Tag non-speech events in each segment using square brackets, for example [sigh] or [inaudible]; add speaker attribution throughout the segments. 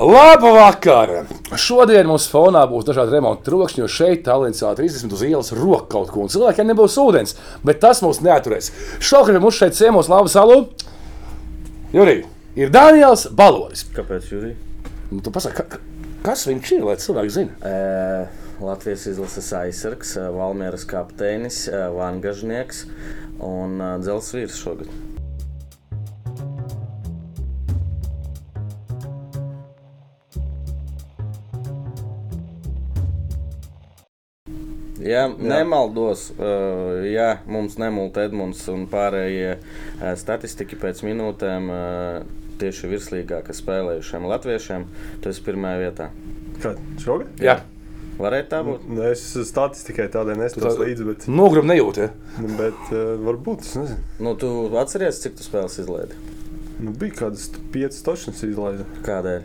Speaker 1: Labu vakaru! Šodien mums fonā būs dažādi remonta trokšņi, jo šeit tālrunī 30 uz ielas roka kaut ko, un cilvēkiem nebūs ūdens, bet tas mūs neaturēs. Šovakar mums šeit ciemos Lava salū. Jurī, ir Daniels Baloris.
Speaker 2: Kāpēc Jurija?
Speaker 1: Nu, tu pasaki, ka, kas viņš ir, lai cilvēki zina?
Speaker 2: E, Latvijas izlases aizsargs, e, Valmieras kapteinis, e, Vangažnieks un e, Dzels vīrs šogad. Ja nemaldos, e, ja mums nemulta Edmunds un pārējie e, statistiķi pēc minūtēm e, tieši virslīgākie spēlējušiem latviešiem, tas ir pirmā vietā.
Speaker 3: Kad? Šogad?
Speaker 1: Jā,
Speaker 2: Varētu tā būt?
Speaker 3: Nē, es statistikai tādai neskatos
Speaker 1: Tu tā-
Speaker 3: līdzi, bet,
Speaker 1: nogrum nejūt. Ja?
Speaker 3: bet uh, varbūt es nezinu.
Speaker 2: Nu, tu atceries, cik tu spēles izlaidi?
Speaker 3: Nu, bija kādas piecas točnas izlaides.
Speaker 2: Kādēļ?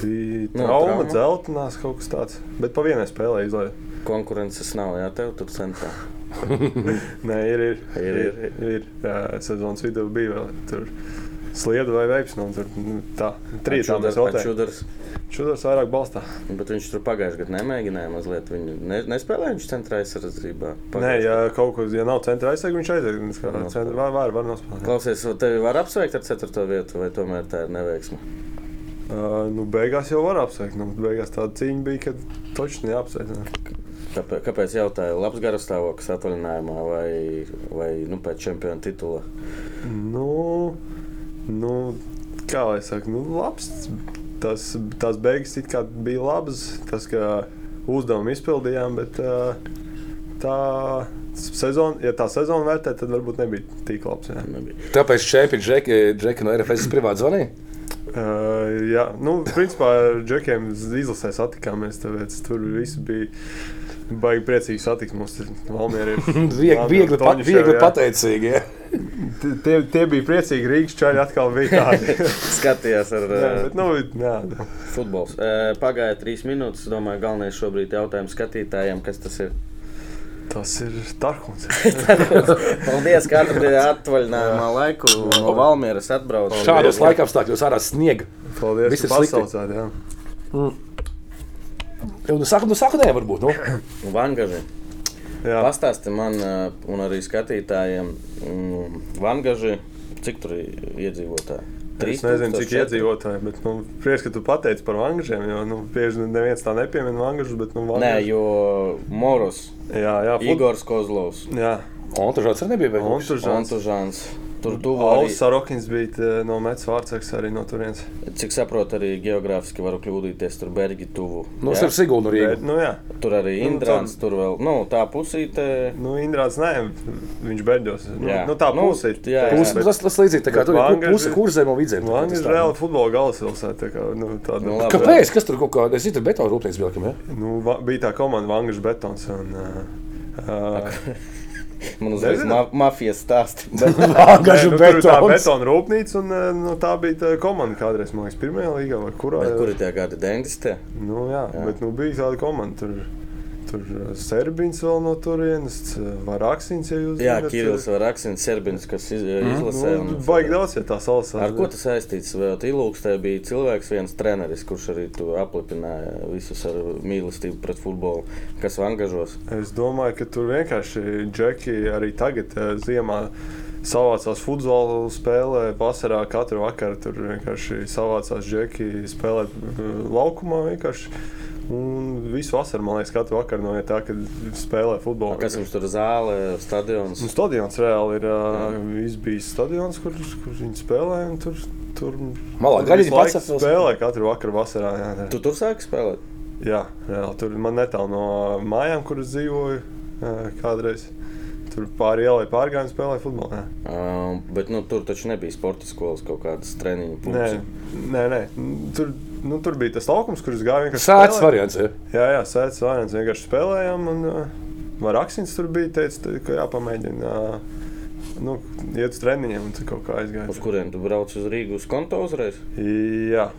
Speaker 3: Bija
Speaker 2: Nu,
Speaker 3: trauma,
Speaker 2: trauma.
Speaker 3: dzeltenās kaut kas tāds. Bet pa vienai spēlē izlaide.
Speaker 2: Konkurences nav, jā, tev tur centrā.
Speaker 3: Nē, ir, ir,
Speaker 2: Ir, ir.
Speaker 3: ir, ir. Jā, sezonas vidū bija vēl tur. Slieda vai veips, nu, tur nu, tā. Trīs tādas rotācijas.
Speaker 2: čudars.
Speaker 3: Čudars vairāk balstā.
Speaker 2: Bet viņš tur pagājušajā gadā nemēģināja mazliet. Viņu ne, nespēlēja viņš centrā aizsardzībā.
Speaker 3: Nē, ja kaut kas, ja nav centra aizsarga, viņš aiziet. Viņš kā
Speaker 2: Nav
Speaker 3: centra var, var, var nospēlēt.
Speaker 2: Klausies, vai tevi var apsveikt ar 4. vietu, vai tomēr tā ir neveiksme?
Speaker 3: Uh, nu, beigās jau var apsveikt. Nu, beigās tāda cīņa bija, kad točni nu. neapsveicināja.
Speaker 2: Kāpēc, kāpēc jautāju, labs garastāvoklis atvaļinājumā vai, vai nu, pēc čempiona titula?
Speaker 3: Nu, nu kā lai saka, nu, labs. Tas, tās beigas it kā bija labas, tas, ka uzdevumu izpildījām, bet ā, tā sezona, ja tā sezona vērtē, tad varbūt nebija tik labs. Jā,
Speaker 2: Nebija.
Speaker 1: Tāpēc šeit ir Džeki no RFS privāti zvanīja.
Speaker 3: uh, jā nu, principā ar džekiem izlasē satikāmies, tāpēc tur viss bija. Baigi priecīgi satikt mums, Valmiera
Speaker 1: [laughs]
Speaker 3: ir
Speaker 1: Mm, Viegli, viegli, pa,
Speaker 3: Toņš jau,
Speaker 1: viegli
Speaker 3: jā.
Speaker 1: pateicīgi. Ja?
Speaker 3: Tie, tie bija priecīgi, Rīgas čaļi atkal bija
Speaker 1: [laughs]
Speaker 3: tādi.
Speaker 2: Skatījās ar
Speaker 3: jā,
Speaker 2: ā,
Speaker 3: bet, nu, jā,
Speaker 2: Futbols. E, Pagāja trīs minūtes. Domāju, galvenais šobrīd ir jautājums skatītājiem, kas tas ir.
Speaker 3: tas ir Tarkons.
Speaker 2: Paldies, ka atradāt atvaļinājumā laiku. No Valmieras atbraucu.
Speaker 1: Šādos laikapstākļos ārā sniega.
Speaker 3: Paldies,
Speaker 1: Viss
Speaker 3: ka
Speaker 1: ir slikti.
Speaker 3: pasaucāt. jā.
Speaker 1: Ja, nu, saka, nu, saka, nē, varbūt. Nu.
Speaker 3: [clears throat]
Speaker 2: Vangaži.
Speaker 3: Jā.
Speaker 2: Pastāsti man eh, un arī skatītājiem, mm, Vangaži, cik tur ir iedzīvotāji?
Speaker 3: Es nezinu, cik iedzīvotāji, bet nu, prieks, ka tu pateici par angļiem. Jo nu, bieži vien neviens tā nepiemina angļus, bet nu,
Speaker 2: Nē,
Speaker 3: vangaži-
Speaker 2: jo Moros,
Speaker 3: jā, jā, fut-
Speaker 2: Igors Kozlovs,
Speaker 3: jā.
Speaker 1: Un tur šāds arī nebija. vai?
Speaker 3: Un tur Žants.
Speaker 2: Antužāns, tur tuvu arī,
Speaker 3: Alsa Rokins bija tā, no Mets Vārtsaks arī no turienes.
Speaker 2: cik saprotu, arī geogrāfiski varu kļūdīties, tur Bergi tuvu.
Speaker 1: Nu,
Speaker 2: jā?
Speaker 1: tas ir Sigūda no Rīgas.
Speaker 3: Bet, Nu, jā.
Speaker 2: Tur arī
Speaker 3: Nu,
Speaker 2: Indrāns, tur vēl, nu, tā pusīte.
Speaker 3: Nu, Indrāts, nē, viņš beļģos. Nu,
Speaker 2: Jā.
Speaker 3: nu, tā
Speaker 2: Nu,
Speaker 3: puse ir.
Speaker 2: jā, jā.
Speaker 1: Puse- nu, Tas tas līdzīgi tā kā
Speaker 3: bet
Speaker 1: tur bija
Speaker 3: Vangaži-
Speaker 1: puse kurzēm un vidzēm. tā kā tas
Speaker 3: Angļu
Speaker 1: tā.
Speaker 3: reāli futbola galvaspilsēta. tā kā, Nu, tāda-
Speaker 2: Nu, labi.
Speaker 1: Kāpēc? Kas tur kaut kā, es zinu, betonu rūpnīca bija, laikam, ja?
Speaker 3: nu, va, bija tā komanda Angļu betons. Un, uh, uh,
Speaker 2: Man uzreiz
Speaker 3: Nezinu.
Speaker 2: ma mafijas stāsti.
Speaker 3: [laughs]
Speaker 2: Bet,
Speaker 1: Vāgažu
Speaker 3: Nē, nu, tur ir tā
Speaker 1: betons.
Speaker 3: betona rūpnīca, un eh, nu, tā bija tā komanda kādreiz, man liekas, pirmajā līgā vai kurā.
Speaker 2: bet kur ir tie gadi 90?
Speaker 3: Nu, jā, jā. bet nu, bija tāda komanda. Tur, tur eh, Serbijas vēl no turienes, eh, Varaksins, ja jūs
Speaker 2: Jā,
Speaker 3: zinat,
Speaker 2: Kirillis
Speaker 3: eh,
Speaker 2: vai Raksins, Serbins, kas iz, izlasē.
Speaker 3: Nu,
Speaker 2: un-
Speaker 3: baigi daudz, ja tā salsā.
Speaker 2: Ar ko tas saistīts? Vēl Ilūkstē bija cilvēks, viens treneris, kurš arī tu aplipināja visus ar mīlestību pret futbolu, kas angažos.
Speaker 3: Es domāju, ka tur vienkārši džeki arī tagad eh, ziemā. Savācās futbola spēlē, vasarā katru vakaru tur vienkārši savācās džeki, spēlē eh, laukumā vienkārši. Un visu vasaru, man liekas, katru vakaru noiet tā, kad spēlē futbolu.
Speaker 2: Kas jums tur zāle, stadions?
Speaker 3: Nu, stadions reāli ir uh, bijis stadions, kur, kur viņi spēlēja. un Tur, tur
Speaker 1: Malā
Speaker 3: tur
Speaker 1: gaļiņa
Speaker 3: visu laiku
Speaker 1: pats atpils.
Speaker 3: spēlēja katru vakaru vasarā. Jā, jā.
Speaker 2: Tu tur sāki spēlēt?
Speaker 3: jā reāli, tur man netālu no mājām, kur es dzīvoju uh, kādreiz. Tur pāri ielai pārgājām, spēlēja futbolu. Jā.
Speaker 2: Um, bet nu, tur taču nebija sporta skolas kaut kādas treniņu
Speaker 3: Nē,
Speaker 2: punkts.
Speaker 3: nē, nē. Tur, nu, tur bija tas laukums, kurš gāja vienkārši
Speaker 1: Sēts
Speaker 3: spēlēt.
Speaker 1: variants, ja?
Speaker 3: Jā, jā, sēdz variants. Vienkārši spēlējām. Un, uh, Raksins tur bija teicis, ka jāpamēģina uh, nu, iet uz treniņiem un tur kaut kā aizgāja.
Speaker 2: Uz kurien tu brauc uz Rīgu uz konta uzreiz?
Speaker 3: Jā,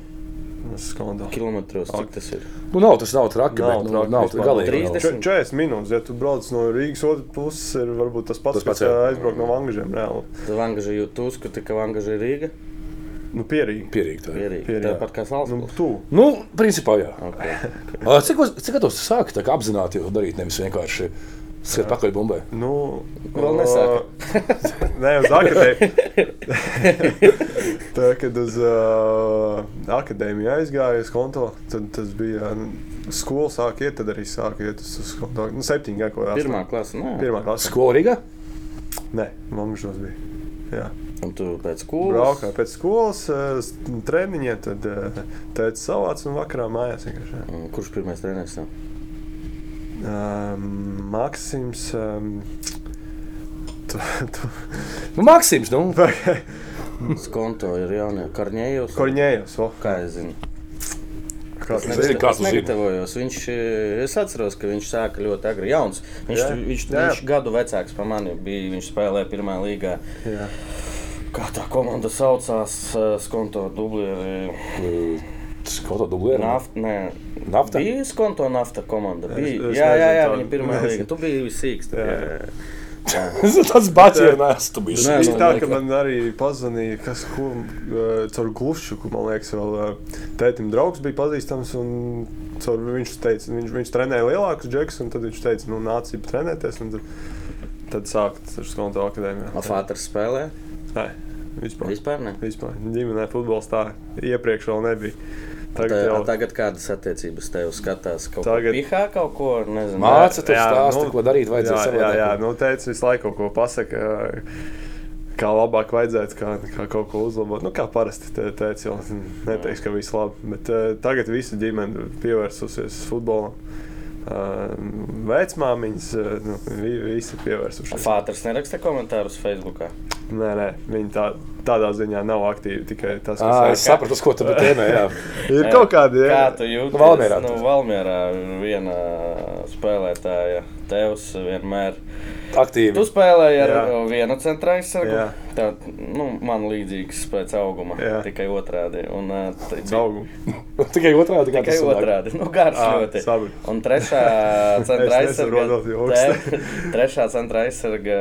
Speaker 3: tas ir skandāli.
Speaker 2: Kilometros, cik tas ir?
Speaker 1: Nu, nav, tas nav traki,
Speaker 3: Nav
Speaker 1: bet, nu,
Speaker 3: traki
Speaker 1: nav,
Speaker 3: vispār.
Speaker 1: galīgi nav.
Speaker 2: Trīsdesmit.
Speaker 3: Čet- 40 minūtes, ja tu brauc no Rīgas otras puses, ir varbūt tas pats,
Speaker 1: Tas
Speaker 3: kas
Speaker 1: pats, jā.
Speaker 3: aizbraukt no Angļiem.
Speaker 2: Tad angažēji jūtas, ka tika angažēji Rīga.
Speaker 3: Nu, pierīgi.
Speaker 1: Pierīgi tā. ir.
Speaker 2: Pierīgi.
Speaker 3: Pierīgi.
Speaker 2: Tāpat kā
Speaker 3: Nu,
Speaker 2: Salsburgas.
Speaker 3: tu.
Speaker 1: Nu, principā, jā.
Speaker 3: [laughs]
Speaker 2: Okay.
Speaker 1: Ā, Cik uz- cik gados tu sāki tā kā apzināti to darīt, nevis vienkārši skriet pakaļ bumbai?
Speaker 3: Nu,
Speaker 2: Vēl
Speaker 3: ā,
Speaker 2: nesāka.
Speaker 3: [laughs] Nē, uz
Speaker 2: [laughs]
Speaker 3: akadēmiju. Tā kad uz uh, akadēmiju aizgāju uz konto, tad tas bija ā, skola sāk iet, tad arī sāk iet uz, uz konto. Nu, septiņi gadu kaut
Speaker 2: Pirmā klase. nu, Nē,
Speaker 3: Pirmā klasa.
Speaker 1: Skola Rīgā?
Speaker 3: Nē, mamžos bija. Jā.
Speaker 2: un tu pēc skolas.
Speaker 3: Braukā pēc skolas, ā, s- nu, treniņiem, tad ā, tēta savāca un vakarā mājās vienkārši. jā.
Speaker 2: Un Kurš pirmais treneris?
Speaker 3: [laughs]
Speaker 2: tev?
Speaker 3: Ā, Maksims. ā, Tu, tu,
Speaker 1: Nu, Maksims,
Speaker 3: [laughs]
Speaker 1: nu,
Speaker 2: Skonto ir jaunie Karņējos.
Speaker 3: Korņējos, o,
Speaker 2: Kā es zinu?
Speaker 3: kāds
Speaker 1: Es nezinu, kāds tas
Speaker 2: Es
Speaker 1: ir.
Speaker 2: negatavojos. Viņš, eh, es atceros, ka viņš sāka ļoti agri. Jauns. Viņš,
Speaker 3: Jā,
Speaker 2: viņš,
Speaker 3: jā.
Speaker 2: viņš gadu vecāks par mani bija. Viņš spēlēja pirmā līgā.
Speaker 3: Jā.
Speaker 2: Kā tā komanda saucās? eh, Skonto dublieri.
Speaker 1: skola dublē.
Speaker 2: Nafta. Nē.
Speaker 1: Nafta?
Speaker 2: Bija skonto nafta komanda. Bija.
Speaker 3: es
Speaker 2: jā, jā, jā,
Speaker 3: nezinu,
Speaker 2: viņa
Speaker 3: tā-
Speaker 2: pirmā
Speaker 3: nezinu.
Speaker 2: līga. Tu biji sīgs. tad, jā, jā.
Speaker 1: [laughs] Tas bācienās, tu biji.
Speaker 2: Nē,
Speaker 1: slikts.
Speaker 3: Bija
Speaker 2: man
Speaker 3: tā,
Speaker 2: liekas.
Speaker 3: ka man arī pazvanīja, kas ko, eh, caur glušu, ko man liekas, vēl eh, tētim draugs bija pazīstams. un Caur, viņš teica, viņš, viņš trenēja lielākus džekus, un tad viņš teica, nu, nāc, jau trenēties. un Tad, tad sākās ar skonto akadēmiju.
Speaker 2: Afāters spēlē.
Speaker 3: Nē, vispār.
Speaker 2: Vispār ne.
Speaker 3: Vispār. Ģimenē futbols tā iepriekš vēl nebija. Tagad
Speaker 2: Tā,
Speaker 3: jau
Speaker 2: tagad kādas attiecības tev skatās? Kaut tagad... ko
Speaker 3: Tagad-
Speaker 2: pihā, kaut ko nezinu.
Speaker 1: Māca tev
Speaker 3: Jā,
Speaker 1: stāstu,
Speaker 3: nu,
Speaker 1: ko darīt vajadzēja
Speaker 3: Jā, jā, jā
Speaker 1: savādāk.
Speaker 3: nu, teicu, visu laiku kaut ko pasaka. Kā labāk vajadzētu, kā, kā kaut ko uzlabot. Nu, kā parasti te- teicu, jau neteiks, ka viss labi. Bet uh, tagad visa ģimene pievērsusies futbolam. Uh, vecmāmiņas, uh, nu, vi, visi pievērsušies.
Speaker 2: Fāters neraksta komentārus Facebook.
Speaker 3: Nē, nē, viņi tā, tādā ziņā nav aktīvi. Tikai tas, kas
Speaker 1: Ā,
Speaker 3: ir.
Speaker 1: Es sapratu, uz ko tu tēmē, jā.
Speaker 3: ir kaut kādi. jā.
Speaker 2: Kā tu jūti?
Speaker 1: Nu, Valmierā
Speaker 2: Nu,
Speaker 1: tu-
Speaker 2: Valmjerā viena spēlētāja tevs vienmēr. Tu
Speaker 1: Aktīvi.
Speaker 2: spēlēji ar
Speaker 3: Jā.
Speaker 2: vienu centra aizsargu.
Speaker 3: Jā.
Speaker 2: Tā, nu, man līdzīgs pēc auguma,
Speaker 3: Jā.
Speaker 2: tikai otrādi. Un, ā, t-
Speaker 3: Draugu.
Speaker 1: Nu, Tikai otrādi, kā
Speaker 2: Tikai
Speaker 1: tas sanāk.
Speaker 2: otrādi. Nu, garš
Speaker 1: Ah,
Speaker 3: Ā,
Speaker 2: ļoti.
Speaker 3: sapratu.
Speaker 2: Un trešā centra
Speaker 3: [laughs] Es nesaprotu
Speaker 2: aizsarga.
Speaker 3: joks.
Speaker 2: tē- [laughs] Trešā centra aizsarga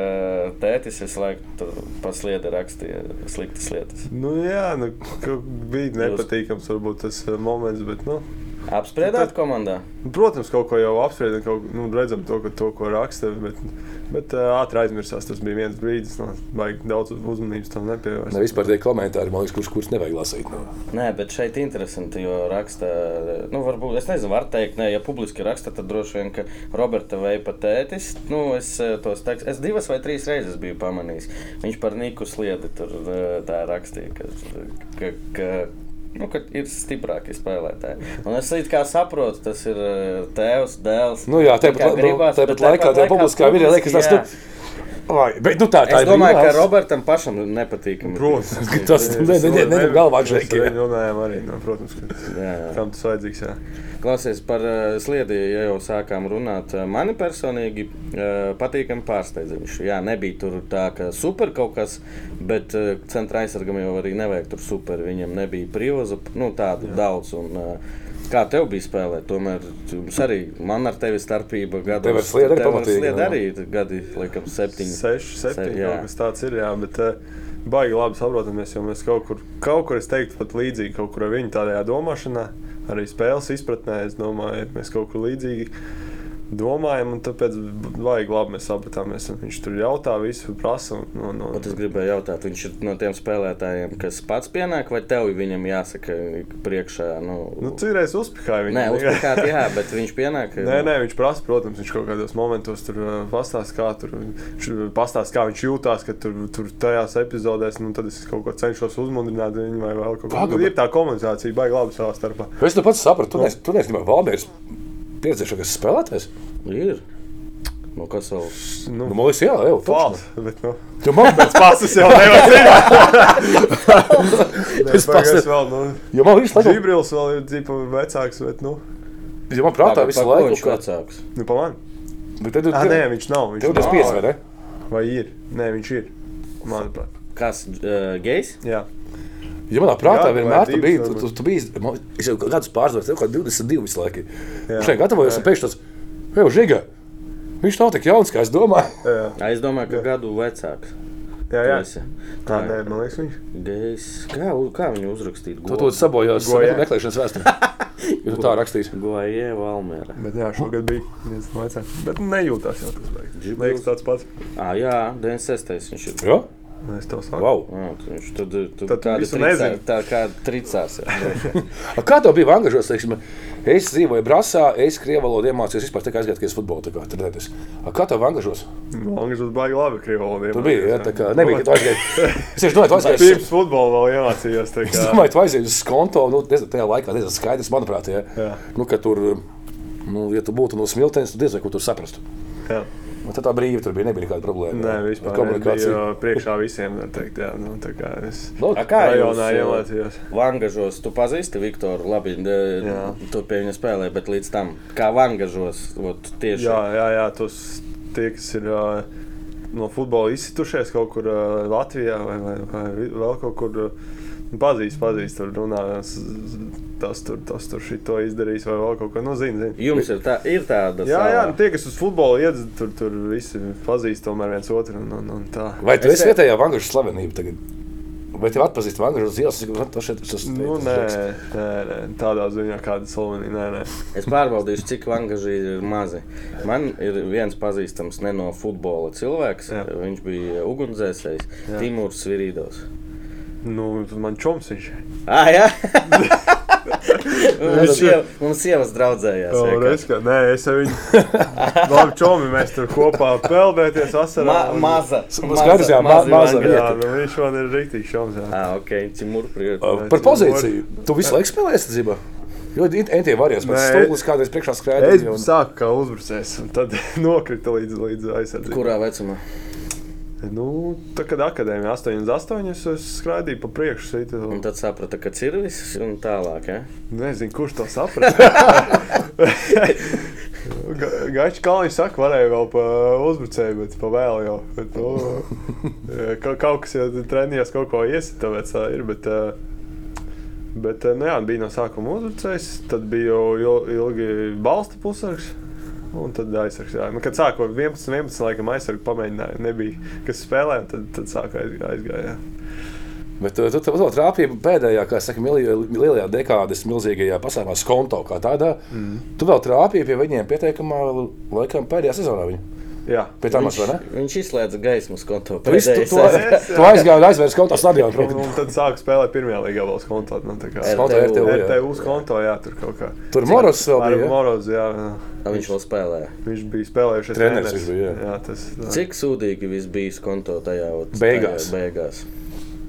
Speaker 2: tētis visu laiku tur pa sliedi rakstīja sliktas lietas.
Speaker 3: Nu, jā, nu, kaut- bija nepatīkams varbūt tas eh, moments, bet nu,
Speaker 2: Apspriedāt komandā?
Speaker 3: Nu, Protams, kaut ko jau apspriedām, kaut ko nu, redzam, to, ka to, ko raksta. Bet, bet ā, ātri aizmirsās, tas bija viens brīdis, no baigi daudz uzmanības tam
Speaker 1: Ne,
Speaker 3: nepievērst.
Speaker 1: vispār tie komentāri, man liekas, kurš, kurš nevajag lasīt. nu. No.
Speaker 2: Nē, bet šeit interesanti, jo raksta, nu, varbūt, es nezinu, var teikt, ne, ja publiski raksta, tad droši vien, ka Roberta Veipa tētis, nu, es eh, tos tekst, es divas vai trīs reizes biju pamanījis. Viņš par Niku sliedi tur eh, tā rakstīja, ka, ka, ka Nu, kad ir stiprāki spēlētāji. Un es līdz kā saprotu, tas ir eh, tēvs, dēls.
Speaker 1: Nu jā,
Speaker 2: Tā kā
Speaker 1: tāpat, nu,
Speaker 2: gribas, bet
Speaker 1: tāpat laikā tajā publiskā vidē liekas, tas
Speaker 2: jā.
Speaker 1: tur. Vai, bet, nu, tā, tā
Speaker 2: Es
Speaker 1: ir
Speaker 2: domāju, ka
Speaker 1: brīvās.
Speaker 2: Robertam pašam nepatīkami.
Speaker 3: Protams,
Speaker 1: [laughs] Tas ne- ne- ne- ne- ne- galvā džeki, jā.
Speaker 3: Mēs runājām arī, nu, protams, ka
Speaker 2: Jā, jā.
Speaker 3: tam tas vajadzīgs. Jā.
Speaker 2: Klausies par uh, sliedi, ja jau sākām runāt. eh, Mani personīgi uh, patīkami pārsteidzoši. Jā, nebija tur tā, ka super kaut kas, bet uh, centra aizsargam jau arī nevajag tur super. Viņam nebija prioza, nu tādu Jā. daudz. Un, uh, Kā tev bija spēlēt? Tomēr jums arī man ar tevi starpība gada.
Speaker 1: Tev ar sliedi arī pamatīgi, jā.
Speaker 2: arī gadi, laikam, septiņi.
Speaker 3: Seši, septiņi,
Speaker 2: Se- jā.
Speaker 3: kaut kas tāds ir, jā, bet eh, baigi labi saprotamies, jo mēs kaut kur, kaut kur es teiktu, pat līdzīgi kaut kur ar viņu tādajā domāšanā, arī spēles izpratnē, es domāju, mēs kaut kur līdzīgi domājam, un tāpēc baigi labi mēs sapratāmies, un viņš tur jautā visu, prasa, un, un,
Speaker 2: Ot, es
Speaker 3: un
Speaker 2: gribēju jautāt, viņš ir no tiem spēlētājiem, kas pats pienāk, vai tev viņam jāsaka priekšā? Nu,
Speaker 3: nu, cīreiz uzpikāja viņu.
Speaker 2: Nē,
Speaker 3: [laughs]
Speaker 2: uzpakāt, jā, bet viņš pienāk.
Speaker 3: Nē, nē, viņš prasa, protams, viņš kaut kādos momentos tur eh, pastāsta, kā, tur, viņš pastāst, kā viņš jūtas, ka tur, tur tajās epizodēs, nu, tad es kaut ko cenšos uzmundrināt viņu vai vēl kaut ko
Speaker 1: Paga,
Speaker 3: tādu.
Speaker 1: bet-
Speaker 3: Ir tā komunikācija, baigi labi savā starpā.
Speaker 1: Es to pats sapratu. Tu neesi- Tu neesi nemaz Valmērs pieredzējušākais spēlētājs.
Speaker 2: Ir. Nu, kas vēl?
Speaker 3: Nu,
Speaker 1: Nu, man liekas, jā, jau
Speaker 3: Fals, bet, nu,
Speaker 1: Tu man pēc
Speaker 3: pasas jau nevajag zināt.
Speaker 1: [laughs] Es
Speaker 3: Es
Speaker 1: pasaku-
Speaker 3: pasas vēl, nu,
Speaker 1: Jo man viņš laikam,
Speaker 3: Džibrils vēl ir dzīpa vecāks, bet, nu,
Speaker 1: jo man prātā visu laiku
Speaker 2: Viņš
Speaker 1: kāds.
Speaker 2: vecāks.
Speaker 3: nu pa man.
Speaker 1: Bet tad tu
Speaker 3: Ah, nē,
Speaker 1: tev
Speaker 3: viņš nav, viņš
Speaker 1: tev
Speaker 3: nav.
Speaker 1: 25 vai ne?
Speaker 3: Vai ir? Nē, viņš ir, manuprāt.
Speaker 2: Kas? Uh, gejs?
Speaker 3: Jā,
Speaker 1: Jo manā prātā
Speaker 3: Gadu vai
Speaker 1: vienmēr tu
Speaker 3: divus
Speaker 1: biji, tu,
Speaker 3: varbūt.
Speaker 1: tu, tu biji, man- es jau gadus pārdzīvoju, tev kā 22 visu laiku.
Speaker 3: Jā.
Speaker 1: Viņš šeit gatavojos un pēkšņi tas, jau žiga, viņš nav tik jauns, kā es domāju.
Speaker 3: jā.
Speaker 2: Ai, Es domāju, ka gadu vecāks.
Speaker 3: Jā, jā.
Speaker 2: Tu esi.
Speaker 3: Tā, nē, man liekas, viņš.
Speaker 2: Gejs. Kā, u- kā viņu uzrakstīt?
Speaker 1: Tu to sabojās
Speaker 3: Gojē.
Speaker 1: meklēšanas vēsturē. Ja tu tā rakstīsi.
Speaker 2: Goja Valmēra.
Speaker 3: Bet jā, šogad bija viens no vecākajiem. Bet nejūtās jau tas beigas.
Speaker 2: Džibils.
Speaker 3: Liekas tāds pats.
Speaker 2: Ah, jā, 96. viņš ir.
Speaker 1: Jo?
Speaker 3: Nē, Es tev saku.
Speaker 1: Wow.
Speaker 2: Jā, tu- viņš tad, eh, tu
Speaker 3: Tad tu
Speaker 2: kādu
Speaker 3: visu
Speaker 2: tricā-
Speaker 3: nezini.
Speaker 2: Tā kā tricās. jā.
Speaker 1: A Kā tev bija vangažos? Teiksim, es dzīvoju Brāzā, es krievu valodu iemācījos vispār tikai aizgājis futbolu. tā Kā, trenēties. A kā tev vangažos?
Speaker 3: Angļu valoda bija labi krievalodiem.
Speaker 1: Tur bija, ja, tā kā nebija, ka tu
Speaker 3: [laughs]
Speaker 1: aizgāji. Es tieši domāju, tu aizgāji.
Speaker 3: Pirms futbola vēl iemācījos. tā
Speaker 1: Es
Speaker 3: kā-
Speaker 1: domāju, tu aizies uz konto, nu, nezinu, tajā laikā diezgan skaidrs, manuprāt, ja,
Speaker 3: Jā.
Speaker 1: nu, ka tur, nu, ja tu būtu no smiltenes, tad diez vai ko tur saprastu.
Speaker 3: Jā.
Speaker 1: Un tad tā brīva tur bija, nebija nekāda problēma.
Speaker 3: Nē,
Speaker 1: jā.
Speaker 3: vispār.
Speaker 1: Komunikācija.
Speaker 3: Komunikācija. Priekšā visiem, var teikt, jā. Nu, tā kā es
Speaker 1: Nu,
Speaker 2: A, kā jūs,
Speaker 3: rajonā
Speaker 2: eh,
Speaker 3: iemācījos.
Speaker 2: Vangažos, tu pazīsti Viktoru, labi, de,
Speaker 3: Jā.
Speaker 2: tu pie viņa spēlē, bet līdz tam, kā Vangažos, vot, tieši.
Speaker 3: Jā, jā, jā tos tie, kas ir ā, no futbola izsitušies kaut kur ā, Latvijā vai, vai, vai vi- vēl kaut kur. ā, nu, Pazīst, pazīst, tur runā, s- s- tas tur, tas tur šito izdarīs, vai vēl kaut ko. Nu, zini, zini.
Speaker 2: Jums ir, tā, ir tāda
Speaker 3: Jā, jā, nu
Speaker 2: sava-
Speaker 3: tie, kas uz futbola iedz, tur, tur visi pazīst tomēr viens otru. Un, un, un tā.
Speaker 1: Vai tu
Speaker 2: Es
Speaker 1: esi
Speaker 3: e-
Speaker 2: te-
Speaker 1: vietējā vangažu slavenība tagad? Vai tev atpazīst vangažu uz ielas? Es saku, "Vat, Tas šeit tas
Speaker 3: Nu,
Speaker 1: tas-
Speaker 3: nē,
Speaker 1: tas-
Speaker 3: nē, nē, tādā ziņā kāda Slovenija. Nē, nē.
Speaker 2: Es pārbaudīšu, cik angažī ir mazi. Man ir viens pazīstams ne no futbola cilvēks. Jā.
Speaker 3: Jā.
Speaker 2: Viņš bija ugunsdzēsējs
Speaker 3: Jā.
Speaker 2: Timurs Virīdos.
Speaker 3: Nu, man čoms viņš ir.
Speaker 2: Ah,
Speaker 1: [laughs]
Speaker 2: jā! mums, sieva, mums sievas draudzējās. vienkārši.
Speaker 3: Nē, es ar viņu. Labi, čomi, mēs tur kopā peldēties asarā.
Speaker 2: Ma,
Speaker 3: un-
Speaker 2: maza.
Speaker 1: skaidrs, jā, ma- maza
Speaker 2: Vanga.
Speaker 1: vieta.
Speaker 3: Jā, nu viņš man ir rīktīgi šaubas. jā.
Speaker 2: Ah, ok, Timur, priekš.
Speaker 1: Uh, Par pozīciju. Tu visu laiku spēlējies dzīvē. Jo entie varēs, bet
Speaker 3: Nē.
Speaker 1: stūlis kādreiz priekšā
Speaker 3: Es
Speaker 1: skrēja.
Speaker 3: un... sāku kā uzbrucējs, un tad [laughs] nokrita līdz, līdz aizsardzībai.
Speaker 2: Kurā vecumā?
Speaker 3: Nu, tā kad akadēmija 8, 8, es skraidīju pa priekšu. Sīti,
Speaker 2: Un
Speaker 3: un...
Speaker 2: tad saprata, ka ir viss un tālāk. Ja?
Speaker 3: Nezinu, kurš to saprata. [laughs] Ga- Gaišs Kalniņš saka, varēja vēl pa uzbrucēju, bet pa vēl jau. Bet, nu, ka- kaut kas jau trenējās, kaut ko iesit, tāpēc tā ir. Bet, eh, bet eh, nu, jā, bija no sākuma uzbrucējs, tad bija jau il- ilgi balsta pusargs. Un tad aizsargs. Jā. Nu, Kad sāku ar 11, 11, laikam aizsargu pamēģināju. Nebija, kas spēlēja, un tad, tad sāku aizgājāt.
Speaker 1: Bet uh, tu to trāpīji pēdējā, kā saka, mili- lielajā dekādes milzīgajā pasākumā, skonto kā tādā. Tu vēl trāpīji pie viņiem pieteikumā, laikam pēdējā sezonā. Viņa.
Speaker 3: Jā,
Speaker 1: Pie tā mēs
Speaker 2: viņš,
Speaker 1: varam.
Speaker 2: viņš izslēdza gaismas kontu.
Speaker 1: Tu, visu- tu, tu,
Speaker 2: Pēdējais-
Speaker 1: tu aizgāji un aizvērsi kaut kādā stadionā.
Speaker 3: un, [laughs]
Speaker 1: protams.
Speaker 3: un tad sāku spēlēt pirmajā līgā valsts kontā. Nu, tā kā-
Speaker 2: RTU.
Speaker 1: Konto RTU, jā.
Speaker 3: RTU uz konto, jā, tur kaut kā.
Speaker 1: Tur Moros vēl
Speaker 3: Ar
Speaker 1: bija. ja?
Speaker 3: Morozu, jā. jā.
Speaker 2: [laughs] Ah, Viņš vēl spēlēja.
Speaker 3: Viņš bija spēlējušies
Speaker 1: Treneris
Speaker 3: treneris.
Speaker 1: viņš bija, jā.
Speaker 3: jā, tas tā.
Speaker 2: Cik sūdīgi viss bija konto tajā ot-
Speaker 1: Beigās.
Speaker 2: tajā beigās?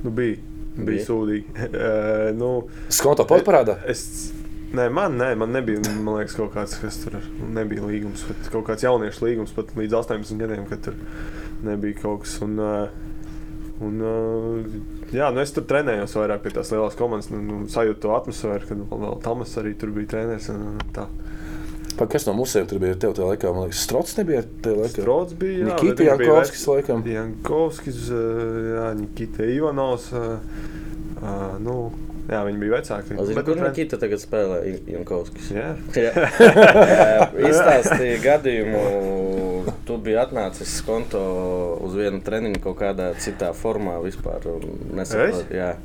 Speaker 3: nu, bija.
Speaker 2: Bija?
Speaker 3: Bija sūdīgi. [laughs] Eh, nu,
Speaker 1: Skonto pat parādā.
Speaker 3: es, nē, man, nē, man nebija, man liekas, kaut kāds, kas tur nebija līgums, bet kaut kāds jauniešu līgums pat līdz 18 gadiem, kad tur nebija kaut kas. Un, eh, un, eh, jā, nu es tur trenējos vairāk pie tās lielās komandas, nu, nu, sajūtu to atmosfēru, kad vēl, vēl Tomas arī tur bija treneris. un- un tā.
Speaker 1: Pa, Kas no mums tur bija? Tev tajā laikā, man liekas, strots nebija. tajā laikā?
Speaker 3: Strods bija. jā, bet
Speaker 1: Nikita
Speaker 3: viņš bija
Speaker 1: Jankovskis,
Speaker 3: vecs-
Speaker 1: laikam.
Speaker 3: Jankovskis, eh, jā, Nikita Ivanovs. eh, eh, Nu, jā, viņi bija vecāki.
Speaker 2: O, Zini,
Speaker 3: Bet,
Speaker 2: kur
Speaker 3: nu,
Speaker 2: Nikita tagad spēlē I- Jankovskis?
Speaker 3: Jā,
Speaker 2: [laughs] Jā. Eh,
Speaker 3: [laughs]
Speaker 2: Izstāstīja gadījumu, tu biji atnācis konto uz vienu treniņu kaut kādā citā formā vispār. un nesaprot- Jā,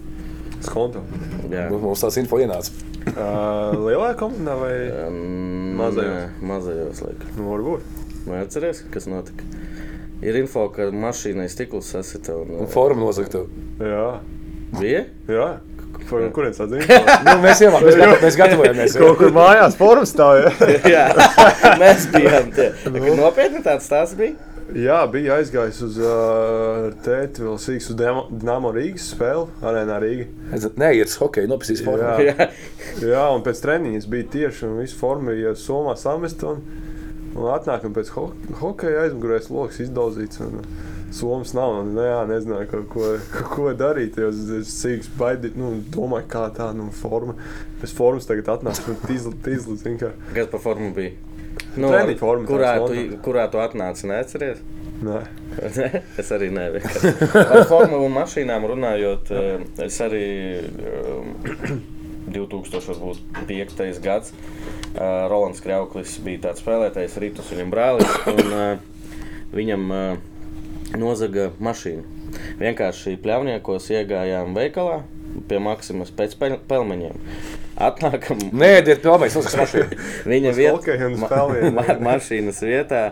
Speaker 3: skonto.
Speaker 1: Nu,
Speaker 2: jā.
Speaker 1: Mums tāds info ienāca.
Speaker 3: Eh, Lielā komandā vai?
Speaker 2: Um,
Speaker 3: Mazajos.
Speaker 2: nē, Mazajos, laikam.
Speaker 3: Nu, varbūt.
Speaker 2: Vai atceries, kas notika? Ir info, ka mašīnai stikls sasita un...
Speaker 1: Un
Speaker 2: eh,
Speaker 1: Forma nozagta.
Speaker 3: Jā,
Speaker 2: Bija? [laughs]
Speaker 3: jā. Kur, kurien sadzīt?
Speaker 1: Nu, mēs iemācījāmies, mēs, mēs gatavojamies.
Speaker 3: [laughs] Kaut kur mājās forums stāv. jā.
Speaker 2: Jā, mēs bijām tie.
Speaker 3: Nu.
Speaker 2: Nopietni tāds stāsts bija?
Speaker 3: [laughs] Jā, bija aizgājis uz uh, tēti vēl sīks uz Demo- Dynamo Rīgas spēli, arēnā Rīga.
Speaker 1: Nē, iet uz hokeju, nopisīs formu.
Speaker 3: Jā.
Speaker 2: Jā.
Speaker 3: Jā, un pēc treniņas bija tieši un visu formu bija somā samest. Un, un atnākam pēc ho hokeja aizmugurēs lokus izdauzīts. Un, Somas nav, un nu, jā, nezināju, ko, ko, [laughs] ko darīt. jo Es, es cīgs baidi, nu, domāju, kā tā, nu, forma. Bez formas tagad atnāc, un tīzli, tīzli, zin, kā.
Speaker 2: Kas par formu bija? Nu,
Speaker 3: Treniņu formu
Speaker 2: kurā,
Speaker 3: tāds,
Speaker 2: tu,
Speaker 3: Londonā.
Speaker 2: kurā tu atnāci? Neatceries? [laughs]
Speaker 3: Nē,
Speaker 2: Ne? es arī nevienu. Par formulu mašīnām runājot, eh, es arī eh, 2005. gads. eh, Rolands Krauklis bija tāds spēlētājs, Rītas viņam brālis. Un, eh, viņam eh, nozaga mašīnu. Vienkārši pļāvniekos iegājām veikalā pie maksimas pēc pel- pelmeņiem. Atnākam,
Speaker 1: Nē, diet, pelnījis, tas ir mašīna.
Speaker 2: [laughs] viņa
Speaker 3: Uz
Speaker 2: vietā,
Speaker 3: kolkajiem uz
Speaker 2: ma
Speaker 3: pelniem.
Speaker 2: ma mašīnas vietā,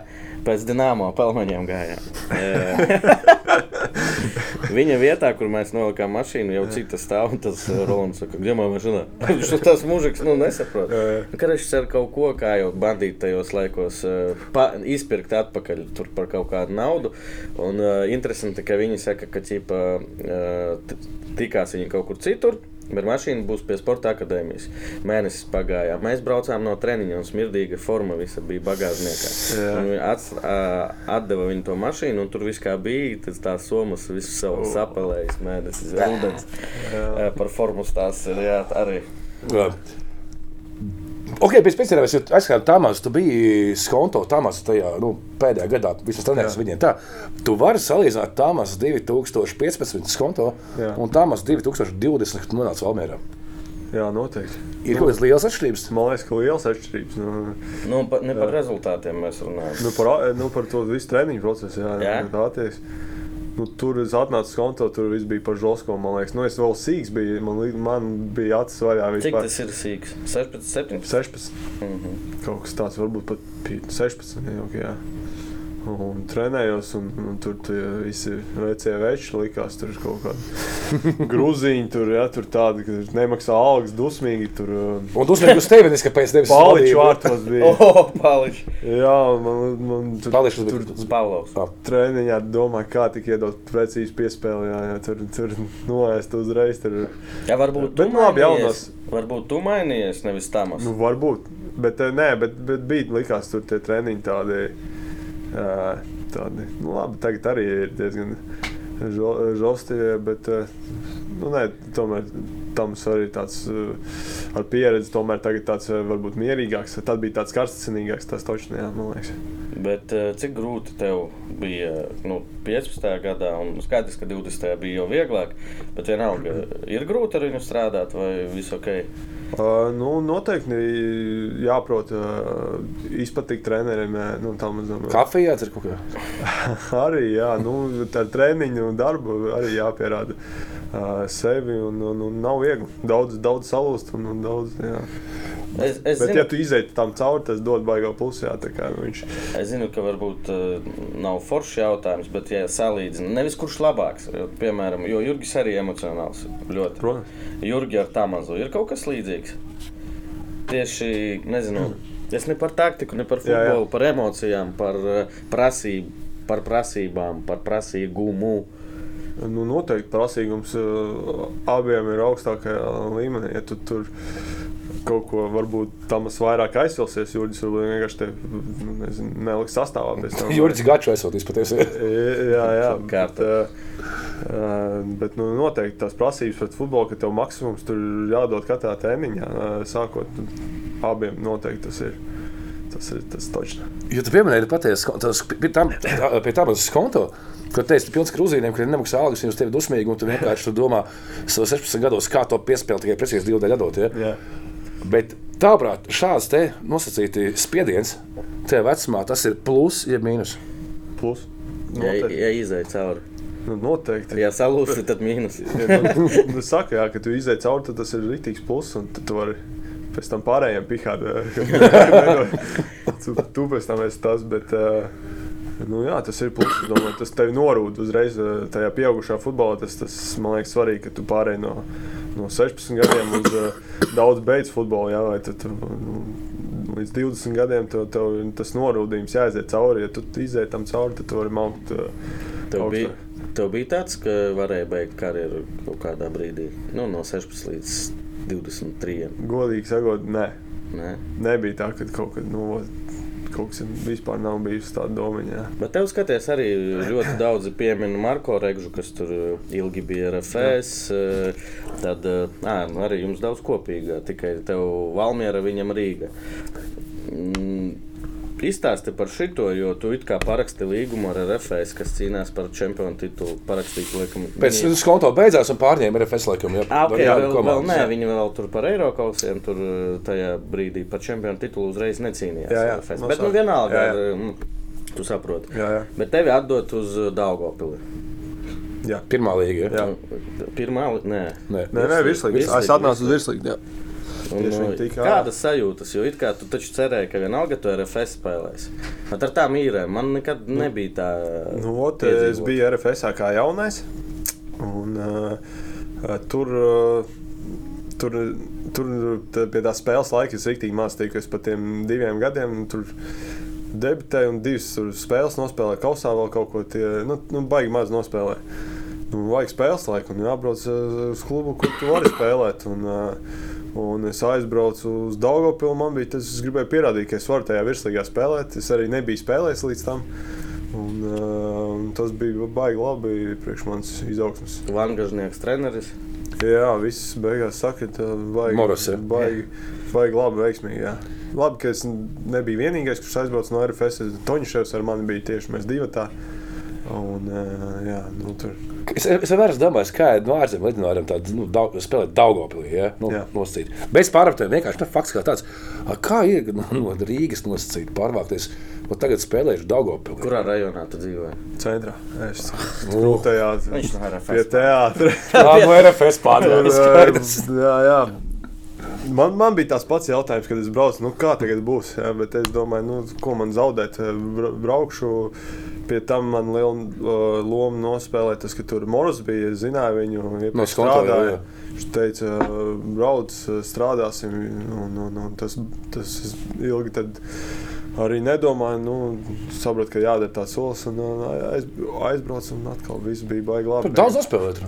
Speaker 2: pēc dināmo pelmeņiem
Speaker 3: [laughs]
Speaker 2: gājām. E, Viņa vietā, kur mēs nolikām mašīnu, jau cita stāv un tas Rolands saka, gdzie man [laughs] mašīna? Viņš tas mūžiks, nu, nesaprot.
Speaker 3: Jā,
Speaker 2: Karašs ar kaut ko, kā jau bandīti tajos laikos, eh, pa, izpirkt atpakaļ tur par kaut kādu naudu. Un uh, interesanti, ka viņi saka, ka ķipa, uh, tikās viņi kaut kur citur. Bet mašīna būs pie sporta akadēmijas. Mēnesis pagāja. Mēs braucām no treniņa, un smirdīga forma visa bija bagāžniekā.
Speaker 3: Jā.
Speaker 2: Un Viņi ats, uh, atdeva viņu to mašīnu, un tur viss kā bija. Tas tās somas, visas
Speaker 3: Oh.
Speaker 2: savas sapelējas, mēnesis, ūdens. Uh, par formu tās ir jā, arī.
Speaker 1: Ok, pēc pēccerības, jo aizskatām Tamas, tu biji skonto Tamas tajā, nu, pēdējā gadā, visas trenēs viņiem tā. Tu vari salīdzināt Tamas 2015 skonto
Speaker 3: Jā.
Speaker 1: un Tamas 2020, kad tu nonāci Valmērā.
Speaker 3: jā, noteikti.
Speaker 1: Ir kaut kādas lielas atšķirības?
Speaker 3: Man liekas, ka liels atšķirības. Nu,
Speaker 2: Nu, pa, ne par rezultātiem mēs runājam.
Speaker 3: Nu, par, a- nu, par to visu treniņu procesu, jā,
Speaker 2: Jā.
Speaker 3: jā. tāties. Nu, tur es atnācu uz konto, tur viss bija par žosko, man liekas. Nu, es vēl sīgs biju, man, li- man bija acis vaļā
Speaker 2: Cik
Speaker 3: vispār.
Speaker 2: tas Mhm. ir sīgs? 16, 17.
Speaker 3: 16. Kaut kas tāds, varbūt pat pi- 16. Nejauki, jā. Un trenējos, un, un tur tie visi veci veči likās, tur ir kaut kāda
Speaker 2: [laughs]
Speaker 3: grūziņa, tur, jā, tur tāda, ka nemaksā algas dusmīgi, tur uh,
Speaker 1: Un tu uzmanīgi uz tevi, nes kāpēc tevis
Speaker 3: paliču vārtos
Speaker 2: [laughs]
Speaker 3: bija.
Speaker 2: Oh, Pāvils.
Speaker 3: Jā, man, man tur,
Speaker 1: Paliču
Speaker 3: tur
Speaker 1: bija.
Speaker 2: Pāvils.
Speaker 3: treniņā domā, kā tik iedot precīzi piespēli. Jā, jā, tur tur noiest uzreiz. Tur.
Speaker 2: Jā, varbūt tu
Speaker 3: Bet nu labi,
Speaker 2: mainījies. Varbūt tu mainījies, nevis Tamas.
Speaker 3: Nu, varbūt. Bet, eh, nē, bet, bet bija likās, tur tie treniņi tādi. eh, tādi nu, labi, tagad arī ir diezgan žo- žostie, bet eh, nu, nē, tomēr tam arī tāds eh, ar pieredzi, tomēr tagad tāds eh, varbūt mierīgāks. Tad bija tāds karstasinīgāks, tas točnē, jā, man liekas.
Speaker 2: Bet eh, cik grūti tev bija nu, 15. gadā, un skaidrs, ka 20. bija jau vieglāk. Bet vienalga, ir grūti ar viņu strādāt, vai viss ok?
Speaker 3: Uh, nu, noteikti jāprot uh, izpatikt treneriem. eh, Nu, tam, tam,
Speaker 1: Kafijā tas ir kaut kā. [laughs]
Speaker 3: arī jā, nu, ar treniņu un darbu arī jāpierāda uh, sevi. Un, un, un nav viegli. Daudz, daudz salūst. Un, un daudz, jā.
Speaker 2: Es, es,
Speaker 3: Bet, ja
Speaker 2: zinu,
Speaker 3: tu izietu tam cauri, tas dod baigā plusi. Jā, tā kā nu, viņš
Speaker 2: es zinu, ka varbūt eh, nav foršs jautājums, bet ja salīdzinu, nevis kurš labāks. Jo, piemēram, jo Jurgis arī emocionāls ļoti.
Speaker 3: protams.
Speaker 2: Jurgi ar Tamazu ir kaut kas līdzīgs. Tieši nezinu, es ne par taktiku, ne par
Speaker 3: Jā, jā.
Speaker 2: futbolu, par emocijām, par eh, prasību, par prasībām, par prasīgumu.
Speaker 3: Nu, noteikti prasīgums uh, abiem ir augstākajā līmenī. Ja tu tur kaut ko varbūt tam vairāk aizsilsies, Jurģis varbūt vienkārši te nu, nezinu, neliks sastāvā. pēc
Speaker 1: [laughs]
Speaker 3: tam.
Speaker 1: Juris Gaču esot izpatiesi.
Speaker 3: Jā, jā.
Speaker 2: Kārta.
Speaker 3: Bet, eh, eh, bet nu, noteikti tās prasības pret futbolu, ka tev maksimums tur ir jādod katrā tēmiņā. eh, Sākot, abiem noteikti tas ir. Tas ir tas točs.
Speaker 1: Jo tu pieminēji, patiesi, tas pie tam, [clears throat] tā- pie tā mazas konta. Kad teicu, pilns krūzīm, kuriem nemaksā algas, viņi uz tevi dusmīgi, un tu vienkārši tur domā, savos 16 gados, kā to piespēlēt, tikai precīzi divu daļu atdot. Ja?
Speaker 3: Jā,
Speaker 1: Bet, tavuprāt, šāds te nosacīti spiediens, te vecumā, tas ir plus, ja mīnus.
Speaker 3: plus.
Speaker 2: Ja,
Speaker 3: Noteikti.
Speaker 2: ja izai cauri,
Speaker 3: Nu, noteikti.
Speaker 2: ja salūzi, tad mīnus.
Speaker 3: Ja, [laughs] nu, nu, saka, jā, ka tu izdeji cauri, tad tas ir rītīgs pluss, un tad tu vari pēc tam pārējiem pihāt. [laughs] tu, tu pēc tam esi tas, bet eh, nu, jā, tas ir pluss. es Domāju, tas tev norūda uzreiz eh, tajā pieaugušā futbolā. Tas, tas man liekas svarīgi, ka tu pārēji no, no 16 gadiem uz eh, daudz beidz futbolu. Jā, vai tad, tur, nu, Līdz 20 gadiem tev, tev tas norūdījums jāiziet cauri. Ja tu izdeji tam cauri, tad tu vari maukt. eh,
Speaker 2: Tev bija, tev bija tāds, ka varēja beigt karjeru kaut kādā brīdī, nu, no 16 līdz 23.
Speaker 3: Godīgi sakot, nē.
Speaker 2: Ne?
Speaker 3: nebija tā, ka kaut, kad, nu, kaut kas vispār nav bijis tāda domaņa.
Speaker 2: Bet tev skaties, arī ļoti daudzi piemina Marko Regžu, kas tur eh, ilgi bija RFS. eh, Tad eh, ā, nu arī jums daudz kopīga, tikai tev Valmiera, viņam Rīga. Mm, Izstāsti par šito, jo tu it kā paraksti līgumu ar RFS, kas cīnās par čempionu titulu. Parakstīju, laikam,
Speaker 1: Pēc
Speaker 2: viņi-
Speaker 1: tam konta beidzās un pārņēma RFS laikam. Jā,
Speaker 2: Ah, okay,
Speaker 1: Jā,
Speaker 2: vēl, vēl,
Speaker 1: komandas,
Speaker 2: nē,
Speaker 1: jā.
Speaker 2: viņi vēl tur par Eiropausiem, tur eh, tajā brīdī par čempionu titulu uzreiz necīnījās.
Speaker 3: Jā, jā,
Speaker 2: RFS.
Speaker 3: no
Speaker 2: Bet nu,
Speaker 3: sākuma.
Speaker 2: vienalga,
Speaker 3: Jā,
Speaker 2: ir, mm, tu saproti.
Speaker 3: Jā, jā.
Speaker 2: Bet tevi atdot uz Dārgopili.
Speaker 3: Jā.
Speaker 1: Pirmā līga. Ja?
Speaker 3: Jā.
Speaker 2: Nu, Pirmā, li- nē.
Speaker 1: Nē.
Speaker 3: Nē, nē, virslīgi.
Speaker 2: Virslīgi,
Speaker 3: Es atnācu uz virslīgi. jā.
Speaker 2: Un,
Speaker 3: Tieši viņi
Speaker 2: nu,
Speaker 3: tika ārā.
Speaker 2: Kādas sajūtas, jo it kā tu taču cerēji, ka vienalga tu RFS spēlēsi. Bet ar tām īrēm man nekad nebija tā.
Speaker 3: Nu, ot,
Speaker 2: piedzīvot.
Speaker 3: es biju RFS kā jaunais. Un, uh, tur, uh, tur, tur tā, pie tā spēles laika es rīktīgi mācījos. Es pat tiem diviem gadiem tur debitēju un divas tur spēles nospēlēju. Kausā vēl kaut ko tādu, nu, nu baigi maz nospēlēju. Nu, vajag spēles laiku, un jābrauc uh, uz klubu, kur tu vari spēlēt. Un, uh, Un es aizbraucu uz Dārgopilu. Man bija tas, es gribēju pierādīt, ka es varu tajā virslīgā spēlēt. Es arī nebiju spēlējis līdz tam. Un, uh, un tas bija baigi labi priekš manas izaugsmes.
Speaker 2: Vangažnieks treneris.
Speaker 3: Jā, viss beigās sakrita. Baigi,
Speaker 1: Moros, jā.
Speaker 3: baigi, baigi labi, veiksmīgi. Jā. Labi, ka es nebiju vienīgais, kurš aizbrauca no RFS. Toņšēvs ar mani bija tieši mēs divi. Tā. Un, uh, jā, nu, tur
Speaker 1: Es, es vienmēr esmu domājis, kā no ārzemēm lidinājumiem tādu nu, daug, spēlēt Daugopilī. Ja? Nu,
Speaker 3: Jā.
Speaker 1: nosacīt. Bez pārvāktiem vienkārši tā fakts kā tāds. "A, Kā ir no, no Rīgas nosacīt pārvākties? Un tagad spēlēšu Daugopilī.
Speaker 2: Kurā rajonā tu dzīvo?
Speaker 3: centrā
Speaker 2: [laughs]
Speaker 3: es
Speaker 1: Lūk.
Speaker 3: grūtajā.
Speaker 2: Viņš no RFS.
Speaker 3: Pie teātra.
Speaker 1: Nu, [laughs] tā no
Speaker 2: [laughs]
Speaker 1: RFS
Speaker 3: Tur,
Speaker 1: pārvākties?
Speaker 3: eh, jā, jā. Man, man bija tas pats jautājums, kad es braucu, nu, kā tagad būs. Jā, bet es domāju, nu, ko man zaudēt. eh, bra- Braukšu, pie tam man liela eh, loma nospēlēja tas, ka tur Moros bija. Es zināju viņu, iepriekš
Speaker 1: No Skonto, jā, jā.
Speaker 3: Viņš teica, eh, brauc, eh, strādāsim. Un, un, un tas, tas es ilgi tad arī nedomāju. Nu, sapratu, ka jādara tāds solis. Un, un aiz, aizbraucu, un atkal viss bija baigi labi.
Speaker 1: Tur daudz nospēlēt.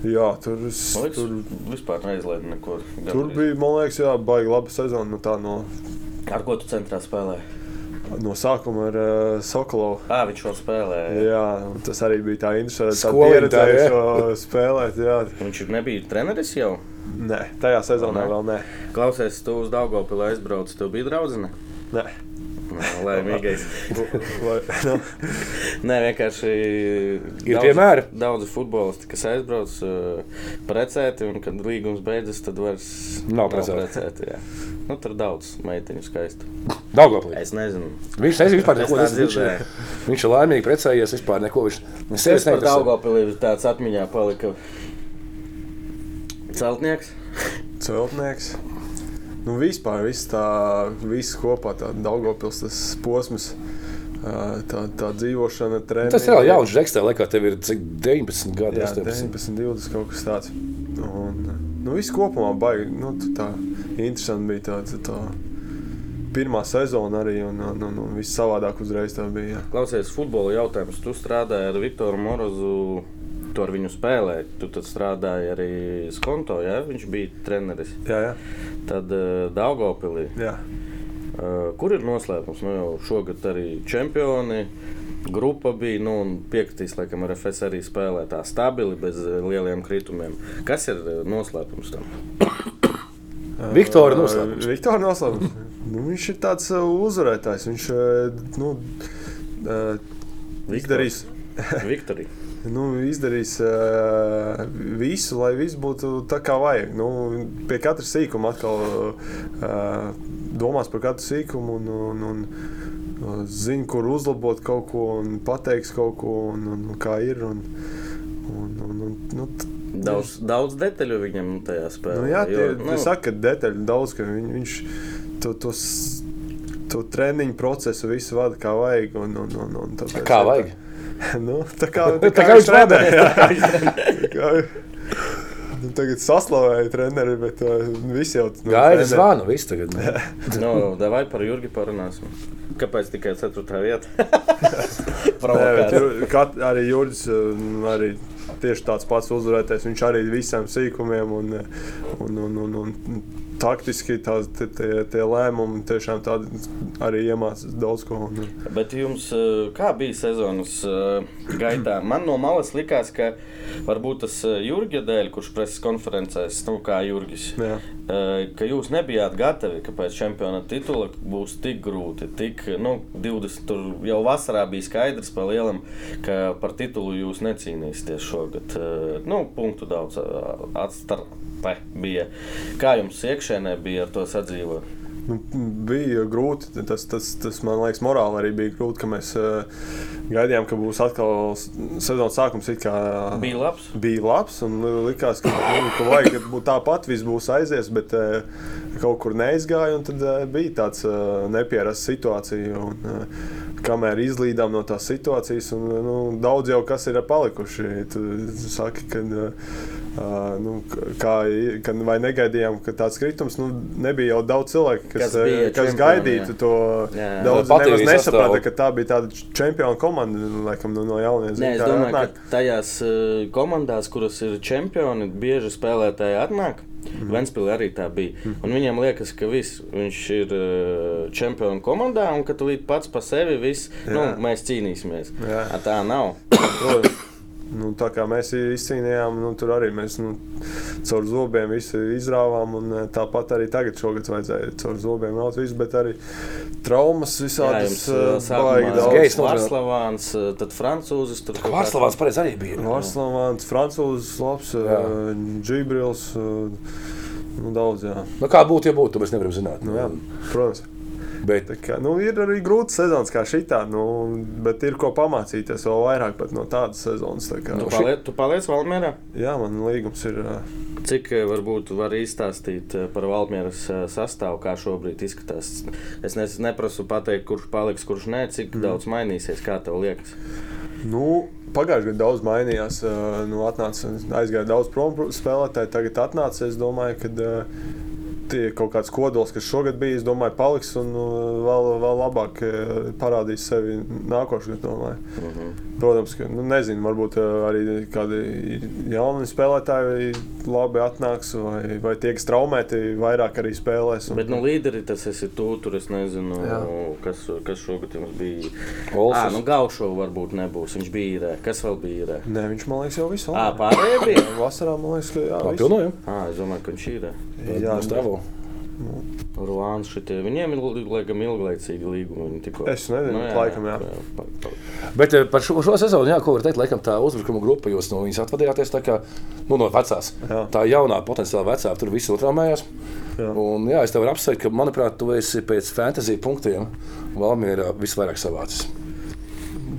Speaker 3: Jā, tur es.
Speaker 2: Man liekas,
Speaker 3: Tur,
Speaker 2: tur Nu, vispār neizlaiž nekur.
Speaker 3: Tur bija, man liekas, jā, baigi laba sezona. Nu, tā no,
Speaker 2: Ar ko tu centrā spēlēji?
Speaker 3: no sākuma ar uh, Sokolovu.
Speaker 2: Ah, viņš jau spēlēja.
Speaker 3: Jā, un tas arī bija tā interesanti. Tā
Speaker 1: Skolēni tā,
Speaker 3: pieredzēja
Speaker 1: jā.
Speaker 3: šo spēlēt. Jā.
Speaker 2: Viņš ir- nebija treneris jau.
Speaker 3: Nē, tajā sezonā
Speaker 2: Nē.
Speaker 3: vēl nē.
Speaker 2: Klausies, tu uz Daugopilu aizbrauc, tev bija draudzene?
Speaker 3: nē.
Speaker 2: Nē,
Speaker 1: [laughs]
Speaker 2: Laimīgais.
Speaker 3: Vai, [laughs] nu,
Speaker 2: Nē, vienkārši
Speaker 1: Ir
Speaker 2: daudz-
Speaker 1: piemēri?
Speaker 2: Daudzi futbolisti, kas aizbrauc uh, precēti, un kad līgums beidzas, tad vairs
Speaker 1: Nav precēti.
Speaker 2: precēti jā. nu, tur daudz meiteņu skaistu.
Speaker 1: Daugopilī.
Speaker 2: Es nezinu.
Speaker 1: Viņš nezina vispār neko.
Speaker 2: tā
Speaker 1: Tas, viņš,
Speaker 2: dzirdēju.
Speaker 1: viņš ir laimīgi precējies. Vispār neko. Viņš
Speaker 2: Es
Speaker 1: sevis
Speaker 2: par
Speaker 1: neinteresē.
Speaker 2: Daugavpili tāds atmiņā palika. Celtnieks.
Speaker 3: celtnieks. Nu, vispār viss tā, viss kopā tā Daugopils tas posms. ā, Tā, tā dzīvošana, treniņš.
Speaker 1: Tas ir jau jauns žeks, tā laikā tev ir cik 19 gadi.
Speaker 3: Jā,
Speaker 1: 18.
Speaker 3: 19, 20 kaut kas tāds. Un, nu, viss kopumā baigi. Nu, tu tā interesanti bija tā, tā, tā pirmā sezona arī, un, un, un, un viss savādāk uzreiz tā bija. Jā.
Speaker 2: Klausies, futbola jautājums. Tu strādāji ar Viktoru Morozu. Tu ar viņu spēlēji. Tu tad strādāji arī Skonto. Ja? Viņš bija treneris.
Speaker 3: Jā, jā.
Speaker 2: Tad uh, Daugavpilī.
Speaker 3: jā.
Speaker 2: Uh, kur ir noslēpums? Nu, jau šogad arī čempioni. Grupa bija, nu, un piekritīs, laikam, ar FS arī spēlē tā stabili, bez eh, lieliem kritumiem. Kas ir eh, noslēpums tam?
Speaker 1: Viktora
Speaker 3: Ā,
Speaker 1: noslēpums.
Speaker 3: Viktora noslēpums. nu, viņš ir tāds ā, uzvarētājs. Viņš ā, nu, uh, ā, izdarīs,
Speaker 2: Viktorija.
Speaker 3: nu, izdarīs ā, visu, lai viss būtu tā kā vajag. Nu, pie katra sīkuma atkal ā, domās par katru sīkumu un, un, un ā, zina, kur uzlabot kaut ko un pateiks kaut ko un, un, un kā ir. Un, un, un, un, nu, t-
Speaker 2: Daudz, daudz detaļu viņam tajā spēlē.
Speaker 3: Nu, jā, tie,
Speaker 2: jo,
Speaker 3: nu. saka, detaļu daudz, ka viņ, viņš to, to, s- to treniņu procesu visu vada kā vajag. Un, un, un, un tāpēc,
Speaker 1: Kā vajag?
Speaker 3: [laughs] Nu, tā kā,
Speaker 1: [laughs] Tā kā viņš vada.
Speaker 3: strādāja. Nu, tagad saslavēju treneri, bet uh, visi jau nu,
Speaker 1: Gaida
Speaker 3: treneri-
Speaker 1: zvanu, viss tagad.
Speaker 2: nu, davai par Jurgi parunāsim. Kāpēc tikai 4. vieta?
Speaker 3: Nē, bet
Speaker 2: Provokācija.
Speaker 3: Jur- kat- Arī Jurģis uh, arī tieši tāds pats uzvarētājs. Viņš arī visiem sīkumiem un, uh, un, un, un, un taktiski tās, tie, tie, tie lēmumi tiešām tādi arī iemācās daudz ko. Un, uh,
Speaker 2: [laughs] Bet jums, eh, kā bija sezonas eh, gaitā? Man no malas likās, ka varbūt tas eh, Jurgija dēļ, kurš preses konferencēs, nu kā Jurgis,
Speaker 3: jā.
Speaker 2: eh, ka jūs nebijāt gatavi, ka pēc čempiona titula būs tik grūti. Tik, nu, 20, tur jau vasarā bija skaidrs, pa lielam, ka par titulu jūs necīnīsieties šogad. Eh, Nu, punktu daudz eh, atstarpe bija. Kā jums iekšēnē bija ar to sadzīvot?
Speaker 3: Nu, bija grūti. Tas, tas, tas man liekas, morāli arī bija grūti, ka mēs eh, gaidījām, ka būs atkal s- sezonas sākums. it kā-
Speaker 2: Bija labs.
Speaker 3: bija labs un likās, ka, nu, ka vajag, ka bū- tāpat viss būs aizies, bet eh, kaut kur neizgāja. un Tad eh, bija tāds eh, neparasts situācija. Un, eh, kamēr izlīdām no tās situācijas, un eh, nu, daudz jau kas ir palikuši. Tu saki, ka, eh, eh, nu, k- kā, i- kad vai negaidījām, ka tāds kritums nu, nebija jau daudz cilvēku, kas,
Speaker 2: Kas bija
Speaker 3: eh, kas
Speaker 2: čempioni,
Speaker 3: gaidītu
Speaker 2: jā.
Speaker 3: to.
Speaker 2: Jā.
Speaker 3: Daudz
Speaker 1: Pat
Speaker 3: nemaz
Speaker 1: arī
Speaker 3: nesaprata,
Speaker 1: sastāvu.
Speaker 3: ka tā bija tāda č- čempionu komanda, nu, laikam, no, no jauniešiem.
Speaker 2: Nē, es domāju, ka tajās eh, komandās, kuras ir čempioni, bieži spēlētāji atnāk.
Speaker 3: Mhm.
Speaker 2: Mm. Ventspīlī arī tā bija. Mm. Viņam liekas, ka viss, viņš ir eh, čempionu komandā un ka tu līdz pats par sevi viss, nu,
Speaker 3: Jā.
Speaker 2: mēs cīnīsimies.
Speaker 3: Jā.
Speaker 2: A, tā nav.
Speaker 3: Protams, Nu, tā kā mēs izcīnījām, nu, tur arī mēs nu, caur zobiem visu izrāvām. Un, eh, tāpat arī tagad šogad vajadzēja caur zobiem raut visu, bet arī traumas visādas eh, baigi
Speaker 1: Gejs
Speaker 3: daudz.
Speaker 1: notrāva.
Speaker 2: eh, Vārslavāns, eh, tad francūzis. tur kaut kā-
Speaker 1: Vārslavāns pareizi arī bija.
Speaker 3: Vārslavāns, Francūzs, Nu, labs, eh,
Speaker 1: Jā.
Speaker 3: Džibrils, eh, nu, daudz, jā.
Speaker 1: Nu, kā būtu, ja būtu, to mēs nevaram zināt.
Speaker 3: Nu, jā protams.
Speaker 1: Bet
Speaker 3: Tā Kā, nu, ir arī grūti sezonas kā šitā, nu, bet ir ko pamācīties vēl vairāk pat no tādas sezonas. Tā
Speaker 2: Tu
Speaker 3: kā, nu,
Speaker 2: palie- Tu paliec Valmērā?
Speaker 3: jā, man līgums ir. eh,
Speaker 2: Cik eh, varbūt var izstāstīt eh, par Valmjeras eh, sastāvu, kā šobrīd izskatās? Es nes- neprasu pateikt, kurš paliks, kurš nē, cik
Speaker 3: Mhm.
Speaker 2: mm. daudz mainīsies, kā tev liekas.
Speaker 3: Nu, Pagājušajā gadā daudz mainījās. eh, Nu, atnāca, aizgāja daudz prom spēlētāji, tagad atnāca. Es domāju, ka tie kaut kāds kodols, kas šogad bija, es domāju, paliks un nu, vēl, vēl labāk eh, parādīs sevi nākošajā gadā.
Speaker 2: Mm -hmm.
Speaker 3: Protams, ka nu, nezinu, varbūt eh, arī kādi jauni spēlētāji labi atnāks, vai, vai tie, kas traumēti, vairāk arī spēlēs. Un,
Speaker 2: Bet, nu, līderi tas esi tu, tur es nezinu,
Speaker 3: Jā.
Speaker 2: kas, kas šogad jums bija. Jā,
Speaker 1: Olsons
Speaker 2: nu, Gaušo varbūt nebūs. Viņš bija īrē. Kas vēl bija īrē?
Speaker 3: Nē, viņš man liekas, jau visu
Speaker 2: Ā, pārējie bija.
Speaker 3: Vasarā man liekas, ka jā, visu.
Speaker 1: papilnojam.
Speaker 2: Ā, Nu, es domāju, ka viņš ir īrē.
Speaker 3: Jā, nu,
Speaker 1: stāvu.
Speaker 2: Rulāns šitie. Viņiem ir, laikam, ilglaicīgi līgumi. Viņi tikko.
Speaker 3: Es nezinu,
Speaker 2: Nu,
Speaker 3: laikam, jā.
Speaker 2: Pa, pa,
Speaker 1: Bet eh, par šo, šo sezonu, jā, ko var teikt, laikam tā uzbrukuma grupa, jūs no viņas atvadījāties tā kā nu, no vecās. Jā.
Speaker 3: Jā.
Speaker 1: Tā jaunā, potenciāli vecā, tur viss notrāmējās. Jā.
Speaker 3: Jā.
Speaker 1: Un, jā, es tev varu apsveikt, ka, manuprāt, tu esi pēc fantasy punktiem Valmjerā visvairāk savācis.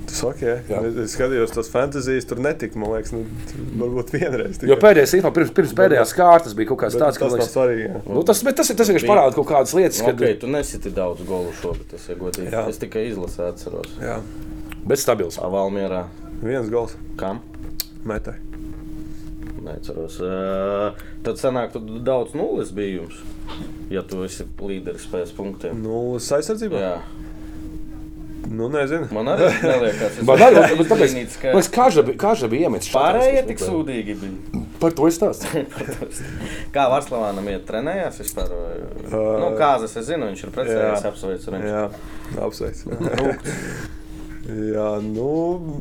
Speaker 3: Tu saki, jā.
Speaker 1: Jā.
Speaker 3: Jā. Es skatījos tos fantāzijas, tur netika, man liekas, nu, t- varbūt vienreiz.
Speaker 1: Jo pēdējais, īstenībā, pirms, pirms pēdējās kārtas bija kaut kāds tāds,
Speaker 3: tāds, tas
Speaker 1: kas
Speaker 3: nav
Speaker 1: liekas,
Speaker 3: svarīgi. jā.
Speaker 1: nu, tas, bet tas ir tas, kas
Speaker 2: Bija.
Speaker 1: parāda kaut kādas lietas,
Speaker 2: Kad...
Speaker 1: kad,
Speaker 2: Okay, tu nesiti daudz golu šogad, tas ir godīgi. Jā.
Speaker 3: Jā.
Speaker 2: Es tikai izlasīju, atceros.
Speaker 3: Jā,
Speaker 1: bet stabils.
Speaker 2: Valmjerā.
Speaker 3: viens gals
Speaker 2: Kam?
Speaker 3: metai.
Speaker 2: Neatceros. Uh, tad sanāk, tu daudz nulles bija jums. Ja tu esi līderis pēc punktiem.
Speaker 3: Nulles aizsardzībā?
Speaker 2: Jā.
Speaker 3: Nu, nezinu.
Speaker 2: Man arī liekas,
Speaker 1: Man
Speaker 2: [laughs]
Speaker 1: arī- bet tāpēc-
Speaker 2: līnīts,
Speaker 1: man liekas, kāža bija- Kāža bija iemetis. šādā
Speaker 2: Pārējie
Speaker 1: spēlē.
Speaker 2: tik sūdīgi bija. [laughs]
Speaker 1: Par to es stāstu.
Speaker 2: Kā Vārslavānam iet trenējās vispār? Uh, nu, Kāzas, es zinu, viņš ir precējies,
Speaker 3: jā.
Speaker 2: apsveicu viņu.
Speaker 3: Jā, apsveic. [laughs] Jā, nu,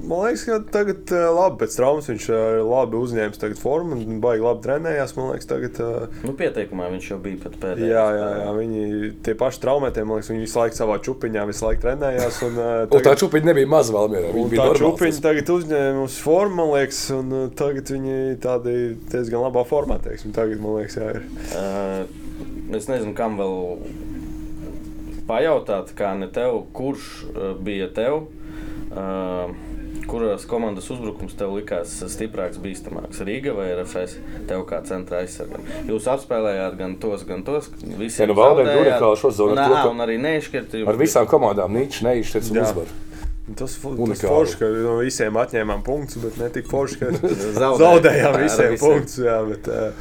Speaker 3: man liekas, ka tagad eh, labi pēc traumas viņš eh, ir labi uzņēmis tagad formu un baigi labi trenējās, man liekas, tagad. eh,
Speaker 2: Nu, pieteikumā viņš jau bija pat pēdējais.
Speaker 3: Jā, jā, jā, viņi tie paši traumētie, man liekas, viņi visu laiku savā čupiņā, visu laiku trenējās. Un, eh,
Speaker 1: Un tā
Speaker 3: tagad-
Speaker 1: čūpiņa nebija maza Valmjerā. Viņa
Speaker 3: Un
Speaker 1: bija
Speaker 3: Tā
Speaker 1: normāla.
Speaker 3: čūpiņa tagad uzņēmusi formu, man liekas, un uh, tagad viņi tādi diezgan labā formā, teiksim, tagad, man liekas, jā, ir.
Speaker 2: Uh, es nezinu, kam vēl pajautāt, kā ne tev, kurš uh, bija tev, uh, kuras komandas uzbrukums tev likās stiprāks, bīstamāks. Rīga vai RFS, tev kā centra aizsargam. Jūs apspēlējāt gan tos, gan tos. Visi
Speaker 1: Jā, nu, Valdei Durikāla šo zonu
Speaker 2: Nā,
Speaker 1: ar to, ka-
Speaker 2: un arī neiškirti.
Speaker 1: Ar visām komandām nīčs, neišķirts un
Speaker 3: Jā.
Speaker 1: uzvar.
Speaker 3: Un Tas fu- tas
Speaker 1: Unikāli.
Speaker 3: forši, ka no visiem atņēmām punktus, bet ne tik forši, ka
Speaker 2: Zaudējām.
Speaker 3: zaudējām
Speaker 2: Ar
Speaker 3: visiem
Speaker 2: visiem.
Speaker 3: punktus. Jā, bet, uh,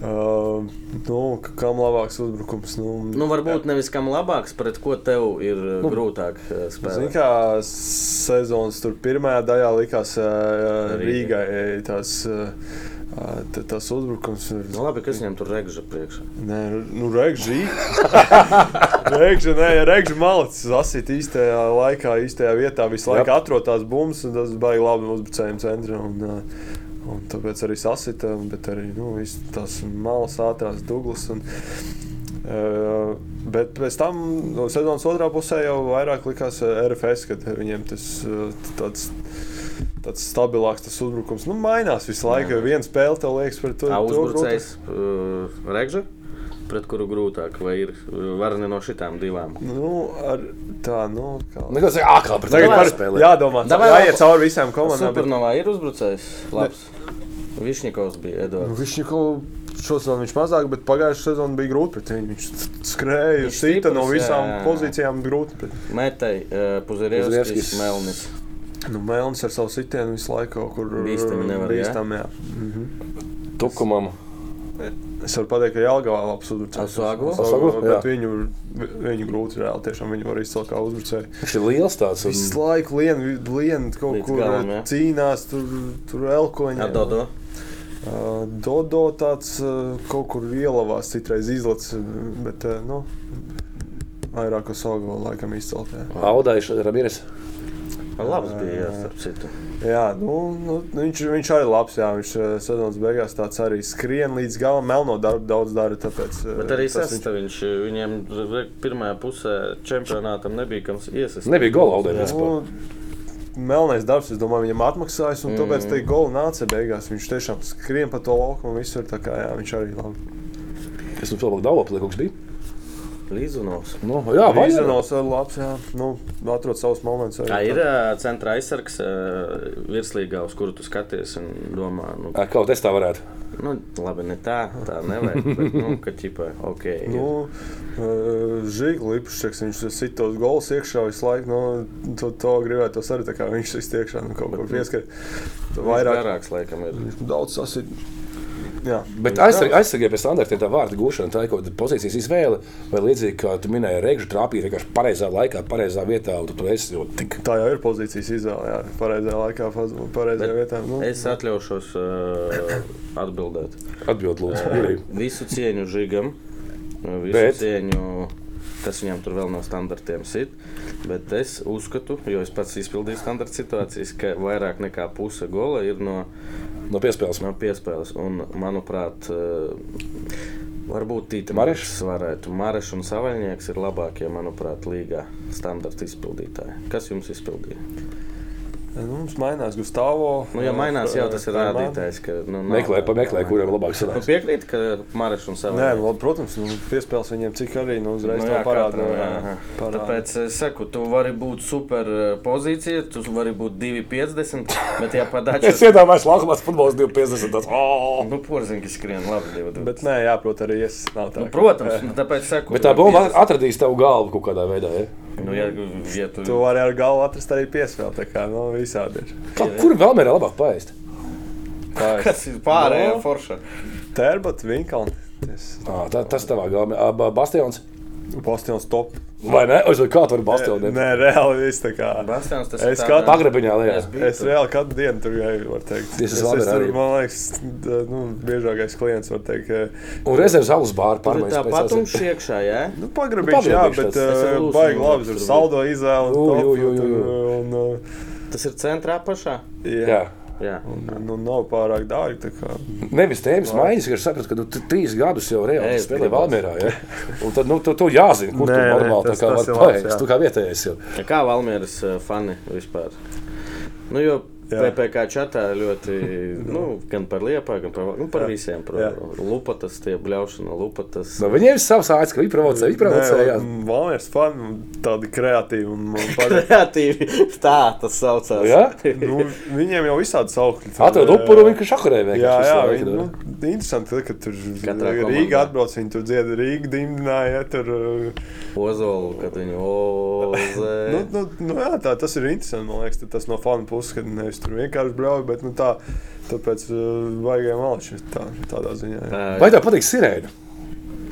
Speaker 3: uh, nu, k- kam labāks uzbrukums? Nu,
Speaker 2: Nu, varbūt nevis kam labāks, pret ko tev ir uh, grūtāk uh,
Speaker 3: Ziniet,
Speaker 2: spēlēt.
Speaker 3: Nu, kā sezonas tur pirmajā daļā likās uh,
Speaker 2: Rīga.
Speaker 3: Rīgai eh, tas, uh, tas uzbrukums. ir-
Speaker 2: Nu, labi, kas viņam tur regža priekšā?
Speaker 3: Nē, nu, rēkšķi. Rēkšķi, nē, rēkšķi malicis sasīt īstajā laikā, īstajā vietā. Visu laiku atrod tās bumbas, un tas baigi labi uzbrucējiem centrā. Un, uh, un tāpēc arī sasita, bet arī nu, viss tās malas ātrās duglas. Un, Uh, bet pēc tam, no sezonas otrā pusē, jau vairāk likās uh, RFS, kad viņiem tas uh, tāds, tāds stabilāks tas uzbrukums nu, mainās visu laiku. Viena spēle, tev liekas, par to
Speaker 2: Tā
Speaker 3: to grūti-
Speaker 2: uzbrucējs uh, e, Regža. pret kuru grūtāk, vai ir varne no šitām divām?
Speaker 3: Nu, ar, tā, nu, kā.
Speaker 1: Nē, tas ir ārkārtīgi. Pret
Speaker 3: Tagad
Speaker 1: Slovākiju
Speaker 3: par
Speaker 1: spēlē.
Speaker 3: jādomā.
Speaker 2: Davai
Speaker 3: Davai, jāiet
Speaker 2: Lapa.
Speaker 3: cauri visām komandām. bet-
Speaker 2: Supernovā ir uzbrucējs. Labs. Višņikovs bija Edvards.
Speaker 3: Nu, Viņš jau šosezon viņš mazāk, bet pagājušā sezonā bija grūti pret viņu. Viņš skrēja,
Speaker 2: Viņš
Speaker 3: sita no
Speaker 2: stiprs,
Speaker 3: visām
Speaker 2: jā, jā, jā.
Speaker 3: pozīcijām grūti. Pret.
Speaker 2: Mētai, Puzerevskis,
Speaker 1: Puzerevskis.
Speaker 2: e, Melnis.
Speaker 3: Nu, Mēlnis ar savu sitienu visu laiku, kaut kur
Speaker 2: Bīstami nevar, jā?
Speaker 3: bīstam, jā.
Speaker 1: Tukumam.
Speaker 3: Es varu pateikt, ka Jālgavā labs uzbrucējs.
Speaker 2: Asuagu?
Speaker 1: Asuagu, jā.
Speaker 3: bet viņu, viņu grūti reāli tiešām viņu var izcelt kā uzbrucēju.
Speaker 1: Viņš ir liels tāds. un-
Speaker 3: Visu laiku lien, lien kaut
Speaker 2: Līdz
Speaker 3: kur
Speaker 2: galam, jā.
Speaker 3: cīnās, tur, tur elkoņi.
Speaker 2: Jā, Dodo.
Speaker 3: Uh, Dodo tāds uh, kaut kur ielavās, citreiz izlacis, bet uh, nu, vairāk uz augu laikam izcelt. Jā,
Speaker 1: Audais, Ramires.
Speaker 2: Labs bija, jā, starp citu.
Speaker 3: jā nu, nu, viņš, viņš arī labs, jā, viņš uh, sezonas beigās tāds arī skrien līdz galam, melno darbu daudz dara. Tāpēc, uh,
Speaker 2: Bet arī
Speaker 3: tas viņš-
Speaker 2: sastāvdaļš viņiem re- pirmajā pusē čempionātam nebija kam iesaistīt.
Speaker 1: Nebija gola audēja.
Speaker 3: Nu, Melnais darbs, es domāju, viņam atmaksājas, un mm. tāpēc tā gola nāca beigās. Viņš tiešām skrien pa to laukumu visur. Tā kā jā, viņš arī labi.
Speaker 1: Es nu tam vēl daudz aplieku, kas bija.
Speaker 2: Līdzunovs.
Speaker 1: Nu,
Speaker 2: Ah,
Speaker 1: jā, vai ne?
Speaker 3: Vizenos vēl labs, jā. Nu, atrod savus momentus.
Speaker 2: Tā ir ā, centra aizsargs ā, virslīgā, uz kuru tu skaties un domā, nu,
Speaker 1: Ar kaut kas tā varētu.
Speaker 2: nu labi, ne tā, tā nevajag, bet, nu, ka ķipa, ok. ir.
Speaker 3: Nu, eh, Žiglis, viņš sit tos gols iekšā visu laiku. Nu, to, to gribētu arī tā kā viņš sit iekšā nu, kaut kur pieskarties.
Speaker 2: Vairāk.
Speaker 3: Vairāk
Speaker 2: Garāks, laikam, ir.
Speaker 3: viņš daudz sasit. Jā.
Speaker 1: Bet aizsarg- aizsargājot pēc standartiem, tā vārda gūšana, tā ir kaut kāda pozīcijas izvēle. Vai līdzīgi kā tu minēji, rēkšķi trāpīja vienkārši pareizā laikā, pareizā vietā, un tu tur esi jau tik.
Speaker 3: Tā jau ir pozīcijas izvēle. Jā, pareizajā laikā, faz- pareizajā vietā. Nu,
Speaker 2: Es atļaušos uh, atbildēt.
Speaker 1: Atbild, lūdzu, Jurij.
Speaker 2: Visu cieņu žigam,
Speaker 1: Bet?
Speaker 2: visu bet. cieņu, kas viņam tur vēl no standartiem sit. Bet es uzskatu, jo es pats izpildīju standarta situācijas, ka vairāk nekā puse gola ir no,
Speaker 1: no piespēles.
Speaker 2: no piespēles. Un, manuprāt, eh, Varbūt Tīta
Speaker 1: Marešs?
Speaker 2: varētu. Marešs un Savaļnieks ir labākie, manuprāt, līgā standarta izpildītāji. Kas jums izpildīja?
Speaker 3: nu, mums mainās Gustavo. eh,
Speaker 2: Nu, ja mainās, jau tas ir
Speaker 3: Ferman.
Speaker 2: rādītājs, ka nu, nav-
Speaker 1: Meklē, pameklē, kuriem labāk
Speaker 2: Nu,
Speaker 1: sanāk.
Speaker 2: piekrīt, ka Marešs un
Speaker 3: Nē,
Speaker 2: Savaļnieks.
Speaker 3: nu, labi, protams, nu, piespēlēs viņiem cik arī nu, uzreiz
Speaker 2: Nu,
Speaker 3: to
Speaker 2: jā,
Speaker 3: parāda.
Speaker 2: katram,
Speaker 3: nu, jā,
Speaker 2: jā.
Speaker 3: parāda.
Speaker 2: Tāpēc es saku, tu vari būt super eh, pozīcija, tu vari būt 2,50, bet ja
Speaker 1: Es [laughs]
Speaker 2: padaļš.
Speaker 1: iedomājos, Lakmāns futbols 250. Tas, oh!
Speaker 2: Nu, porziņš skrien labi. divi, divi.
Speaker 3: Bet, nē, jā, protams, arī es. Nav
Speaker 2: nu,
Speaker 3: tā, ka-
Speaker 2: protams, nu, tāpēc saku.
Speaker 1: Bet tā bomba atradīs tavu galvu kaut kādā veidā. Ja?
Speaker 2: Nu, ja, ja tu,
Speaker 3: Tu vari ar galvu atrast arī piespēli. Tā kā nu, visādi ir.
Speaker 1: Kā, kur vēl mērā labāk paēst?
Speaker 2: Kas ir pārējā
Speaker 3: No.
Speaker 2: forša?
Speaker 3: Tērbats, Vinkalns.
Speaker 1: Ah, tā, tas tavā galvā. Ah, ba- Bastions.
Speaker 3: Bastions top.
Speaker 1: Vai ne? Es domāju, kā tu vari bastionēt?
Speaker 3: Nē, reāli viss tā kā.
Speaker 2: Bastians, tas
Speaker 3: Es
Speaker 2: ir
Speaker 3: kā
Speaker 2: tādā-
Speaker 1: Pagrebiņā lejā.
Speaker 2: Es biju
Speaker 3: Es
Speaker 2: tur.
Speaker 3: reāli katru dienu tur gāju, var teikt.
Speaker 1: Es esmu
Speaker 3: es tur,
Speaker 1: arī.
Speaker 3: man liekas, d- nu, biežākais klients, var teikt. ka-
Speaker 1: Un reizēm zāles bāra
Speaker 2: Tur ir
Speaker 1: pārmaiņas.
Speaker 2: tā
Speaker 1: pēc
Speaker 2: patums
Speaker 1: tās.
Speaker 2: iekšā, jā.
Speaker 3: Nu, pagrabīšu, jā,
Speaker 1: pagrabīšu
Speaker 3: bet
Speaker 1: tas.
Speaker 2: Es
Speaker 3: eh,
Speaker 2: ar Lūsu
Speaker 3: baigi
Speaker 2: man
Speaker 3: labi.
Speaker 2: tur
Speaker 3: Tur
Speaker 2: bija.
Speaker 3: saldo izvēle.
Speaker 1: Jū, jū, jū, jū, jū.
Speaker 3: un, un,
Speaker 2: Tas ir centrā pašā.
Speaker 3: eh, Jā.
Speaker 1: Jā.
Speaker 2: Jā.
Speaker 3: Un, Nu, nav pārāk dārgi. tā kā.
Speaker 1: Nevis tēmas maiņas, ka es sapratu, ka tu t- trīs gadus jau reāli
Speaker 2: Ei,
Speaker 1: spēlēji
Speaker 2: gribas.
Speaker 1: Valmērā. Ja? Un tad, nu, tu, tu jāzina, kur
Speaker 3: Nē,
Speaker 1: tu
Speaker 3: nē,
Speaker 1: normāli tā
Speaker 3: tas-
Speaker 1: kā vari
Speaker 3: tas ir labs,
Speaker 1: paēst.
Speaker 3: jā.
Speaker 1: Tu kā vietējais jau.
Speaker 2: Ja Kā Valmieras eh, fani vispār? Nu, jo
Speaker 3: Jā.
Speaker 2: PPC čatā ļoti,
Speaker 3: [laughs]
Speaker 2: nu, gan par liepā, gan par, nu, par visiem. Par
Speaker 3: Jā.
Speaker 2: lupatas, tie bļaušana, lupatas. [laughs]
Speaker 1: No viņiem ir savs ācis, ka viņi provocē, viņi provocē. jā.
Speaker 3: Valmiers fani, tādi kreatīvi un man
Speaker 2: [laughs]
Speaker 3: patīk.
Speaker 2: Kreatīvi tā tas saucās.
Speaker 1: Jā?
Speaker 3: nu, viņiem jau visādi saukļi. tur,
Speaker 1: Atrod
Speaker 3: eh,
Speaker 1: upuru un viņš šakurē vienkārši.
Speaker 3: Jā,
Speaker 1: visu
Speaker 3: jā
Speaker 1: laiku,
Speaker 3: viņi,
Speaker 1: nu.
Speaker 3: nu, interesanti, ka tur
Speaker 2: Katrā
Speaker 3: ir Rīga
Speaker 2: komandā.
Speaker 3: atbrauc, viņi tur dziedā Rīgā, dimdināja. Tur, uh,
Speaker 2: Ozola, kad
Speaker 3: [laughs]
Speaker 2: viņi
Speaker 3: nu,
Speaker 2: ozē.
Speaker 3: nu, nu, jā, tā, tas ir interesanti, man liekas, tas no fanu puses, ka nevis tur vienkārši brauj, bet nu, tā, tāpēc uh, vajag malči tā, tādā ziņā. Jā.
Speaker 2: Ā,
Speaker 1: Vai tev patīk sirēna?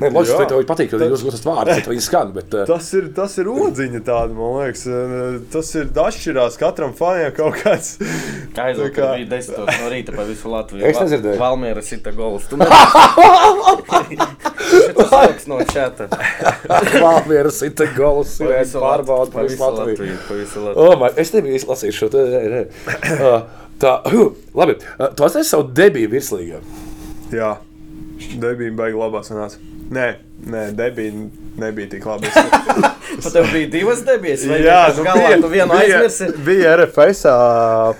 Speaker 1: Nē, loģiski,
Speaker 3: Jā.
Speaker 1: ka tev patīk, ka
Speaker 3: Tad-
Speaker 1: jūs gūstat vārdu, ka viņi skan.
Speaker 3: [laughs]
Speaker 1: Bet, eh,
Speaker 3: Tas ir, tas ir odziņa tāda, man liekas. eh, Tas ir dažšķirās katram faniem kaut kāds. [laughs]
Speaker 2: Aizvakar
Speaker 3: Tā kā-
Speaker 2: bija 10 no rīta pa visu Latviju.
Speaker 1: Es nedzirdēju.
Speaker 2: Valmiera sita golus. [laughs] Tu nezini. Šitas lauks no čata.
Speaker 1: [laughs] Valmiera sita gola sirēna pārbauda
Speaker 2: pa
Speaker 1: par
Speaker 2: visu
Speaker 1: visu Latviju.
Speaker 2: Latviju. Pa visu Latviju.
Speaker 1: O, man, es tev izlasīju šo te. nē, nē.
Speaker 3: [laughs]
Speaker 1: Uh, Tā, huh, labi. Uh, Tu atceries savu debiju virslīgā.
Speaker 3: Jā, debīna baigi labā sanāca. Nē, nē debīna nebija tik labi. Es,
Speaker 2: Pat tev bija divas debesis, vai
Speaker 3: Jā, nu
Speaker 2: vienkārši galā tu vienu aizmirsi?
Speaker 3: Bija RFS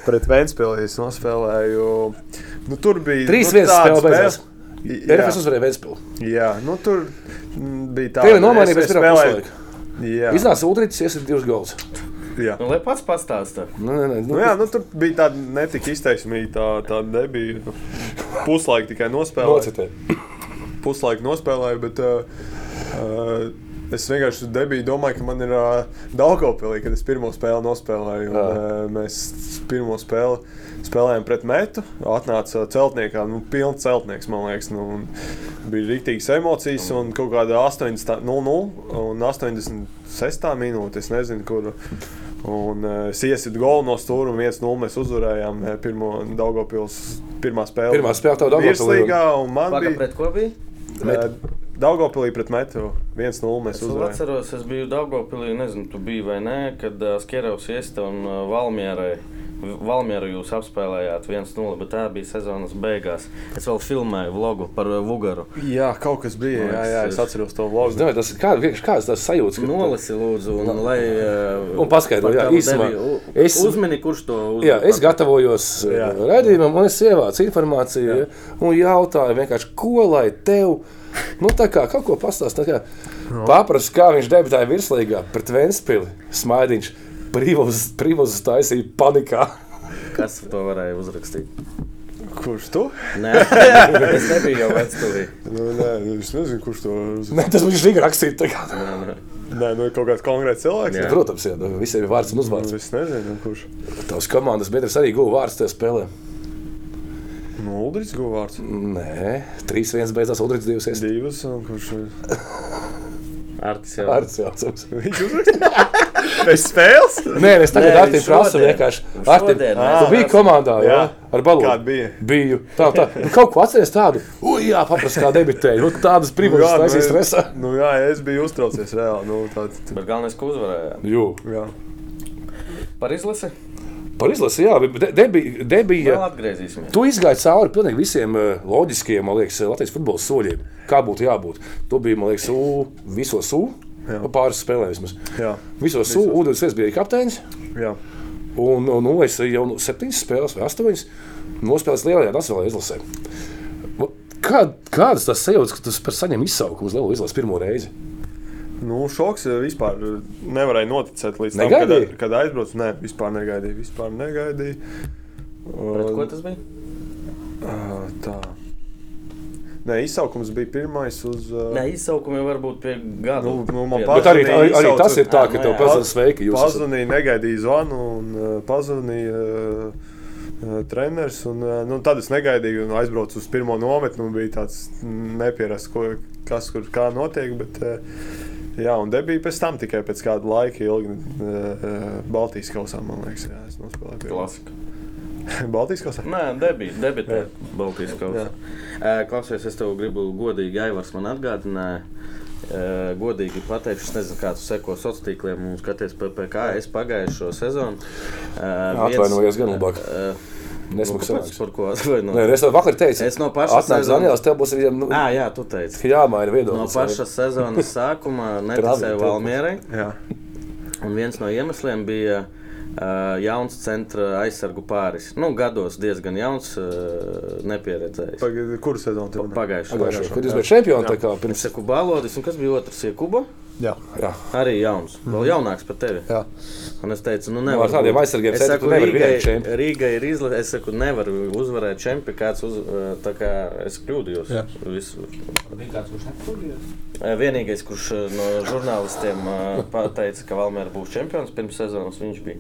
Speaker 3: pret Vēnspilsnu nospēlēju. Nu, tur bija
Speaker 1: Trīs
Speaker 3: nu,
Speaker 1: viens spēle
Speaker 3: tāda
Speaker 1: beidzās. RFS uzvarēja Vēstpili.
Speaker 3: Jā, nu tur mm, bija tā
Speaker 1: Tevi nomainīja pēc pirmā puslaika.
Speaker 3: Jā,
Speaker 1: Iznāca Udrichs, iesit divus gols.
Speaker 3: jā.
Speaker 2: Nu, lai pats pastāsta.
Speaker 1: Nu, nē, nē, nu,
Speaker 3: Nu, jā, nu, tur bija tāda netika izteiksmīga. Tā, tā nebija. Puslaika tikai nospēlēja.
Speaker 1: nocitē.
Speaker 3: Puslaika nospēlēja, bet uh, uh, es vienkārši tur debiju, domāju, ka man ir uh, Daugopilī, kad es pirmo spēli nospēlēju. Un, uh,
Speaker 1: Jā.
Speaker 3: mēs pirmo spēli spēlējām pret metu. Atnāca celtniekā, nu, pilns celtnieks, man liekas. Nu, un bija rīktīgas emocijas, un kaut kāda 80,00 un 86. minūte, es nezinu, kur. Un uh, es iesitu golu no stūra, un 1-0 mēs uzvarējām eh, pirmo Daugopils pirmā spēli.
Speaker 1: Pirmā spēle tev Daugavpilī,
Speaker 3: Virslīgā, un man
Speaker 2: Paga,
Speaker 3: bija
Speaker 2: pret ko bija?
Speaker 3: eh, Daugavpilī pret metu 1-0 mēs
Speaker 2: Es vēl
Speaker 3: uzvarējām.
Speaker 2: atceros, es biju Dārgopilī, nezinu, tu biji vai nē, kad uh, Skerovs iesta un uh, Valmierai. Valmieru jūs apspēlējāt 1-0, bet tā bija sezonas beigās. Es vēl filmēju vlogu par uh, Vugaru.
Speaker 3: Jā, kaut kas bija. Jā, jā, Nu, es atceros to vlogu.
Speaker 1: Es domāju, tas ir kā, vienkārši kāds tas sajūts.
Speaker 3: Nu,
Speaker 1: ka-
Speaker 2: Nolasi, lūdzu, un, lai, uh,
Speaker 1: Nu, Un paskaidro,
Speaker 2: par
Speaker 1: jā,
Speaker 2: tavu
Speaker 1: īsumā.
Speaker 2: debiju. U-
Speaker 1: Es-
Speaker 2: Uzmini, kurš to
Speaker 1: Jā,
Speaker 2: uzmini.
Speaker 1: es gatavojos
Speaker 3: Jā.
Speaker 1: jā. redzējumam, un es ievācu informāciju. Jā. Un jautāju, vienkārši, ko lai tev nu, tā kā kaut ko pastāstītu. Nu. Paprasu, kā viņš debitēja virslīgā pret Vēnspili. Smaidīņš privāzi taisīja panikā. [laughs]
Speaker 2: Kas to varēja uzrakstīt?
Speaker 3: Kurš tu?
Speaker 1: [laughs]
Speaker 2: Nē, es nebiju jau vecstulī.
Speaker 3: Nu, nē, es nezinu, kurš to uzzīmēja.
Speaker 1: Ne, tas viņš bija rakstījis. tā kā. nu,
Speaker 3: Nē, nu, kaut kāds konkrēts cilvēks.
Speaker 2: Jā.
Speaker 1: Protams, jā, visiem ir vārds un uzvārds.
Speaker 3: Nu, Es nezinu, kurš.
Speaker 1: Tavs komandas biedrs arī guva vārds tajā spēlē.
Speaker 3: Nu, Udrichs guva vārds.
Speaker 1: Nē, 3-1 beidzās Udrichs 2-1.
Speaker 3: Divas, un kurš [laughs]
Speaker 2: Artis jau.
Speaker 1: Vārds jāatceras.
Speaker 3: viņš uzrakstīja? Pēc spēles?
Speaker 1: Nē, es tagad
Speaker 2: Nē,
Speaker 1: Artiņu
Speaker 2: viņš
Speaker 1: prasu
Speaker 2: šodien.
Speaker 1: vienkārši.
Speaker 2: Viņš
Speaker 1: Artiņ,
Speaker 2: šodien, nē,
Speaker 1: tu biji
Speaker 2: prasa.
Speaker 1: komandā, jā,
Speaker 3: Jā.
Speaker 1: ar balonu.
Speaker 3: Kāda bija?
Speaker 1: Biju. Tā, tā. Nu, kaut ko atceries tādu. Ui, jā, paprasti kā debitēji. Nu, tādas privātas
Speaker 3: nu,
Speaker 1: taisīs
Speaker 3: es-
Speaker 1: stresā.
Speaker 3: Nu, jā, es biju uztraucies reāli. Nu, tāds, t-
Speaker 2: Bet galvenais, ka uzvarējām.
Speaker 1: Jū.
Speaker 3: jā.
Speaker 2: Par izlasi
Speaker 1: Par izlasi, jā, bet de- debi-
Speaker 2: vēl
Speaker 1: debija.
Speaker 2: atgriezīsimies.
Speaker 1: Tu izgāji cauri pilnīgi visiem eh, loģiskiem, man liekas, Latvijas futbola soļiem. Kā būtu jābūt? Tu biji, man liekas, U, visos U,
Speaker 3: Jā.
Speaker 1: nu, pāris spēlēm vismaz.
Speaker 3: Jā,
Speaker 1: Visos U, U21 bija kapteinis.
Speaker 3: jā.
Speaker 1: Un, un, un es jau nu, septiņas spēles vai astoņas nospēlēju lielajā nacionālajā izlasē. Nu, Kā, kādas tas sajūtas, ka tu par- saņem izsaukumu uz lielo izlasi pirmo reizi?
Speaker 3: Nu, šoks eh, vispār eh, nevarēja noticēt līdz tam, kad,
Speaker 1: Negaidīji?
Speaker 3: kad aizbraucu. Nē, vispār negaidīju. Vispār negaidīju.
Speaker 2: Pret ko
Speaker 3: Un,
Speaker 2: tas bija?
Speaker 3: ā, tā. Nē, izsaukums bija pirmais uz. eh,
Speaker 2: Nē, izsaukumi var būt pie gada.
Speaker 3: Nu, nu, man
Speaker 2: Pie-
Speaker 3: patīk.
Speaker 1: Bet arī, arī, arī
Speaker 3: izsaucu-
Speaker 1: tas ir tā, ka
Speaker 2: Ā,
Speaker 1: tev
Speaker 2: jā.
Speaker 1: pazudīs Nu, sveiki. Jūs esat
Speaker 3: Pazvanīja, negaidīja zvanu, un uh, pazvanīja uh, uh, treneris. Un, uh, nu, tad es negaidīju, un aizbraucu uz pirmo nometni. un Bija tāds nepierasts, ko- kas tur kā notiek. Bet, uh, jā, un debija pēc tam tikai pēc kāda laika, ilgi uh, Baltijas kausā, man liekas, jā, es nospēlēju. pirmo.
Speaker 2: Klasika.
Speaker 3: [laughs] Baltijas kausā.
Speaker 2: Nē, debija, debitē Baltijas kausā.
Speaker 3: Jā.
Speaker 2: Ē, Klausies, es tev gribu godīgi, Aivars man atgādināja. ē, Godīgi pateikšu, es nezinu, kā tu seko sociālajiem tīkliem un skaties PPC. Es pagājušo sezonu. ē, viens-
Speaker 1: Atvainojies gan labāk.
Speaker 2: Ē, nu,
Speaker 1: nesmags
Speaker 2: kāpēc?
Speaker 1: cilvēks.
Speaker 2: Par ko atvainojies?
Speaker 1: Nē, es tev vakar teicu,
Speaker 2: Es no pašas
Speaker 1: atnāc
Speaker 2: nezinu.
Speaker 1: Daniels, tev būs viņam, nu,
Speaker 2: Ā, jā, tu teici.
Speaker 1: jāmaina
Speaker 2: No
Speaker 1: viedoklis.
Speaker 2: paša
Speaker 1: [laughs]
Speaker 2: sezonas sākuma neticēju
Speaker 1: Travi,
Speaker 2: Valmierai.
Speaker 3: Jā,
Speaker 2: Un viens no iemesliem bija uh, jauns centra aizsargu pāris. Nu, gados diezgan jauns, uh, nepieredzējis.
Speaker 3: Pagad, kuru sezonu tev?
Speaker 2: Pagājušajā gadā.
Speaker 1: Pagājušajā gadā, kad jūs bijat čempioni, tā kā
Speaker 2: Es
Speaker 1: pirms.
Speaker 2: saku, balodis, un kas bija otrs? Iekuba?
Speaker 3: Jā.
Speaker 1: Jā,
Speaker 2: Arī jauns, vēl jaunāks par tevi.
Speaker 1: Mhm. jā.
Speaker 2: Un es teicu, nu, nevar.
Speaker 1: ar tādiem
Speaker 2: būt.
Speaker 1: aizsargiem
Speaker 2: es
Speaker 1: centru
Speaker 2: saku,
Speaker 1: tu nevari
Speaker 2: Rīgai,
Speaker 1: vienot čempi.
Speaker 2: Rīgai ir izlase. Es saku, nevaru uzvarēt čempionu. Kāds uz, uh, tā kā es kļūdījos.
Speaker 3: Jā.
Speaker 2: Visu.
Speaker 4: Bija kāds, kurš nekļūdījās.
Speaker 2: Uh, Vienīgais, kurš uh, no žurnālistiem uh, pateica, ka Valmēra būs čempions pirms sezonas,
Speaker 1: [laughs]
Speaker 2: viņš bija.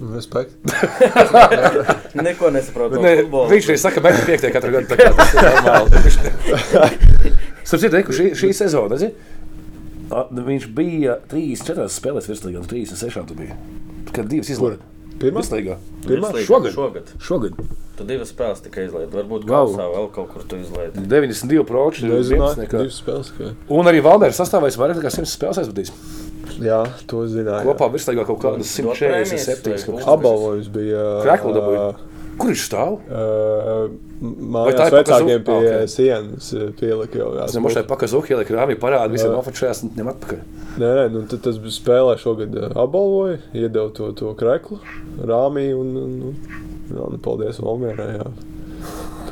Speaker 3: Respekt.
Speaker 2: Neko nesaprotu.
Speaker 1: Bet ne, viņš arī saka, ka piektajā katru gadu tā kā tas ir normāli. [laughs] Sapratu, ka šī, šī sezona, zini, a, viņš bija 34 spēlēs virslīgā, un 36 tu biji. Kad divas izlaiž.
Speaker 3: Pirmā?
Speaker 1: Virslīgā.
Speaker 2: pirmā
Speaker 1: šogad?
Speaker 2: Šogad.
Speaker 1: Šogad
Speaker 2: Tu divas spēles tikai izlaidi. Varbūt
Speaker 1: Vau.
Speaker 2: gausā vēl kaut kur tu
Speaker 1: Mm.
Speaker 2: izlaidi.
Speaker 1: 92 proči, 11 nekā.
Speaker 3: spēles. Ka...
Speaker 1: Un arī Valmērs sastāvēs vairāk nekā 100 spēles aizvadīs.
Speaker 3: Jā, to zināju. jā.
Speaker 1: Kopā virslīgā kaut kādas
Speaker 2: Dot prēmijas
Speaker 1: 147.
Speaker 2: vai
Speaker 1: kaut kas.
Speaker 2: ko?
Speaker 3: Apbalvojums bija.
Speaker 1: Kreklu dabūja.
Speaker 3: ā,
Speaker 1: Kur viņš stāv? Vai tā ir
Speaker 3: Mājās
Speaker 1: kaut kas
Speaker 3: vecākiem
Speaker 1: uz-
Speaker 3: pie
Speaker 1: Ah, ok.
Speaker 3: sienas eh, pielika jau
Speaker 1: Es domāju, ka
Speaker 3: jāsaka.
Speaker 1: tā pakazuhi, lai krāvī parāda visiem
Speaker 3: Jā.
Speaker 1: oficiālās un ņem atpakaļ.
Speaker 3: Nē, nē, nu, tad tas bija spēlē šogad eh, apbalvoja, iedeva to, to kreklu, nu,
Speaker 1: [laughs]
Speaker 3: rāmī un, un, un, un paldies Valmierai. jā.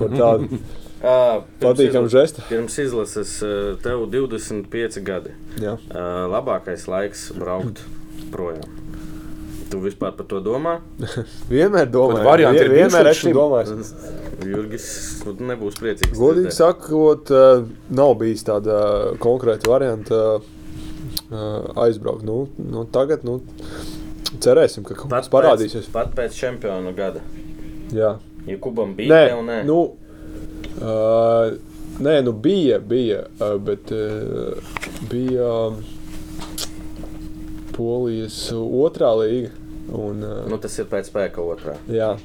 Speaker 3: Par tādu
Speaker 2: Ā, E, pirms
Speaker 3: Patīkam
Speaker 2: izla-
Speaker 3: žest.
Speaker 2: Pirms izlases ā, tev 25 gadi.
Speaker 3: Jā.
Speaker 2: Ā, Labākais laiks braukt projām. Tu vispār par to domā?
Speaker 3: Vienmēr domāju,
Speaker 1: Bet varianti ir
Speaker 3: vien- vienmēr
Speaker 1: bijuši
Speaker 3: esmu
Speaker 1: šim?
Speaker 3: domājis.
Speaker 2: Jurgis nu, nebūs priecīgs.
Speaker 3: Godīgi
Speaker 2: dzirdēt.
Speaker 3: sakot, eh, nav bijis tāda konkrēta varianta eh, aizbraukt. Nu, nu, tagad nu, cerēsim, ka kaut kas parādīsies.
Speaker 2: Pēc, pat pēc čempionu gada.
Speaker 3: Jā.
Speaker 2: Ja Kubam bija tev,
Speaker 3: Nē,
Speaker 2: nē.
Speaker 3: nu, uh, nē, nu bija, bija, uh, bet uh, bija um, Polijas otrā līga. Un, uh,
Speaker 2: Nu, Mhm. tas ir pēc spēka otrā.
Speaker 3: jā,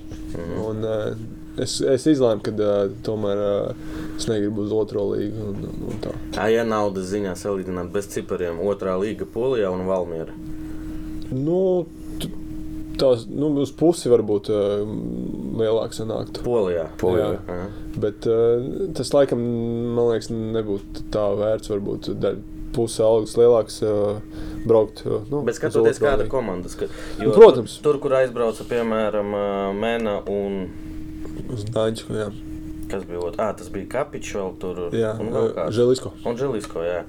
Speaker 3: un, uh, es, es izlēmu, ka uh, tomēr uh, es negribu uz otro līgu. Un, un tā.
Speaker 2: Tā ja naudas ziņā salīdzinām bez cipariem. Otrā līga Polijā un Valmiera.
Speaker 3: nu, t- tās, nu, uz pusi varbūt uh, lielāk sanāktu.
Speaker 2: Polijā.
Speaker 1: Polijā.
Speaker 2: Aha.
Speaker 3: Bet uh, tas laikam, man liekas, nebūtu tā vērts. Varbūt daļ- puse algas lielāks, uh, braukt. Uh, nu,
Speaker 2: Bet
Speaker 3: uz
Speaker 2: skatoties,
Speaker 3: otro
Speaker 2: kāda
Speaker 3: līgu.
Speaker 2: komanda skat...
Speaker 3: Nu, protams.
Speaker 2: Tur, kur aizbrauca, piemēram, ā, Mēna un
Speaker 3: Uz Dāņu, jā.
Speaker 2: Kas bija otrs? Ah, tas bija Kapičs vēl tur.
Speaker 3: jā eh,
Speaker 2: un vēl kāds.
Speaker 3: Želisko.
Speaker 2: Un Želisko, jā.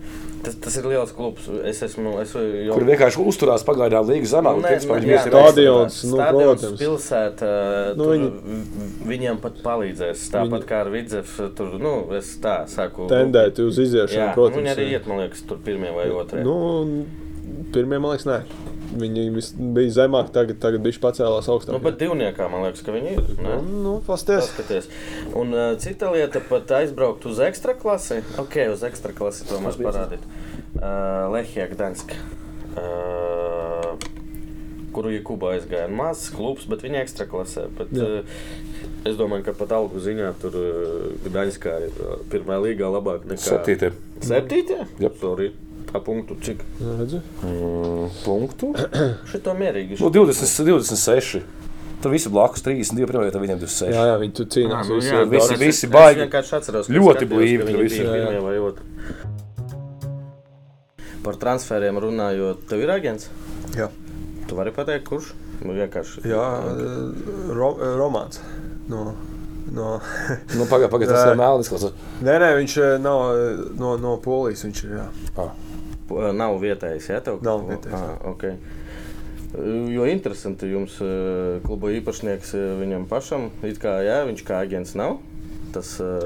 Speaker 2: Tas, tas ir liels klubs. Es esmu es jau. Nu,
Speaker 1: Kur vienkārši uzturās pagaidām līgas zemāk, un principā viņi
Speaker 3: jā.
Speaker 1: visi ir
Speaker 3: Tādi-
Speaker 1: augstāk.
Speaker 3: stadions, nu, protams.
Speaker 2: protams. Pilsēta,
Speaker 3: Nu,
Speaker 2: nu, viņi...
Speaker 3: viņi-
Speaker 2: viņiem pat palīdzēs. Tāpat
Speaker 3: Viņi-
Speaker 2: kā ar Vidzefu, tur, nu, es tā saku.
Speaker 3: Tendēt uz iziešanu,
Speaker 2: Jā, nu,
Speaker 3: protams.
Speaker 2: Viņi arī
Speaker 3: jā.
Speaker 2: iet, man liekas, tur pirmie vai otrie.
Speaker 3: Nu, un pirmie, man liekas, nē. Viņi vis- bija zemāk, tagad, tagad bija pacēlās augstāk.
Speaker 2: nu, pat divniekā, man liekas, ka viņi ir.
Speaker 3: jā.
Speaker 2: Ne?
Speaker 3: nu, nu, pasties.
Speaker 2: Paskaties. Un uh, cita lieta, pat aizbraukt uz ekstra klasi. Ok, uz ekstra klasi tomēr parādīt. Uh, Lehija Gdanska. Uh, Kuru Jakuba aizgāja? Mazs klubs, bet viņa ekstra klasē. Bet,
Speaker 3: Jā.
Speaker 2: uh, es domāju, ka pat algu ziņā tur uh, Gdaņskā ir uh, pirmā līga labāk nekā
Speaker 1: Septītie
Speaker 2: Septītie?
Speaker 1: Jā.
Speaker 2: Sorry. Pa punktu cik?
Speaker 3: Nu, redzi?
Speaker 1: punktu.
Speaker 2: Šito mierīgi.
Speaker 1: Nu, 20, 26. Tur visi blakus 32, pirmā vietā viņiem 26.
Speaker 3: Jā, jā, viņi tur cīnās.
Speaker 2: nu
Speaker 3: visi
Speaker 2: jā,
Speaker 3: ir
Speaker 1: visi-
Speaker 3: daudz.
Speaker 1: visi
Speaker 2: Es
Speaker 1: baigi.
Speaker 2: vienkārši atceros, ka
Speaker 1: Ļoti
Speaker 2: skatījos,
Speaker 1: blīvi,
Speaker 2: ka
Speaker 1: ka
Speaker 2: viņi
Speaker 1: visi-
Speaker 2: bija
Speaker 3: Jā, jā.
Speaker 2: pirmie vai otri. Par transferiem runājot, tev ir agents.
Speaker 3: Jā.
Speaker 2: Tu vari pateikt, kurš? Nu, vienkārši.
Speaker 3: Jā, ro, romāns. No, no.
Speaker 1: Nu, pagaidi, pagaidi, tas
Speaker 3: Jā.
Speaker 1: ir melnis. klausās.
Speaker 3: Nē, nē, viņš eh, nav eh, no, no polijas. Viņš ir jā.
Speaker 1: Ah.
Speaker 2: P- Nav vietējais, jā, tev
Speaker 3: Nav vietējais,
Speaker 2: Ah, okay. Jo interesanti, jums eh, kluba īpašnieks eh, viņam pašam, it kā jā, viņš kā agents nav. Tas ir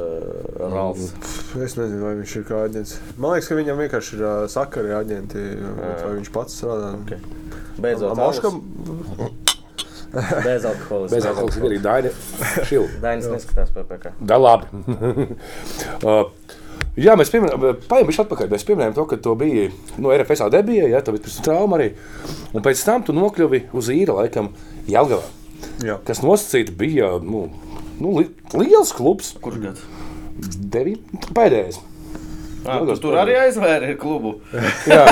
Speaker 2: Rāls.
Speaker 3: Pff, Es nezinu, vai viņš ir kā aģents. Man liekas, ka viņam vienkārši ir eh, sakari aģenti, bet vai viņš pats strādā.
Speaker 2: Ok. Beidzot,
Speaker 3: Moškam,
Speaker 2: bez alkohola.
Speaker 1: Bez alkohola ir arī Daina. Šil.
Speaker 2: Dainis neskatās PPC.
Speaker 1: Da, labi. [laughs] uh, jā, mēs paņēmām šo atpakaļ. Mēs pieminējām to, nu, ka tu biji no RFS debijā, ja tev bija pirms tam trauma arī. Un pēc tam tu nokļuvi uz īra laikam Jelgavā,
Speaker 3: jā.
Speaker 1: kas nosacīti bija nu, nu, li liels klubs.
Speaker 2: Kurš gads?
Speaker 1: Devi? Pēdējais.
Speaker 2: Ah, tu tur arī aizvēra klubu.
Speaker 1: Jā,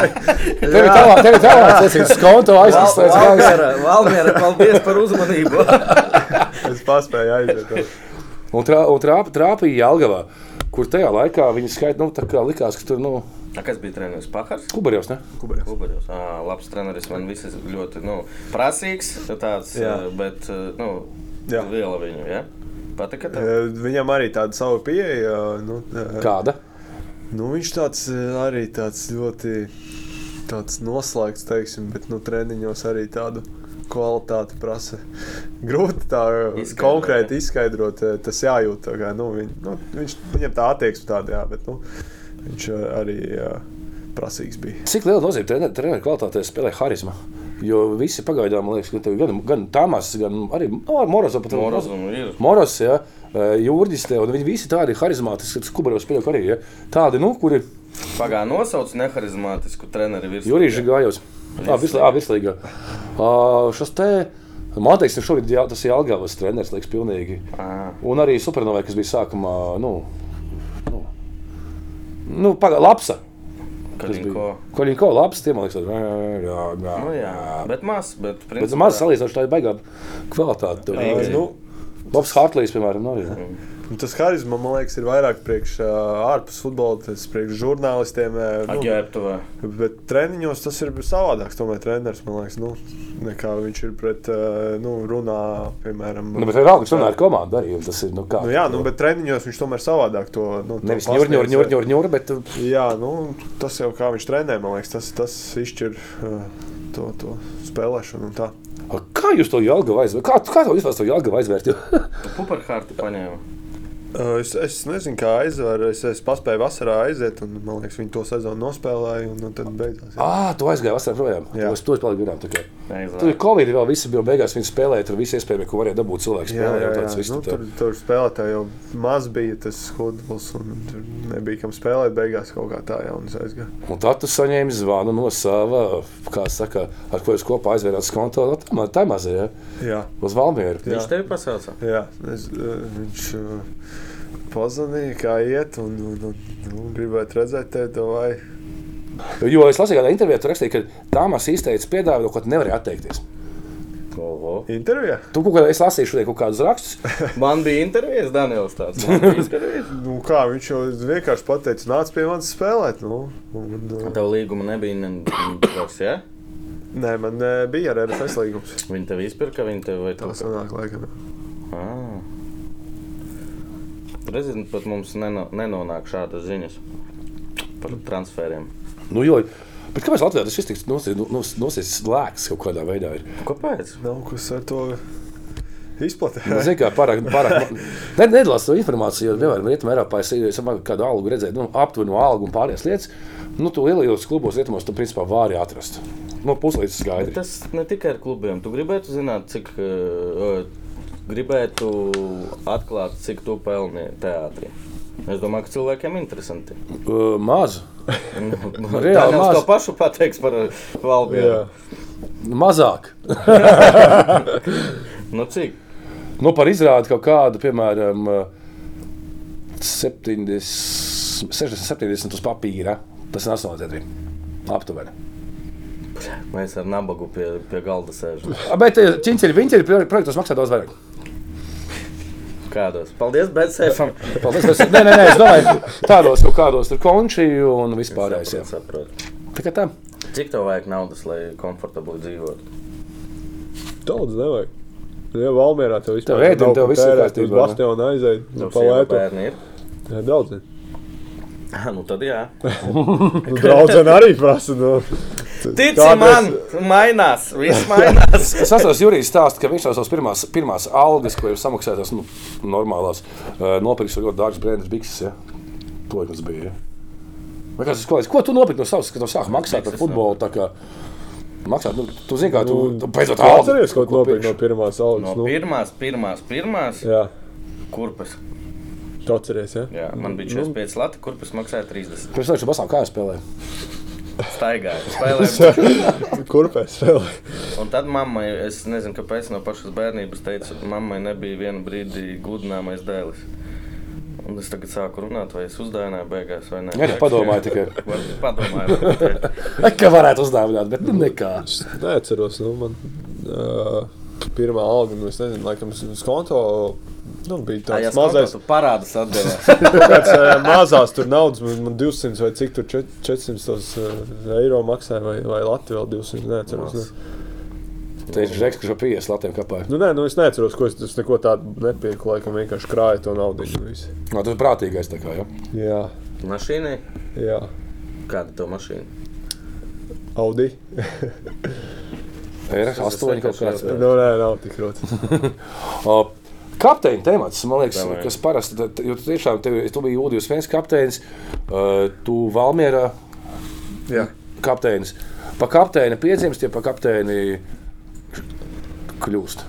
Speaker 1: tev ir tālāk, tev ir tālāk, tas ir skonto aizsmeļs.
Speaker 2: Valmiera, paldies par [laughs] uzmanību.
Speaker 3: Es paspēju aiziet.
Speaker 1: Un, trā, un trāp, trāpīja Jelgavā, kur tajā laikā viņi skaita, nu, tā kā likās, ka tur, nu,
Speaker 2: Kas bija treneris? Pakars?
Speaker 1: kubarjos, ne?
Speaker 3: Kubarēs.
Speaker 2: Kubaļos. Ah, labs treneris, man viss ir ļoti nu, prasīgs, tāds,
Speaker 3: Jā.
Speaker 2: bet nu,
Speaker 3: Jā.
Speaker 2: liela viņu. Ja? Patika tev?
Speaker 3: Eh, Viņam arī tāda sava pieeja. Nu, eh,
Speaker 1: Kāda?
Speaker 3: nu, viņš tāds eh, arī tāds ļoti tāds noslēgts, teiksim, bet nu, treniņos arī tādu kvalitāti prasa. Grūti tā eh,
Speaker 2: Izskaidrot,
Speaker 3: konkrēti izskaidrot, eh, tas jājūt. tā Kā, nu, viņ, nu, viņš, viņam tā attieksme tāda, jā, bet nu, viņš eh, arī eh, prasīgs bija.
Speaker 1: Cik liela nozīme trener- treneru kvalitātei spēlē harizma? Jo visi pagaidām, man liekas, ka tev gan, gan Tamas, gan arī no, Morozov pat
Speaker 2: Morozu nu, ir.
Speaker 1: Moros, ja, Jūrdis, te, un nu, viņi visi tādi harizmātiski, kas kubaros spēlē arī, ja, tādi, nu, kuri
Speaker 2: Pagā nosauc neharizmātisku treneri virsmu.
Speaker 1: Jurīši gājos. Jā, vislabāk. Šis te, man teiks, šobrīd jā, tas ir Algavas treneris, liekas, pilnīgi.
Speaker 2: Ah,
Speaker 1: Un arī Supernovai, kas bija sākumā, nu, nu, nu pagā, lapsa.
Speaker 2: Kalinko.
Speaker 1: Koļinko, labs, tie man liekas, tādi, jā, jā, jā.
Speaker 2: Nu, jā, bet maz, bet
Speaker 1: Bet
Speaker 2: principā.
Speaker 1: maz salīdzinoši tā ir baigā kvalitāte.
Speaker 2: Rīgas.
Speaker 1: Tur. Nu, Bobs Hartlīs, piemēram, arī. ne?
Speaker 3: Un Tas harizma, man liekas, ir vairāk priekš ā, ārpus futbola, tas priekš žurnālistiem. ā, nu,
Speaker 2: Aģērbtuvē.
Speaker 3: Bet treniņos tas ir savādāk. Tomēr treneris man liekas, nu, nekā viņš ir pret eh, nu, runā, piemēram,
Speaker 1: Nu, bet vienalga, viņš runā ar komandu arī. un Tas ir, nu, kā.
Speaker 3: Nu, jā, nu, bet treniņos viņš tomēr savādāk to nu, to
Speaker 1: Nevis ņūr,
Speaker 3: pasniedz,
Speaker 1: ņūr, ņūr, ņūr, ņūr, bet uh,
Speaker 3: Jā, nu, tas jau kā viņš trenē, man liekas, tas, tas izšķir eh, to, to spēlēšanu. un tā.
Speaker 1: kā jūs to jēlgavu aizvērt? Kā, kā to vispār to jēlgavu aizvērt? Jo- [laughs]
Speaker 2: Puperhārtu paņēma.
Speaker 3: Eh, Es, es nezinu, kā aizvēru. Es, es paspēju vasarā aiziet, un man liekas, viņi to sezonu nospēlēja. Un, un tad beigās jā.
Speaker 1: Ā, tu aizgāji vasarā projām.
Speaker 3: Jā.
Speaker 1: Jā. Es to paliku garām. tikai. Tur bija
Speaker 2: Neizvēlējās.
Speaker 1: Covid, vēl visi bija beigās, viņi spēlēja tur visu iespējamo, ko varēja dabūt cilvēku
Speaker 3: Jā,
Speaker 1: spēlē. un
Speaker 3: jā, jā.
Speaker 1: tāds viss
Speaker 3: Nu,
Speaker 1: tā.
Speaker 3: tur, tur spēlētāji jau maz bija tas skudrs, un tur nebija kam spēlēt. Beigās kaut kā tā jau aizgāja.
Speaker 1: Un tad tu saņēmi zvanu no sava, kā saka, ar ko jūs kopā aizvērāt skonto. no Nu, Tā, ma- tā mazajā,
Speaker 3: Jā,
Speaker 1: uz Valmieru.
Speaker 3: jā.
Speaker 2: Viņš tevi pasauca.
Speaker 3: jā. Es, eh, viņš eh, pazvanīja, kā iet, un, un, un, un gribētu redzēt tevi. Vai.
Speaker 1: Jo es lasīju, kādā intervijā tur rakstīja, ka Tāmas izteica piedāvājumu, no ko tu nevari atteikties.
Speaker 2: Oho. [laughs]
Speaker 3: Intervijā?
Speaker 1: Tu kaut kādā, es lasīju šodien kaut kādus rakstus.
Speaker 2: Man bija intervijas Daniels tāds. [laughs] Man bija intervijas.
Speaker 3: Nu, kā, viņš jau vienkārši pateica, nāc pie manis spēlēt. Nu, un, un,
Speaker 2: Tev līguma nebija nevienas, ja?
Speaker 3: nē, man eh, bija ar RFS līgums.
Speaker 2: Viņi tev izpirka, viņi tev vai
Speaker 3: Tā
Speaker 2: kaut kā.
Speaker 3: sanāk, laikam.
Speaker 2: Ā. Prezidents pat mums neno, nenonāk šādas ziņas par transferiem.
Speaker 1: Nu, jo, bet kāpēc Latvijā tas viss tiks nosis nu, nos- nosis lēks kaut kādā veidā? Ir?
Speaker 2: Kāpēc?
Speaker 3: Nav kas ar to izplatīt.
Speaker 1: Nu, Ziniet, kā pārāk, pārāk ne, nedalās to informāciju, jo, piemēram, Rietumē, Eiropā es es domāju, ka kādu algu redzēju, nu, aptuveni algu un pārējās lietas, nu, tu lielajos klubos rietumos, tu, principā, vari atrast. Nu, puslīdz
Speaker 2: Bet
Speaker 1: skaidri.
Speaker 2: Tas ne tikai ar klubiem. Tu gribētu zināt, cik. eh, Gribētu atklāt, cik tu pelni teātrī. Es domāju, ka cilvēkiem
Speaker 1: [laughs]
Speaker 2: interesanti.
Speaker 1: Uh, maz, Reāli
Speaker 2: Reāli
Speaker 1: maz.
Speaker 2: maz... to pašu pateiks par eh, valdību.
Speaker 1: mazāk.
Speaker 2: Nu, cik?
Speaker 1: Nu, par izrādi kaut kādu, piemēram, uh, 70, 60, 70 uz papīra, tas ir 8 teatri. Aptuveni.
Speaker 2: Mēs ar nabagu pie, pie galda sēžam.
Speaker 1: Bet eh, ķinci ir, viņi ir, projektos maksā daudz vairāk.
Speaker 2: Kādos? Paldies, bet sēžam.
Speaker 1: Paldies, bet, nē, nē, nē, es domāju, tādos kaut kādos tur konči un vispārējais. jā.
Speaker 2: saprotu.
Speaker 1: Tā kā tā.
Speaker 2: Cik tev vajag naudas, lai komfortabli dzīvotu?
Speaker 3: Daudz nevajag. Jā, Valmjerā tev
Speaker 1: Tev ēdienu,
Speaker 3: nav
Speaker 1: tev
Speaker 3: ko
Speaker 1: viss ir
Speaker 3: tērēt,
Speaker 1: kārtībā,
Speaker 3: uz
Speaker 1: ne?
Speaker 3: Bastionu aiziet, nu,
Speaker 2: Tev
Speaker 3: pa
Speaker 2: sieva,
Speaker 3: lētu.
Speaker 2: bērni ir.
Speaker 3: Jā, Daudz.
Speaker 2: [laughs] Ah, nu tad jā.
Speaker 3: Draudzene arī prasa. Nu.
Speaker 2: Tici
Speaker 3: Kādreiz-
Speaker 2: man, mainās, viss mainās.
Speaker 3: [laughs]
Speaker 1: Es atceros, Jurijs stāsta, ka viņš no savas pirmās, pirmās algas, ko ir samaksājis, nu, normālās, eh, nopirks vēl ļoti dārgas brīvības bikses. Ja? To jums bija. Ja? Vai kāds ir skolēns? Ko tu nopirki no savas, kad tu sāki maksāt par
Speaker 2: Bikses
Speaker 1: futbolu? tā kā Maksāt, nu, tu zini, kā tu, tu beidzot
Speaker 3: Mm. Tu Atceries, ko tu nopirki no pirmās
Speaker 2: No
Speaker 3: algas. Nu,
Speaker 2: pirmās, pirmās, pirmās
Speaker 3: jā,
Speaker 2: kurpes.
Speaker 3: tu atceries, jā.
Speaker 2: Jā, man
Speaker 3: nu.
Speaker 2: bija 45 lati, kurpes maksāja 30.
Speaker 1: Pirms tam, kad basām kājām spēlēja.
Speaker 3: [laughs]
Speaker 2: Staigāju, spēlēju.
Speaker 3: Kurpēs vēl?
Speaker 2: Un tad mammai, es nezinu, kāpēc no pašas bērnības teicu, mammai nebija vienu brīdi gudrināmais dēlis. Un es tagad sāku runāt, vai es uzdāvināju beigās vai nē.
Speaker 1: Jā, jā, padomāju tikai. [laughs]
Speaker 2: Vai [laughs] Padomāju.
Speaker 1: Ai, Ka varētu uzdāvināt, bet nu, nekā.
Speaker 3: Es neatceros, nu, man uh, pirmā alga, nu, es nezinu, laikam, uz- uz konto. Nu, bija
Speaker 2: Tā
Speaker 3: tāds
Speaker 2: jau
Speaker 3: tā, mazais,
Speaker 2: mazais parādās
Speaker 3: [laughs]
Speaker 2: atdevējs.
Speaker 3: kāds uh, mazās tur naudas, man, man 200 vai cik tur čet- 400 tos, uh, eiro maksāja, vai, vai Latvija vēl 200, neatceros. Ne.
Speaker 1: Te ir žeks, kurš jau 50 latiem kapā.
Speaker 3: Nu, nē, nu, es neatceros, ko es, es neko tādu nepirku, laikam vienkārši krāju to naudu. nu, visu.
Speaker 1: No, tas ir prātīgais tā kā, ja?
Speaker 3: Jā,
Speaker 2: Mašīnai?
Speaker 3: jā.
Speaker 2: Kāda to mašīna?
Speaker 3: Audi.
Speaker 1: Ir
Speaker 2: ir
Speaker 1: 8 kaut
Speaker 2: vienkārši
Speaker 1: kāds.
Speaker 2: jau-
Speaker 3: Nu, nē, nav tik grūti.
Speaker 1: O, Kapteiņa temats, man liekas,
Speaker 2: Davai.
Speaker 1: Davai. kas parasti, tad- jo tu tiešām tevi, tu biji Udijas viens kapteinis, ā, tu Valmiera
Speaker 3: Jā.
Speaker 1: kapteinis. Pa kapteini piedzimst, ja pa kapteini kļūst.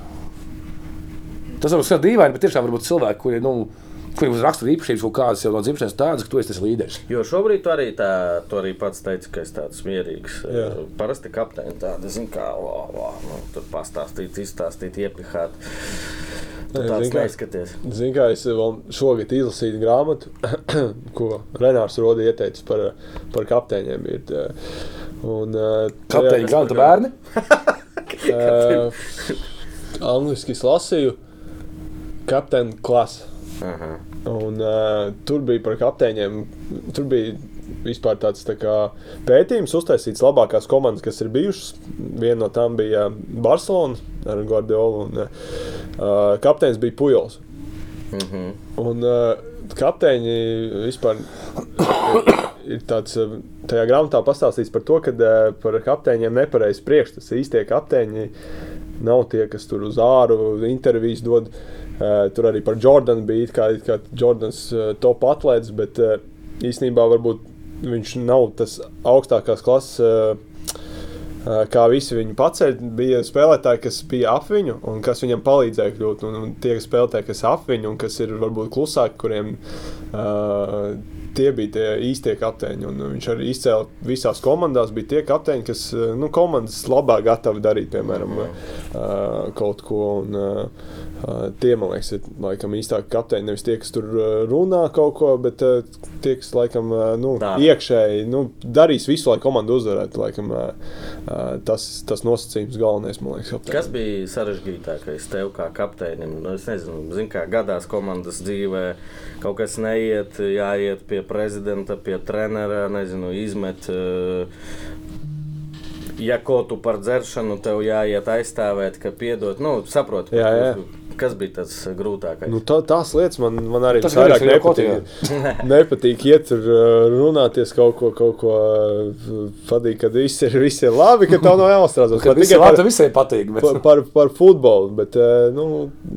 Speaker 1: Tas varbūt skan dīvaini, bet tiešām varbūt cilvēki, kuri, nu, kuriem ir rakstura īpašības kaut kādas jau no dzimšanas tādas, ka tu esi tas līderis.
Speaker 2: Jo šobrīd tu arī, tā, tu arī pats teici, ka es tāds mierīgs.
Speaker 3: Jā.
Speaker 2: eh, Parasti kapteini tādi, zini, kā lā, lā, nu, tur pastāstīt, izstāstīt, iepihāt. Tu
Speaker 3: Nē,
Speaker 2: tāds
Speaker 3: zini kā.
Speaker 2: neizskaties.
Speaker 3: Ziniet, kā es vēl šogad izlasīju grāmatu, [coughs] ko Renārs Rodas ieteicis par, par kapteiņiem. Ir, tā. un, eh, tajā-
Speaker 1: Kapteiņa grāmata bērni.
Speaker 3: Eh, Angliski es lasīju Captain Class.
Speaker 2: Aha.
Speaker 3: Un, uh, tur bija par kapteiņiem. Tur bija vispār tāds tā kā, pētījums, uztaisīts labākās komandas, kas ir bijušas. Viena no tām bija Barcelona ar Guardiolu. Un, uh, kapteinis bija Pujols.
Speaker 2: Mhm.
Speaker 3: Un, uh, kapteiņi vispār ir tāds, uh, tajā grāmatā pastāstīts par to, ka uh, par kapteiņiem nepareizs priekšstats. Īstie kapteiņi nav tie, kas tur uz āru intervijas dod. Uh, tur arī par Jordānu bija it kā, it kā Jordans uh, top atlētas, bet uh, īstenībā varbūt viņš nav tas augstākās klases. Uh, Uh, kā visi viņu paceļ, bija spēlētāji, kas bija ap viņu un kas viņam palīdzēja kļūt. Un, un tie spēlētāji, kas ap viņu un kas ir varbūt klusāki, kuriem uh, tie bija tie īstie kapteiņi. Un viņš arī izcēla visās komandās, bija tie kapteiņi, kas uh, nu, komandas labāk gatavi darīt, piemēram, uh, kaut ko. Un, uh, uh, Tie, man liekas, ir laikam īstākie kapteiņi. Nevis tie, kas tur uh, runā kaut ko, bet uh, tie, kas laikam uh, nu,
Speaker 2: Dara.
Speaker 3: iekšēji nu, darīs visu, lai komanda uzvarētu. Laikam, uh, Uh, tas, tas nosacījums galvenais, man liekas, kapteinim.
Speaker 2: Kas bija sarežģītākais tev kā kapteinim? Nu, es nezinu, zin, kā gadās komandas dzīvē. Kaut kas neiet, jāiet pie prezidenta, pie trenera, nezinu, izmet. eh, Ja ko tu par dzeršanu, tev jāiet aizstāvēt, ka piedod. Nu, saproti,
Speaker 3: Jā, jā.
Speaker 2: kas bija tas grūtākais?
Speaker 3: Nu, tā, tās lietas man, man arī
Speaker 1: Tas
Speaker 3: vairāk
Speaker 1: gadījums ir jau
Speaker 3: nepatīk. [laughs] nepatīk iet tur uh, runāties kaut ko, kaut ko uh, patīk, kad viss ir, viss ir labi, ka tev nav
Speaker 1: [laughs]
Speaker 3: jāuztraucas.
Speaker 1: Kad
Speaker 3: Pat
Speaker 1: tikai
Speaker 3: tikai
Speaker 1: labi,
Speaker 3: par,
Speaker 1: tad visai patīk. Bet...
Speaker 3: par, par, par futbolu, bet uh, nu,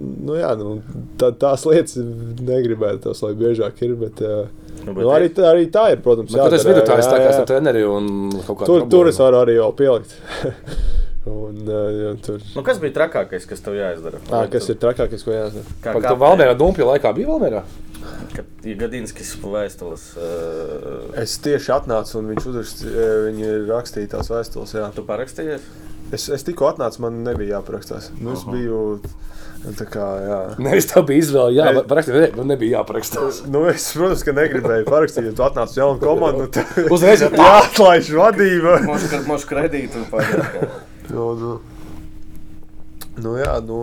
Speaker 3: nu, jā, nu, tā, tās lietas negribētu tos, lai biežāk ir. Bet, uh,
Speaker 2: Nu,
Speaker 3: nu,
Speaker 2: bet
Speaker 3: bet nu, arī, tā- arī tā ir, protams,
Speaker 1: Bet, kad es vidutājs
Speaker 3: jā,
Speaker 1: tā kā
Speaker 3: jā.
Speaker 1: esmu treneri un kaut kā
Speaker 3: tur, tur es varu arī jau pielikt. [laughs] Un, uh, jo, tur,
Speaker 2: Nu, kas bija trakākais, kas tev jāizdara?
Speaker 3: Ā, kas ir trakākais, ko jāsaka?
Speaker 2: Kā,
Speaker 1: Kad tu Valmērā dumpja laikā bija Valmērā?
Speaker 2: Kad ir Gadinskis vēstules. Uh,
Speaker 5: Es tieši atnācu, un viņš uzrakstīja, viņa rakstīja tās vēstules. Jā.
Speaker 2: tu parakstījies?
Speaker 5: Es, es tikko atnācu, man nebija jāparakstās. Nu, es biju tā kā. Jā.
Speaker 1: Nevis tā bija izvēle. Jā,
Speaker 5: Ei.
Speaker 1: parakstīt, ne, man nu, nebija jāparakstās.
Speaker 5: Nu, es, protams, ka negribēju parakstīt, jo tu atnāc uz jaunu komandu.
Speaker 3: [laughs]
Speaker 5: tad- [laughs]
Speaker 1: Uzreiz jau tā.
Speaker 5: Jā, atlaiž vadību.
Speaker 2: Možda kredītu
Speaker 3: [laughs]
Speaker 2: pārāk.
Speaker 5: Nu, nu. Nu, jā, nu,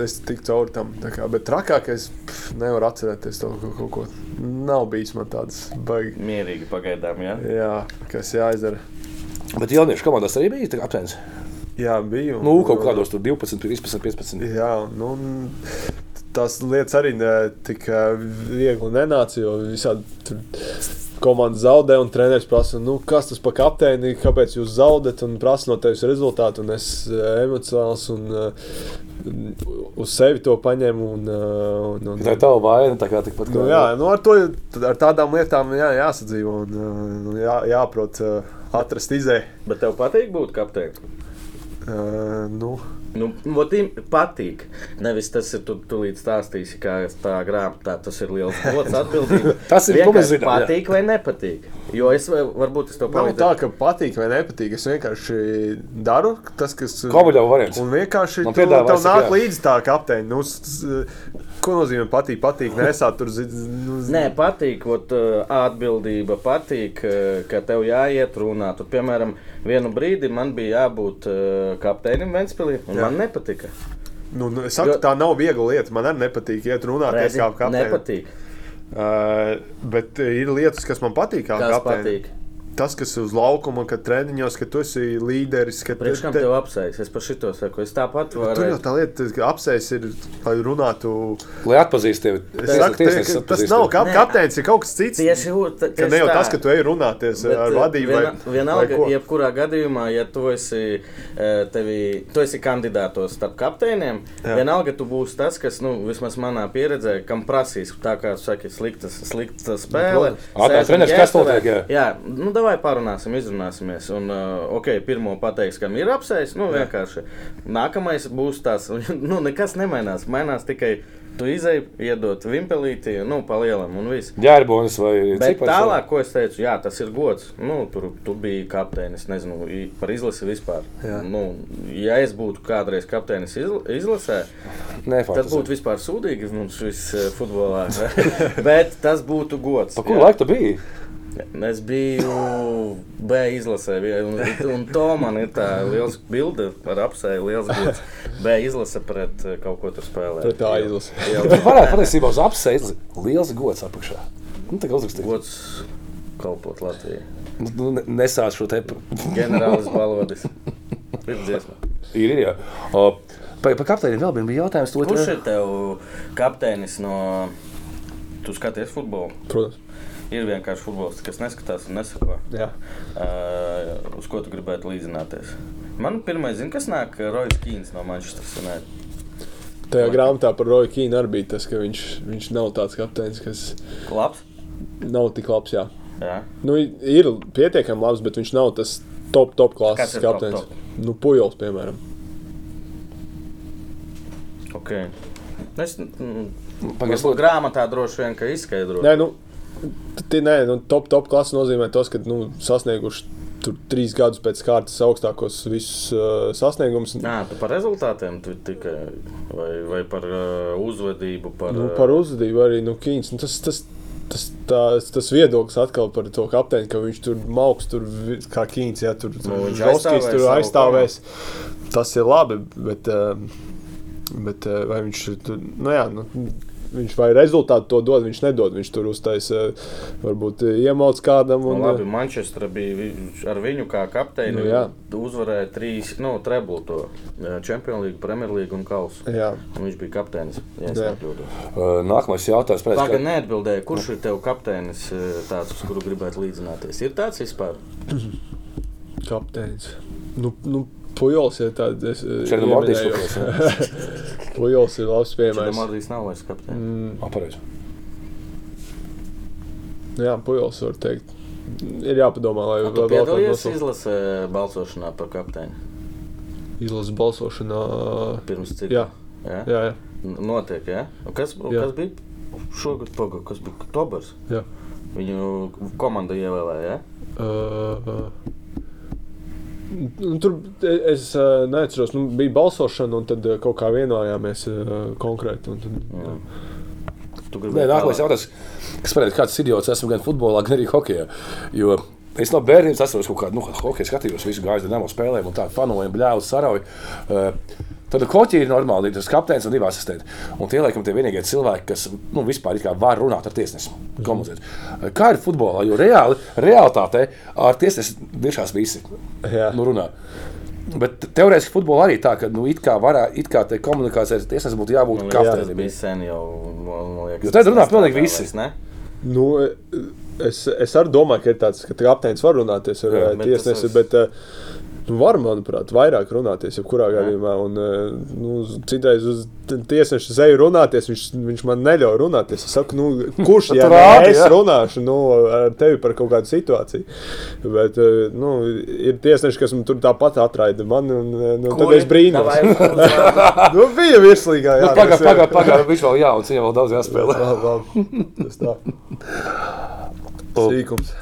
Speaker 5: es tiku cauri tam. tā Kā, bet trakākais, pff, nevaru atcerēties to kaut, kaut ko. Nav bijis man tāds baigs.
Speaker 2: Mierīgi pagaidām, jā.
Speaker 5: Jā, kas jāizdara.
Speaker 1: [laughs] Bet jauniešu komandās arī bija tā kā aptvērs.
Speaker 5: Jā, bija. un-
Speaker 1: Nu, kaut kādos tur 12, 13, 15.
Speaker 5: Jā, nu, un
Speaker 3: tās lietas arī ne tik eh, viegli nenāca. Jo visādi tur komanda zaudē, un treneris prasa, nu, kas tas par kapteini, kāpēc jūs zaudējat, un prasa no tevis rezultātu. Un es eh, emocionāls un eh, uz sevi to paņēmu. Un, eh, un, un,
Speaker 1: Tā ir tava vaina, tā kā tikpat
Speaker 3: Nu,
Speaker 1: kā-
Speaker 3: jā,
Speaker 5: Nu, ar, to, ar tādām lietām jā, jāsadzīvo un uh, nu,
Speaker 3: eh,
Speaker 5: jā, jāprot uh, atrast izēju.
Speaker 2: Bet tev patīk būt kapteinim?
Speaker 3: Eh,
Speaker 5: Uh, Nu,
Speaker 2: Nu, motīm patīk. Nevis tas ir tu, tu līdz stāstīsi, kā tā grāmatā tas ir liels
Speaker 5: [laughs]
Speaker 2: gods atbildība.
Speaker 1: Tas ir, ko mēs
Speaker 2: Vienkārši
Speaker 1: zinām, jā.
Speaker 2: Patīk vai nepatīk? Jo es vai- varbūt es to
Speaker 5: nav
Speaker 2: palīdzēju.
Speaker 5: tā, ka patīk vai nepatīk. Es vienkārši daru tas, kas eh,
Speaker 1: Kovaļova variants.
Speaker 5: Un vienkārši
Speaker 1: Man
Speaker 5: tu-
Speaker 1: piedāvā,
Speaker 5: tev
Speaker 1: es saku,
Speaker 5: nāk
Speaker 1: jā.
Speaker 5: līdzi tā kapteiņa. Nu, s- s- ko nozīmē patīk, patīk? Nē, esat tur zi- nu, z-
Speaker 2: Nē, patīk, ot, ā, atbildība patīk, ā, ka tev jāiet runāt. Un, piemēram, vienu brīdi man bija jābūt ā, kapteinim Ventspēlī, un Jā. man nepatika.
Speaker 5: nu, nu, es
Speaker 2: Jo-
Speaker 5: saku, tā nav viegla lieta. Man arī nepatīk iet runāties
Speaker 2: Redzi,
Speaker 5: kā kapteinim.
Speaker 2: nepatīk.
Speaker 5: Uh, bet ir lietas, kas man patīk. Kā
Speaker 2: Kas
Speaker 5: kapteinim.
Speaker 2: patīk?
Speaker 5: Tas, kas uz laukuma, kad treniņos, ka tu esi līderis, ka
Speaker 2: Priekš kam
Speaker 5: te-
Speaker 2: tev apsēs? Es par šito saku. Es tāpat
Speaker 5: Tur jau
Speaker 2: varu.
Speaker 5: tā lieta, ka apsēs ir, lai runātu.
Speaker 1: Lai atpazīst tevi.
Speaker 5: Es saku, te,
Speaker 1: tiesnesis
Speaker 5: ka tas
Speaker 1: atpazīst
Speaker 5: nav
Speaker 1: tevi.
Speaker 5: kap,
Speaker 2: Nē.
Speaker 5: kapteinis, ir kaut kas cits.
Speaker 2: Tieši u- ta-
Speaker 5: Ka
Speaker 2: tieši
Speaker 5: ne jau
Speaker 2: tā.
Speaker 5: tas, ka tu ej runāties
Speaker 2: Bet, eh,
Speaker 5: bet, ar vadību.
Speaker 2: vienā-
Speaker 5: vai-
Speaker 2: Vienalga,
Speaker 5: vai ko.
Speaker 2: jebkurā gadījumā, ja tu esi, eh, tevi, tu esi kandidātos starp kapteiniem, Jā. vienalga tu būsi tas, kas, nu, vismaz manā pieredzē, kam prasīs, tā kā tu saki, sliktas,
Speaker 5: Nu,
Speaker 2: slikta spēle.
Speaker 1: protams. Ā, tā
Speaker 2: Sēžam
Speaker 1: treneris, kas
Speaker 2: ķēpavē.
Speaker 1: notiek, jā.
Speaker 2: Jā, nu, davai parunāsim, izrunāsimies. Un, uh, ok, pirmo pateiks, kam ir apsēs, nu, vienkārši. Nākamais būs tas, [laughs] nu, nekas nemainās, mainās tikai tu izēji, iedot vimpelīti, nu, palielam un viss.
Speaker 1: Ģērbonis vai
Speaker 2: Bet
Speaker 1: cipars vai-
Speaker 2: tālāk, ko es teicu, jā, tas ir gods. Nu, tur tu biji kapteinis, nezinu, i- par izlasi vispār. Nu, ja es būtu kādreiz kapteinis izl- izlasē,
Speaker 1: Nē,
Speaker 2: tad
Speaker 1: faktiski.
Speaker 2: būtu vispār sūdīgi mums viss eh, futbolā. [laughs] bet tas būtu gods.
Speaker 1: Pa kuru laiku tu biji?
Speaker 2: Es biju B izlasē, bija- un, un to man ir tā liels bilde ar apseju, liels bildes. B izlase pret eh, kaut ko tur spēlē.
Speaker 6: Pret tā izlasi.
Speaker 2: Jā,
Speaker 1: Bet varētu patiesībā uz apsejas liels gods apakšā. Nu, tā kā uzrakstīt.
Speaker 2: gods kalpot Latvijai.
Speaker 1: Nu, ne- Nesās šo te.
Speaker 2: Generālis Balodis. Ir dziesma.
Speaker 1: Ir, ir, jā. O, Par pa kapteini vēl vien bija jautājums. to
Speaker 2: Kurš
Speaker 1: te-
Speaker 2: ir tev kapteinis no... Tu skaties futbolu.
Speaker 6: Protams.
Speaker 2: Ir vienkārši futbolists, kas neskatās un nesako.
Speaker 6: Jā.
Speaker 2: Uh, uz ko tu gribētu līdzināties? Man pirmā zina, kas nāk, ir Rojas Kīns no Manchester United.
Speaker 6: Tajā grāmatā par Roju Kīnu arī bija tas, ka viņš, viņš nav tāds kapteinis, kas
Speaker 2: Labs.
Speaker 6: nav tik labs. Jā.
Speaker 2: Jā.
Speaker 6: Nu, i- ir pietiekami labs, bet viņš nav tas top, top
Speaker 2: Kas
Speaker 6: klases
Speaker 2: ir top,
Speaker 6: kapteinis.
Speaker 2: top?
Speaker 6: Nu, Pujols, piemēram.
Speaker 2: Okay. Es
Speaker 1: Pagaidzi,
Speaker 2: domāju, ka grāmatā droši vien ka izskaidro.
Speaker 6: Nē, nu, t- nē, nu top, top klase nozīmē tas, ka nu, sasnieguši tur trīs gadus pēc kārtas augstākos visus uh, sasniegumus.
Speaker 2: Nā, tu par rezultātiem tu tikai vai, vai par uh, uzvedību. Par,
Speaker 6: Nu,
Speaker 2: ā,
Speaker 6: par uzvedību arī nu, Kīns. Nu, tas, tas, tas, tas, tas viedoklis atkal par to kapteini, ka viņš tur mauks, tur vi- kā Kīns, ja tur
Speaker 2: Nu, viņš
Speaker 6: Žovskis
Speaker 2: aizstāvēs
Speaker 6: tur
Speaker 2: savu
Speaker 6: aizstāvēs. Tas ir labi, bet, eh, bet eh, vai viņš tur, nu jā, nu, viņš vai rezultātu to dod, viņš nedod, viņš tur uztaisa, eh, varbūt eh, iemauc kādam.
Speaker 2: Nu,
Speaker 6: Un,
Speaker 2: labi,
Speaker 6: eh,
Speaker 2: Manchestra bija vi- ar viņu kā kapteini.
Speaker 6: Nu, jā.
Speaker 2: uzvarēja trīs, nu, treblu to Champions League, Premier League un Kausu.
Speaker 6: Jā.
Speaker 2: Un viņš bija kapteinis. Ja es
Speaker 6: Jā.
Speaker 2: nekļūdos. Nu.
Speaker 1: Uh, Nākamais jautājums.
Speaker 2: Tā gan
Speaker 1: Pēc,
Speaker 2: neatbildēja, kurš ir tev kapteinis, eh, tāds, uz kuru gribētu līdzināties. Ir tāds vispār?
Speaker 6: Kapteinis. Nu, nu, Pujols ir tāds -
Speaker 1: Šeit ir Mordijs
Speaker 6: Pujols ir labs
Speaker 2: Čakam
Speaker 6: piemērs.
Speaker 2: arī nav vairs kapteinis.
Speaker 6: Mm,
Speaker 1: ka pareizi.
Speaker 6: jā, Pujols var teikt. Ir jāpadomā, lai
Speaker 2: Tu piedalījies izlasē eh, balsošanā par kapteini
Speaker 6: izlases balsošanā.
Speaker 2: pirms cik?
Speaker 6: Jā,
Speaker 2: jā? jā.
Speaker 6: jā, jā.
Speaker 2: Notiek, jā? Un Kas, un
Speaker 6: Jā.
Speaker 2: kas bija šogad, pagad, kas bija Tobers?
Speaker 6: jā.
Speaker 2: Viņu komanda ievēlēja, jā?
Speaker 6: Uh, Nu, tur e- es uh, neatceros, nu, bija balsošana, un tad uh, kaut kā vienojāmies uh, konkrēti. un Tad, jā.
Speaker 2: Tu gribēji
Speaker 1: Nē, nākamais
Speaker 2: tālāk?
Speaker 1: jautājums. Kas parāda, kāds idiots esmu gan futbolā, gan arī hokeja? Jo es no bērnības atceros, ka kādu nu, hokeju skatījos, visu gāju dēmo spēlēm un tā fanoju, bļāvu, sarauju. Uh, Tad koķi ir normāli, ir tas kapteinis un divi asistenti. Un tie, laikam, tie vienīgie cilvēki, kas nu, vispār it kā var runāt ar tiesnesi, komunicēt. Uh, Kā ir futbolā? Jo reāli, realitātē ar tiesnesi diešās visi
Speaker 6: Jā.
Speaker 1: nu, runā. Bet teorētiski futbolā arī tā, ka nu, it kā, varā, it kā te komunikācijas tiesnesim būtu jābūt
Speaker 2: Man liekas, Tas
Speaker 1: kapteinim.
Speaker 2: bija sen jau. man- man liekas,
Speaker 1: Jo tad
Speaker 2: tas
Speaker 1: runā
Speaker 2: nestrādā
Speaker 1: pilnīgi
Speaker 2: vairs,
Speaker 1: visi.
Speaker 2: ne?
Speaker 6: Nu, es, es arī domāju, ka ir tāds, ka kapteinis var runāties ar
Speaker 1: Jā,
Speaker 6: jā,
Speaker 2: bet
Speaker 6: tiesnesi,
Speaker 2: tas-
Speaker 6: bet eh, nu, var, manuprāt, vairāk runāties jebkurā gadījumā. Un, eh, nu, uz- citreiz uz t- tiesneša zeju runāties, viņš, viņš man neļauj runāties. Es saku, nu, kurš ja
Speaker 1: Tu
Speaker 6: ne
Speaker 1: rādi,
Speaker 6: es
Speaker 1: jā.
Speaker 6: runāšu nu, ar tevi par kaut kādu situāciju? Bet eh, nu, ir tiesneši, kas man tur tāpat atraida mani, un eh, nu, tad es [laughs] brīnos.
Speaker 2: brīnos.
Speaker 6: Nu, bija virslīgā. jā, tas
Speaker 1: Pagaidām,
Speaker 6: ir-
Speaker 1: pagaidām, pagaidām. Viņš vēl jauns, viņam vēl daudz jāspēlē.
Speaker 6: [laughs] Labi, labi. Tas tā. Sīkums.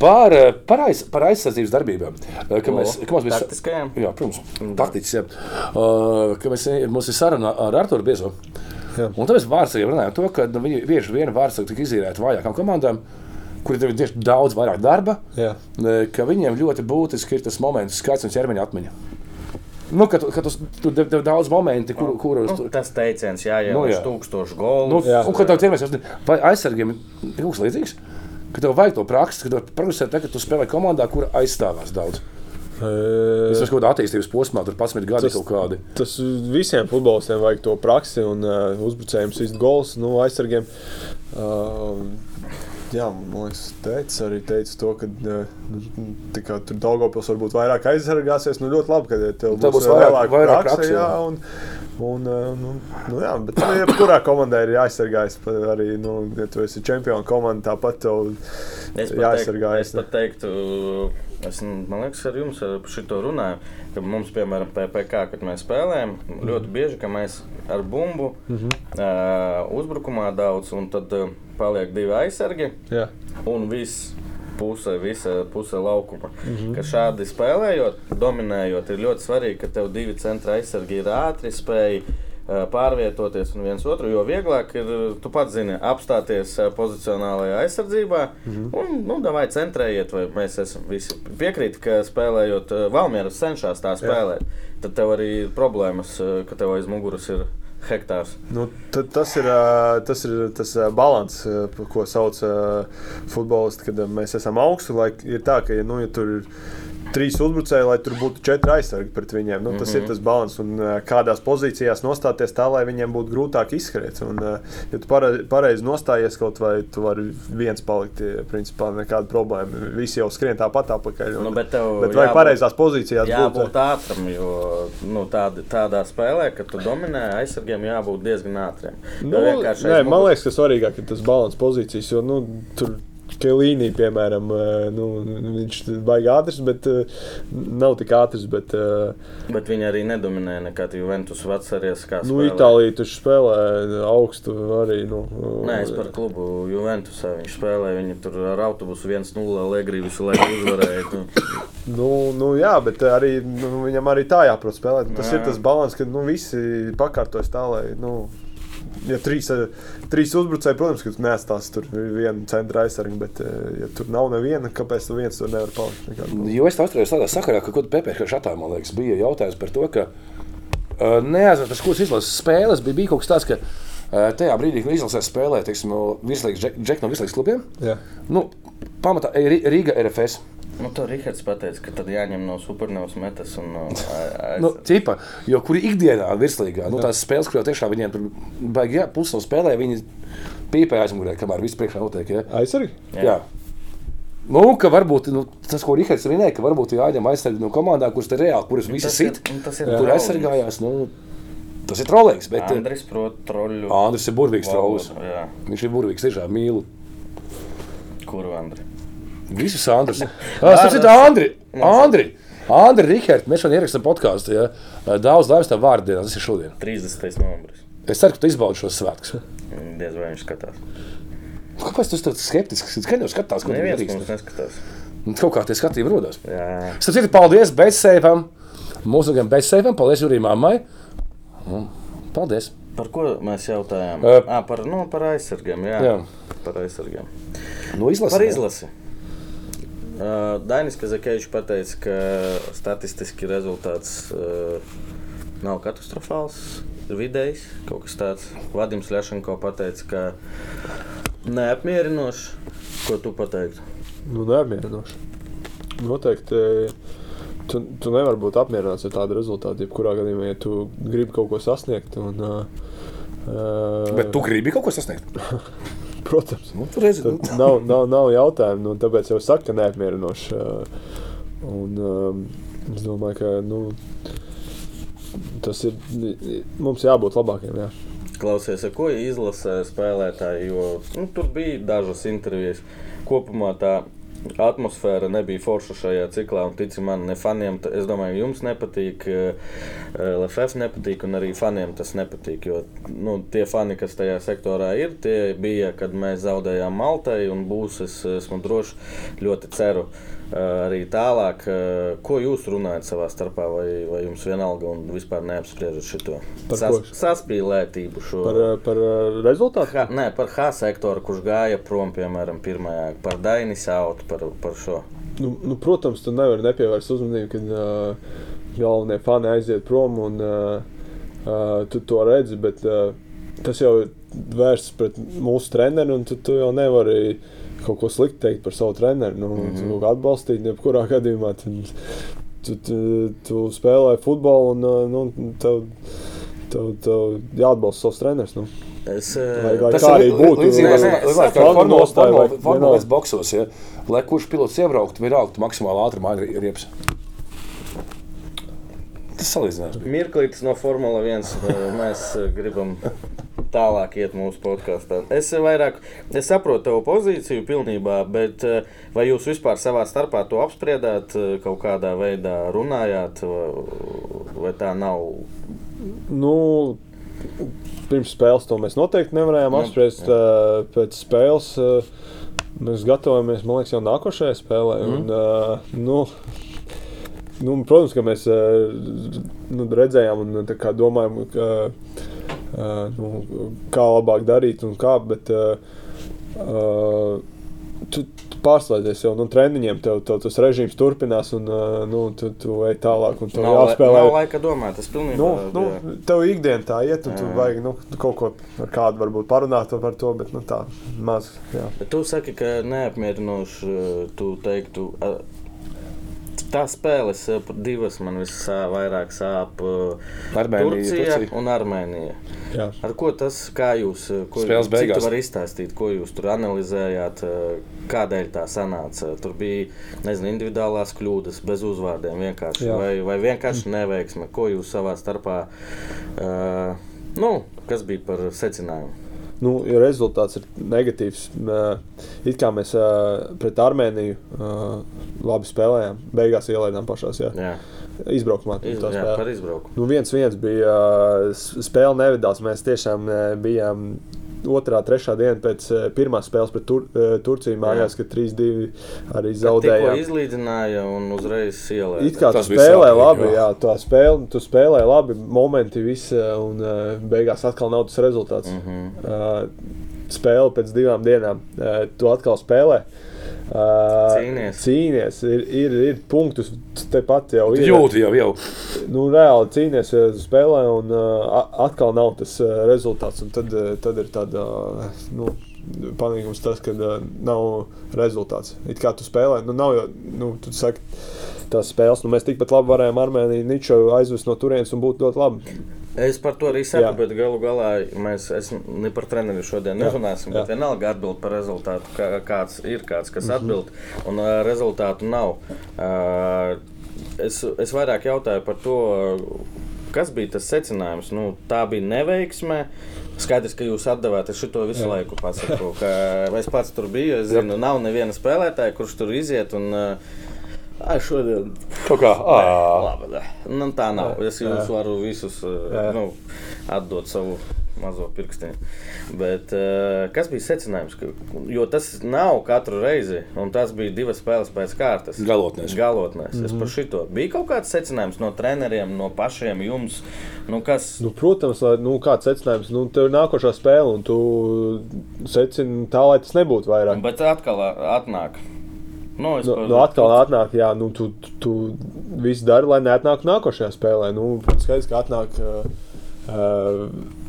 Speaker 1: Par, eh, par, aiz, par aizsardzības darbībām. Eh, Ka mēs, ka mums bija sa-
Speaker 2: Taktiskajām?
Speaker 1: Jā, protams,
Speaker 6: Mhm.
Speaker 1: taktiski. Uh, mums ir saruna ar Arthuru Biezu.
Speaker 6: Jā.
Speaker 1: Un tad mēs vārdsargiem runājām to, ka nu, viņi bieži vien vārdsargi tika izīrēti vājākām komandām, kuriem ir tieši daudz vairāk darba.
Speaker 6: Jā.
Speaker 1: eh, Ka viņiem ļoti būtiski ir tas moments, kāds ir ķermeņa atmiņa. Nu, ka tu, ka tu, tu tev, tev daudz momenti, kur,
Speaker 6: nu,
Speaker 1: kuros tu,
Speaker 2: Nu, Tas teiciens, jā, jau
Speaker 1: Nu,
Speaker 2: nu,
Speaker 1: jā.
Speaker 2: tūkstošu golu.
Speaker 1: Nu,
Speaker 6: Jā.
Speaker 1: un, kad tev ķermenis ir vai aizsargiem, ir kaut kas līdzīgs? Ka tev vajag to praksi, ka tev progresē, tā, ka tu spēlē komandā, kur aizstāvās daudz.
Speaker 6: E,
Speaker 1: Es esmu kaut kādā attīstības posmā, tur 11 gadi
Speaker 6: Tas-
Speaker 1: kaut kādi.
Speaker 6: Tas visiem futbolistiem vajag to praksi un uh, uzbrucējiem izspiest gols, nu, aizsargiem. Uh, jā, man liekas, teica arī teica to, ka uh, nu, tā kā tur Daugopils varbūt vairāk aizsargāsies. Nu, ļoti labi, ka tev
Speaker 1: Tā būs
Speaker 6: vēl
Speaker 1: vairāk- vairāk prakse,
Speaker 6: jā,
Speaker 1: jā.
Speaker 6: un, un, uh, nu, nu, jā, bet nu, jebkurā komandā ir jāaizsargājas. pa- Arī, nu, ja tu esi čempionu komanda, tāpat tev
Speaker 2: Es pat teiktu-
Speaker 6: jāaizsargājas.
Speaker 2: Es pat teiktu, es, man liekas, ar jums ar šito runāju, ka mums, piemēram, PPC, kad mēs spēlējam, ļoti bieži ka mēs ar bumbu mm
Speaker 1: Mhm.
Speaker 2: -hmm. uh, uzbrukumā daudz, un tad uh, paliek divi aizsargi.
Speaker 6: Jā.
Speaker 2: un viss. Puse, visa puse laukuma. Mm -hmm. Šādi spēlējot, dominējot, ir ļoti svarīgi, ka tev divi centra aizsargi ir ātri, spēj eh, pārvietoties un viens otru, jo vieglāk ir, eh, tu pats zini, apstāties eh, pozicionālajā aizsardzībā mm -hmm. un, nu, vai centrējiet, vai mēs esam visi piekrīt, ka spēlējot eh, Valmieras cenšas tā spēlēt, Jā. tad tev arī ir problēmas, eh, ka tev aiz muguras ir hektārs.
Speaker 6: Nu,
Speaker 3: Tad tas ir ā, tas, ir tas līdzsvars, ko sauc ā, futbolisti, kad ā, mēs esam augstu. Lai ir tā, ka, ja, nu, ja tur ir trīs uzbrucēji, lai tur būtu četri aizsargi pret viņiem, nu, tas mm -hmm.
Speaker 2: Mhm.
Speaker 3: ir tas līdzsvars. Un ā, kādās pozīcijās nostāties tā, lai viņiem būtu grūtāk izskriet. Un, ā, ja tu pare- pareizi nostājies kaut vai tu vari viens palikt, ā, principā nekāda problēma. Visi jau skrien tāpat apakaļ. un-
Speaker 2: Nu, bet tev
Speaker 3: bet vai
Speaker 2: jābūt-
Speaker 3: pareizās pozīcijās ā,
Speaker 2: Jābūt ātram, jo nu, tād, tādā spēlē, kad tu dominē, aizsargiem jābūt diezgan ātriem. Jo
Speaker 6: Nu,
Speaker 2: vienkārši
Speaker 6: nē,
Speaker 2: aiz
Speaker 6: man
Speaker 2: muguras-
Speaker 6: liekas, ka svarīgāk ir tas līdzsvars pozīcijas, jo nu, tur Kelīnija, piemēram, eh, nu, viņš baigi ātrs, bet eh, nav tik ātrs. Bet, eh,
Speaker 2: Bet viņi arī nedominēja nekad Juventus vasaries, kā
Speaker 6: nu,
Speaker 2: spēlē.
Speaker 6: Itālijā tur spēlē augstu arī. Nu,
Speaker 2: Nē, es par klubu Juventusā viņš spēlēja. Viņi tur ar autobusu 1-0 Ligri visu laiku uzvarēja. Tu.
Speaker 3: Nu, nu, jā, bet arī, nu, viņam arī tā jāprot spēlēt. Tas
Speaker 2: Jā, jā.
Speaker 3: jā. ir tas līdzsvars, kad nu, visi pakārtojas tā, lai. Nu, Ja trīs, eh, trīs uzbrucēji, protams, ka tu neatstāsi tur vienu centra aizsargu, bet, eh, ja tur nav neviena, kāpēc tu viens tur nevar palikt? Nekādu.
Speaker 1: Jo es atceros, tādā sakarā, ka kaut kādā pēkšņā šatā, man liekas, bija jautājums par to, ka uh, neaizmirst, kuras izlases spēles bija, bija kaut kas tāds, ka uh, tajā brīdī, kad izlasē spēlēja, teiksim, no virslīgas, džek, džek no virslīgas klubiem,
Speaker 6: Jā.
Speaker 1: nu, pamatā ir Rī- Rīga RFS.
Speaker 2: Nu, to Rihards pateica, ka tad jāņem no supernovas metas un uh, no
Speaker 1: Nu,
Speaker 2: aizsardzības.
Speaker 1: cipa, jo kuri ikdienā virslīgā, nu, tās spēles, kurās tiešām viņiem tur baigi, jā, pusi no spēlē, viņi pīpē aizmugurē, kamēr viss priekšā notiek. Ja?
Speaker 6: Aizsargi?
Speaker 1: Jā. Jā. Nu, ka varbūt nu, tas, ko Rīgards minēja, ka varbūt ir jāņem aizsargi no komandām, kuras te reāli, kuras visi
Speaker 2: Tas ir-
Speaker 1: sit,
Speaker 2: un tas ir
Speaker 1: kur
Speaker 2: trolings.
Speaker 1: aizsargājās. Nu, tas ir trolēks, bet Andri.
Speaker 2: Andris prot troļļu.
Speaker 1: Andris ir burvīgs trolls.
Speaker 2: valodu, Jā,
Speaker 1: Viņš ir burvīgs, tiešām mīlu.
Speaker 2: kuru Andri?
Speaker 1: Visus
Speaker 2: [laughs]
Speaker 1: Andrus. Ah, Tas ir Andri! Andri! Andri, Rīgārd, mēs šodien ierakstām podkāstu. Ja? Daudz laimes tev vārdienā, tas ir šodien.
Speaker 2: 30. novembris.
Speaker 1: Es ceru, ka tu izbaudi šos svētkus.
Speaker 2: Mm, Diez vai viņš skatās.
Speaker 1: Kāpēc tu esi tāds skeptisks? Es skatos, skatās, ko tu
Speaker 2: Neviens
Speaker 1: darīsi.
Speaker 2: mums neskatās.
Speaker 1: Kaut kā tie skatījumi rodas.
Speaker 2: Jā,
Speaker 1: Starp citu, paldies Bēzsēpam, mūsu gan Bēzsēpam, paldies arī mammai. Un Paldies!
Speaker 2: par ko mēs jautājām?
Speaker 1: Eh.
Speaker 2: Uh, à, par, nu, par aizsargiem. Jā,
Speaker 1: Jā.
Speaker 2: jā. par aizsargiem.
Speaker 1: No izlases.
Speaker 2: Par izlasi. Uh, Dainis Kazakēvičs teica, ka statistiski rezultāts uh, nav katastrofāls, ir vidējs, kaut kas tāds. Vadims Lešenko teica, ka neapmierinošs. Ko tu pateiktu?
Speaker 6: Nu, neapmierinoši. Noteikti. eh, Tu, tu nevari būt apmierināts ar tādu rezultātu, jebkurā gadījumā, ja tu gribi kaut ko sasniegt. Un, uh, uh,
Speaker 1: Bet tu gribi kaut ko sasniegt?
Speaker 6: protams,
Speaker 1: Nu, tur redzi, nu.
Speaker 6: Tad nav, nav, nav jautājumu, nu, tāpēc jau saka, ka neapmierinoši. Un, um, es domāju, ka nu, tas ir. Mums jābūt labākiem. Jā.
Speaker 2: Klausies, ar ko izlasē spēlētāji, jo nu, tur bija dažas intervijas. Kopumā tā atmosfēra nebija forša šajā ciklā, un tici man, ne faniem, ta- es domāju, jums nepatīk, eh, eh, LFF nepatīk, un arī faniem tas nepatīk. Jo nu, tie fani, kas tajā sektorā ir, tie bija, kad mēs zaudējām Maltai, un būs, es esmu droši, ļoti ceru. eh, Arī tālāk, eh, ko jūs runājat savā starpā, vai, vai jums vienalga un vispār neapspriežat šo
Speaker 6: Par ko?
Speaker 2: saspīlētību šo.
Speaker 6: Par, eh, par eh, rezultātu.
Speaker 2: H, nē, par H sektoru, kurš gāja prom, piemēram, pirmajā, par Dainis autu, par, par šo.
Speaker 6: Nu, nu, protams, tu nevari nepievērst uzmanību, kad uh, galvenie fani aiziet prom un uh, uh, tu to redzi. Bet, uh, tas jau ir vērsts pret mūsu treneriem, un tu, tu jau nevari kaut ko sliktu teikt par savu treneru. Nu, mm -hmm. Atbalstīt, jebkurā gadījumā. Tad, tu, tu, tu spēlē futbolu, un uh, nu, tev, tev, tev jāatbalsta savs treneris. Nu.
Speaker 2: Es,
Speaker 6: Vai- vai-
Speaker 2: tas,
Speaker 6: Tas kā arī būtu,
Speaker 1: līdzīgs
Speaker 2: nē, nē, es
Speaker 1: formulējums,
Speaker 6: saprotu.
Speaker 1: kā
Speaker 6: Nostāja vai-
Speaker 1: formulējums
Speaker 6: vienalga.
Speaker 1: formulējums boksos. Ja? Lai kurš pilots iebrauktu, vienalga tu maksimāli ātrumā ir riepas. Tas salīdzinājums bija.
Speaker 2: Mirklītis no Formula 1. eh, Mēs eh, gribam tālāk iet mūsu podkāstā. Es eh, vairāk es saprotu tavu pozīciju pilnībā, bet eh, vai jūs vispār savā starpā to apspriedāt, eh, kaut kādā veidā runājāt, eh, vai- vai tā nav?
Speaker 6: Nu, pirms spēles to mēs noteikti nevarējām
Speaker 2: Nu,
Speaker 6: apspriest. ā, Pēc spēles ā, mēs gatavojamies, man liekas, jau nākošajai spēlē.
Speaker 2: Mhm.
Speaker 6: Un, ā, nu, Nu, protams, ka mēs ā, nu, redzējām un tā kā domājām, ka eh, nu, kā labāk darīt un kā. Bet, eh, eh, Tu, tu pārslēdzies jau no nu, treniņiem, tev, tev tas režīms turpinās, un eh, nu, tu, tu ej tālāk, un tev
Speaker 2: Nav, lai,
Speaker 6: jāspēlē.
Speaker 2: nav laika domāt, tas pilnībā
Speaker 6: Nu,
Speaker 2: jā.
Speaker 6: nu, tev ikdienā tā iet, un tu
Speaker 2: Jā.
Speaker 6: vajag nu, kaut ko ar kādu varbūt parunāt par to, bet nu, tā maz. Jā.
Speaker 2: Bet Tu saki, ka neapmierinoši eh, tu teiktu. eh, Tā spēles eh, par divas man visvairāk sāp. eh,
Speaker 1: Armēnija,
Speaker 2: Turcija
Speaker 1: Turcija.
Speaker 2: un Armēnija.
Speaker 6: Jā.
Speaker 2: Ar ko tas, kā jūs eh, ko,
Speaker 1: Spēles
Speaker 2: cik
Speaker 1: beigās.
Speaker 2: tu vari izstāstīt, ko jūs tur analizējāt, eh, kādēļ tā sanāca? Tur bija, nezinu, individuālās kļūdas, bez uzvārdiem vienkārši,
Speaker 6: Jā.
Speaker 2: vai, vai vienkārši neveiksme, ko jūs savā starpā, eh, nu, kas bija par secinājumu?
Speaker 6: nu, ja rezultāts ir negatīvs. mē, It kā mēs ā, pret Armēniju ā, labi spēlējām, beigās ielaidām pašās jā.
Speaker 2: Jā,
Speaker 6: izbraukumā.
Speaker 2: iz,
Speaker 6: tā
Speaker 2: jā
Speaker 6: spēle.
Speaker 2: par izbraukumu.
Speaker 6: Nu, viens viens bija s- spēle nevedās. Mēs tiešām ā, bijām. Otrā, trešā diena pēc ā, pirmās spēles pret Tur ā, Turciju mājās, kad 3-2 arī
Speaker 2: Tikko
Speaker 6: zaudējām.
Speaker 2: izlīdzināja un uzreiz ielēca.
Speaker 6: It kā tu
Speaker 1: Tas bija
Speaker 6: spēlē
Speaker 1: sāpīgi,
Speaker 6: labi,
Speaker 1: jā.
Speaker 6: jā, tā spēle, tu spēlē labi, momenti visi, un ā, beigās atkal nav tas rezultāts.
Speaker 2: Mm -hmm.
Speaker 6: Uh, spēle pēc divām dienām. Uh, tu atkal spēlē. Uh,
Speaker 2: Cīnies.
Speaker 6: cīnies ir, ir, ir punktus, tu tepat jau ir.
Speaker 1: Jūti jau, jau.
Speaker 6: Nu, reāli cīnies uh, spēlē, un uh, a- atkal nav tas uh, rezultāts. Un Tad, uh, tad ir tāda uh, nu, panīkums, tas, ka uh, nav rezultāts. It kā tu spēlē, nu, nav jau nu, tu saki, tās spēles. Nu, mēs tikpat labi varējām Armēniju Niču aizvest no turienes un būtu ļoti labi.
Speaker 2: Es par to arī saku,
Speaker 6: Jā.
Speaker 2: jā. bet galu galā mēs es ne par treneriem šodien nerunāsim.
Speaker 6: jā. Mhm.
Speaker 2: Bet vienalga atbild par rezultātu. Kā, kāds ir kāds, kas atbild, un uh, rezultātu nav. Uh, es, es vairāk jautāju par to, ā, kas bija tas secinājums. Nu, tā bija neveiksme. Skaidrs, ka jūs atdevāties šo visu jā. laiku. Pasaku, ka es pats tur biju. Es zinu, nav neviena spēlētāja, kurš tur iziet. Un, uh, Ai, šodien
Speaker 1: Kaut kā. ā.
Speaker 2: Labi, nē. nu, tā nav. Es jums varu visus eh, nu, atdot savu mazo pirkstiņu. Bet eh, kas bija secinājums? Ka- Jo tas nav katru reizi, un tas bija divas spēles pēc kārtas.
Speaker 1: Galotnēs.
Speaker 2: Galotnēs. Es
Speaker 6: Mhm.
Speaker 2: par šito. Bija kaut kāds secinājums no treneriem, no pašiem jums. Nu, kas?
Speaker 6: Nu, protams, lai, nu, kāds secinājums, nu, tev ir nākošā spēle, un tu secini tā, lai tas nebūtu vairāk.
Speaker 2: Bet atkal atnāk. Nu, es
Speaker 6: Nu,
Speaker 2: par-
Speaker 6: nu, atkal atnāk, jā, nu, tu, tu, tu visu dari, lai neatnāktu nākošajā spēlē. Nu, skaidrs, ka atnāk uh, uh,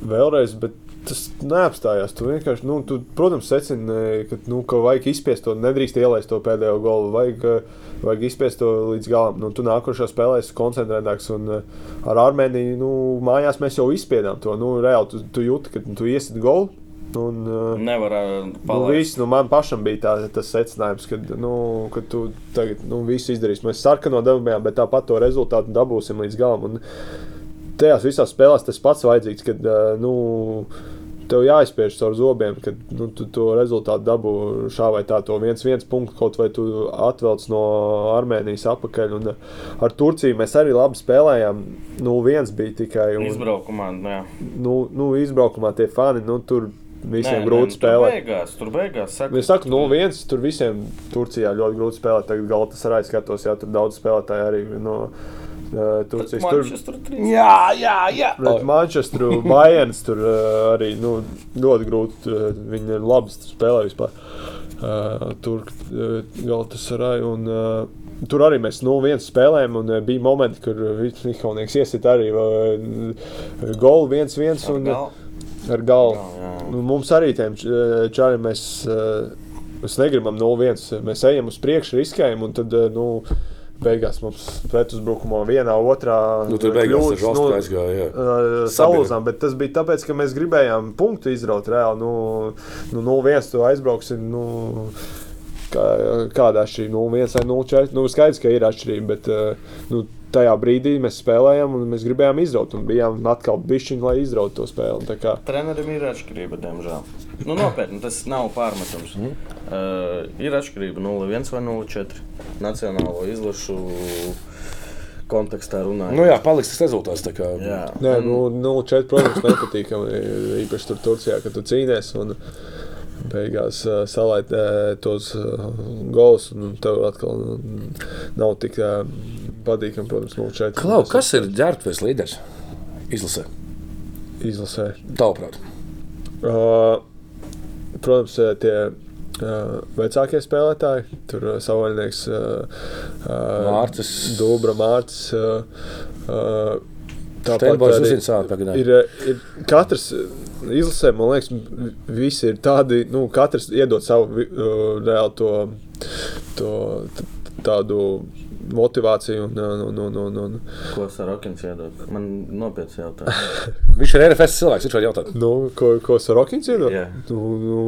Speaker 6: vēlreiz, bet tas neapstājās. Tu vienkārši, nu, tu, protams, secini, ka, nu, ka vajag izspiest to, nedrīkst ielaist to pēdējo golu, vajag, uh, vajag izspiest to līdz galam. Nu, tu nākošajā spēlē esi koncentrētāks, un uh, ar Armēniju, nu, mājās mēs jau izspiedām to. Nu, reāli, tu, tu jūti, ka tu iesit golu. Un, uh,
Speaker 2: Nevar eh,
Speaker 6: Nu,
Speaker 2: palaist.
Speaker 6: viss, nu, man pašam bija tā, tas secinājums, ka, nu, ka tu tagad nu, visu izdarīsi. Mēs sarkano dabūjām, bet tāpat to rezultātu dabūsim līdz galam. Un tajās visās spēlēs tas pats vajadzīgs, kad ā, nu, tev jāizspiež caur zobiem, kad nu, tu to rezultātu dabū šā vai tā. To viens, viens punkts kaut vai tu atvelc no Armēnijas apakaļ. Un, ā, ar Turciju mēs arī labi spēlējām. Nu, viens bija tikai. Un,
Speaker 2: Izbraukumā. Jā.
Speaker 6: nu, nu, izbraukumā tie fani, nu, tur
Speaker 2: Nē,
Speaker 6: visiem nē, grūti
Speaker 2: nē, nu,
Speaker 6: spēlēt.
Speaker 2: Tur beigās, tur beigās saka,
Speaker 6: Es saku, 0-1. Tur visiem Turcijā ļoti grūti spēlēt. Tagad galā tas arī skatos, jā, tur daudz spēlētāju arī no uh, Turcijas. Tur,
Speaker 2: Manchester trīs.
Speaker 1: Jā, jā, jā.
Speaker 6: pret Manchesteru, Bayerns tur uh, arī nu, ļoti grūti. Uh, viņi ir labi spēlējuši vispār. Uh, tur uh, galā tas arī. Un, uh, Tur arī mēs 0-1 spēlējām, un uh, bija momenti, kur Lihaunieks iesita arī uh, golu 1-1.
Speaker 2: Ar
Speaker 6: un,
Speaker 2: galu.
Speaker 6: Ar galvu.
Speaker 2: Jā, jā.
Speaker 6: Nu, mums arī tiem č- čāriem mēs, eh, mēs negribam 0-1. Mēs ejam uz priekšu, riskējam, un tad eh, nu, beigās mums pretuzbrukumā vienā, otrā
Speaker 1: Nu, tur beigās tas žals aizgāja. jā.
Speaker 6: eh, Salūzām, bet tas bija tāpēc, ka mēs gribējām punktu izraut reāli. Nu, nu 0-1 tu aizbrauksi. Nu, kā, kāda ir 0-1 vai 0-4. Nu, skaidrs, ka ir atšķirība, bet eh, nu, tajā brīdī mēs spēlējām un mēs gribējām izraut. Un bijām atkal bišķiņi, lai izrautu to spēli. Tā kā
Speaker 2: Trenerim ir atšķirība, diemžēl. Nu, nopietni, tas nav pārmetums. Mm. Uh, ir atšķirība 0,1 vai 0,4. Nacionālo izlašu kontekstā runājot.
Speaker 1: Nu jā, paliks tas rezultāts. tā kā.
Speaker 2: jā.
Speaker 6: Nē, nu, nu šeit, protams, nepatīkami. ir Īpaši tur Turcijā, kad tu cīnies un beigās uh, salaid uh, tos uh, gols. un Tev atkal mm, nav tik uh, patīkami, protams, nu šeit.
Speaker 1: Klau, kas ir ģērbtuves līderis? Izlasē.
Speaker 6: izlasē.
Speaker 1: Tavuprāt,
Speaker 6: Uh, protams, eh, tie uh, vecākie spēlētāji, tur uh, savainieks uh, uh,
Speaker 1: Mārcis.
Speaker 6: Dubra Mārcis. Uh, uh,
Speaker 1: Steinborgs uzzina savu pagaidām.
Speaker 6: ir, eh, ir katrs eh, izlasē, man liekas, v- visi ir tādi, nu, katrs iedod savu vi- uh, reāli to, to t- tādu motivāciju un, un, un, un, un, un
Speaker 2: Ko Sarokins iedod? Man nopietns jautājums.
Speaker 1: viņš ir RFS cilvēks. Viņš var jautāt,
Speaker 6: Nu, ko, ko Sorokins ir?
Speaker 2: Jā.
Speaker 6: Nu, nu,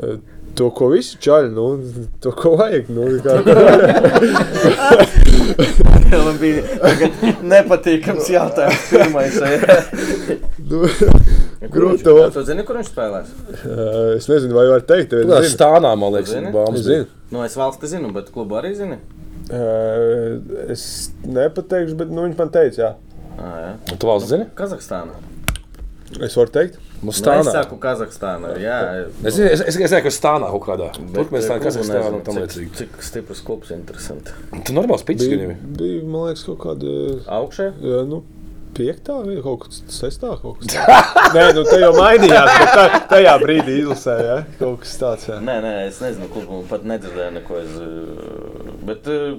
Speaker 6: eh, to, ko visi čaļi, nu, to, ko vajag. Nu, [laughs] kā,
Speaker 2: Man bija tagad nepatīkams jautājums. Pirmais,
Speaker 6: nu, Grūti
Speaker 2: to.
Speaker 6: to-
Speaker 2: Tu zini, kur viņš spēlēs?
Speaker 6: eh, es nezinu, vai var teikt, bet
Speaker 1: kādā stāvā man liekas,
Speaker 2: Zini?
Speaker 1: Bāms
Speaker 6: Zini.
Speaker 1: zina.
Speaker 2: Nu, es valsti zinu, bet klubu arī zini.
Speaker 6: Eh, Es nepateikšu, bet nu, viņš man teica, jā.
Speaker 2: Ā, jā.
Speaker 1: Tu valsts zini?
Speaker 2: Kazahstānā.
Speaker 6: Es varu teikt,
Speaker 1: Mums
Speaker 2: Nu, es
Speaker 1: stāvā.
Speaker 2: saku Kazahstānā. Jā,
Speaker 1: Es zinu, es, es, es zinu, ka stāvā kaut kādā.
Speaker 2: bet, eh,
Speaker 1: Turpmēnēs
Speaker 2: klubu
Speaker 1: kas ir stāvā
Speaker 2: nezinu,
Speaker 1: un tam
Speaker 2: cik-
Speaker 1: līdzīgi.
Speaker 2: Cik stiprs klubs interesanti.
Speaker 1: Tu normāls pits,
Speaker 6: bija,
Speaker 1: viņam.
Speaker 6: bija man liekas, kaut kāda.
Speaker 2: Augšē?
Speaker 6: eh, Nu, Piektā vai kaut kas sestā? Kaut kas. tāds. Nē, nu te jau mainījās. bet tā- Tajā brīdī izlasīja ja? kaut kas tāds. Jā.
Speaker 2: Nē, nē, es nezinu, klubu pat nedzirdēju neko. Es, eh, bet eh,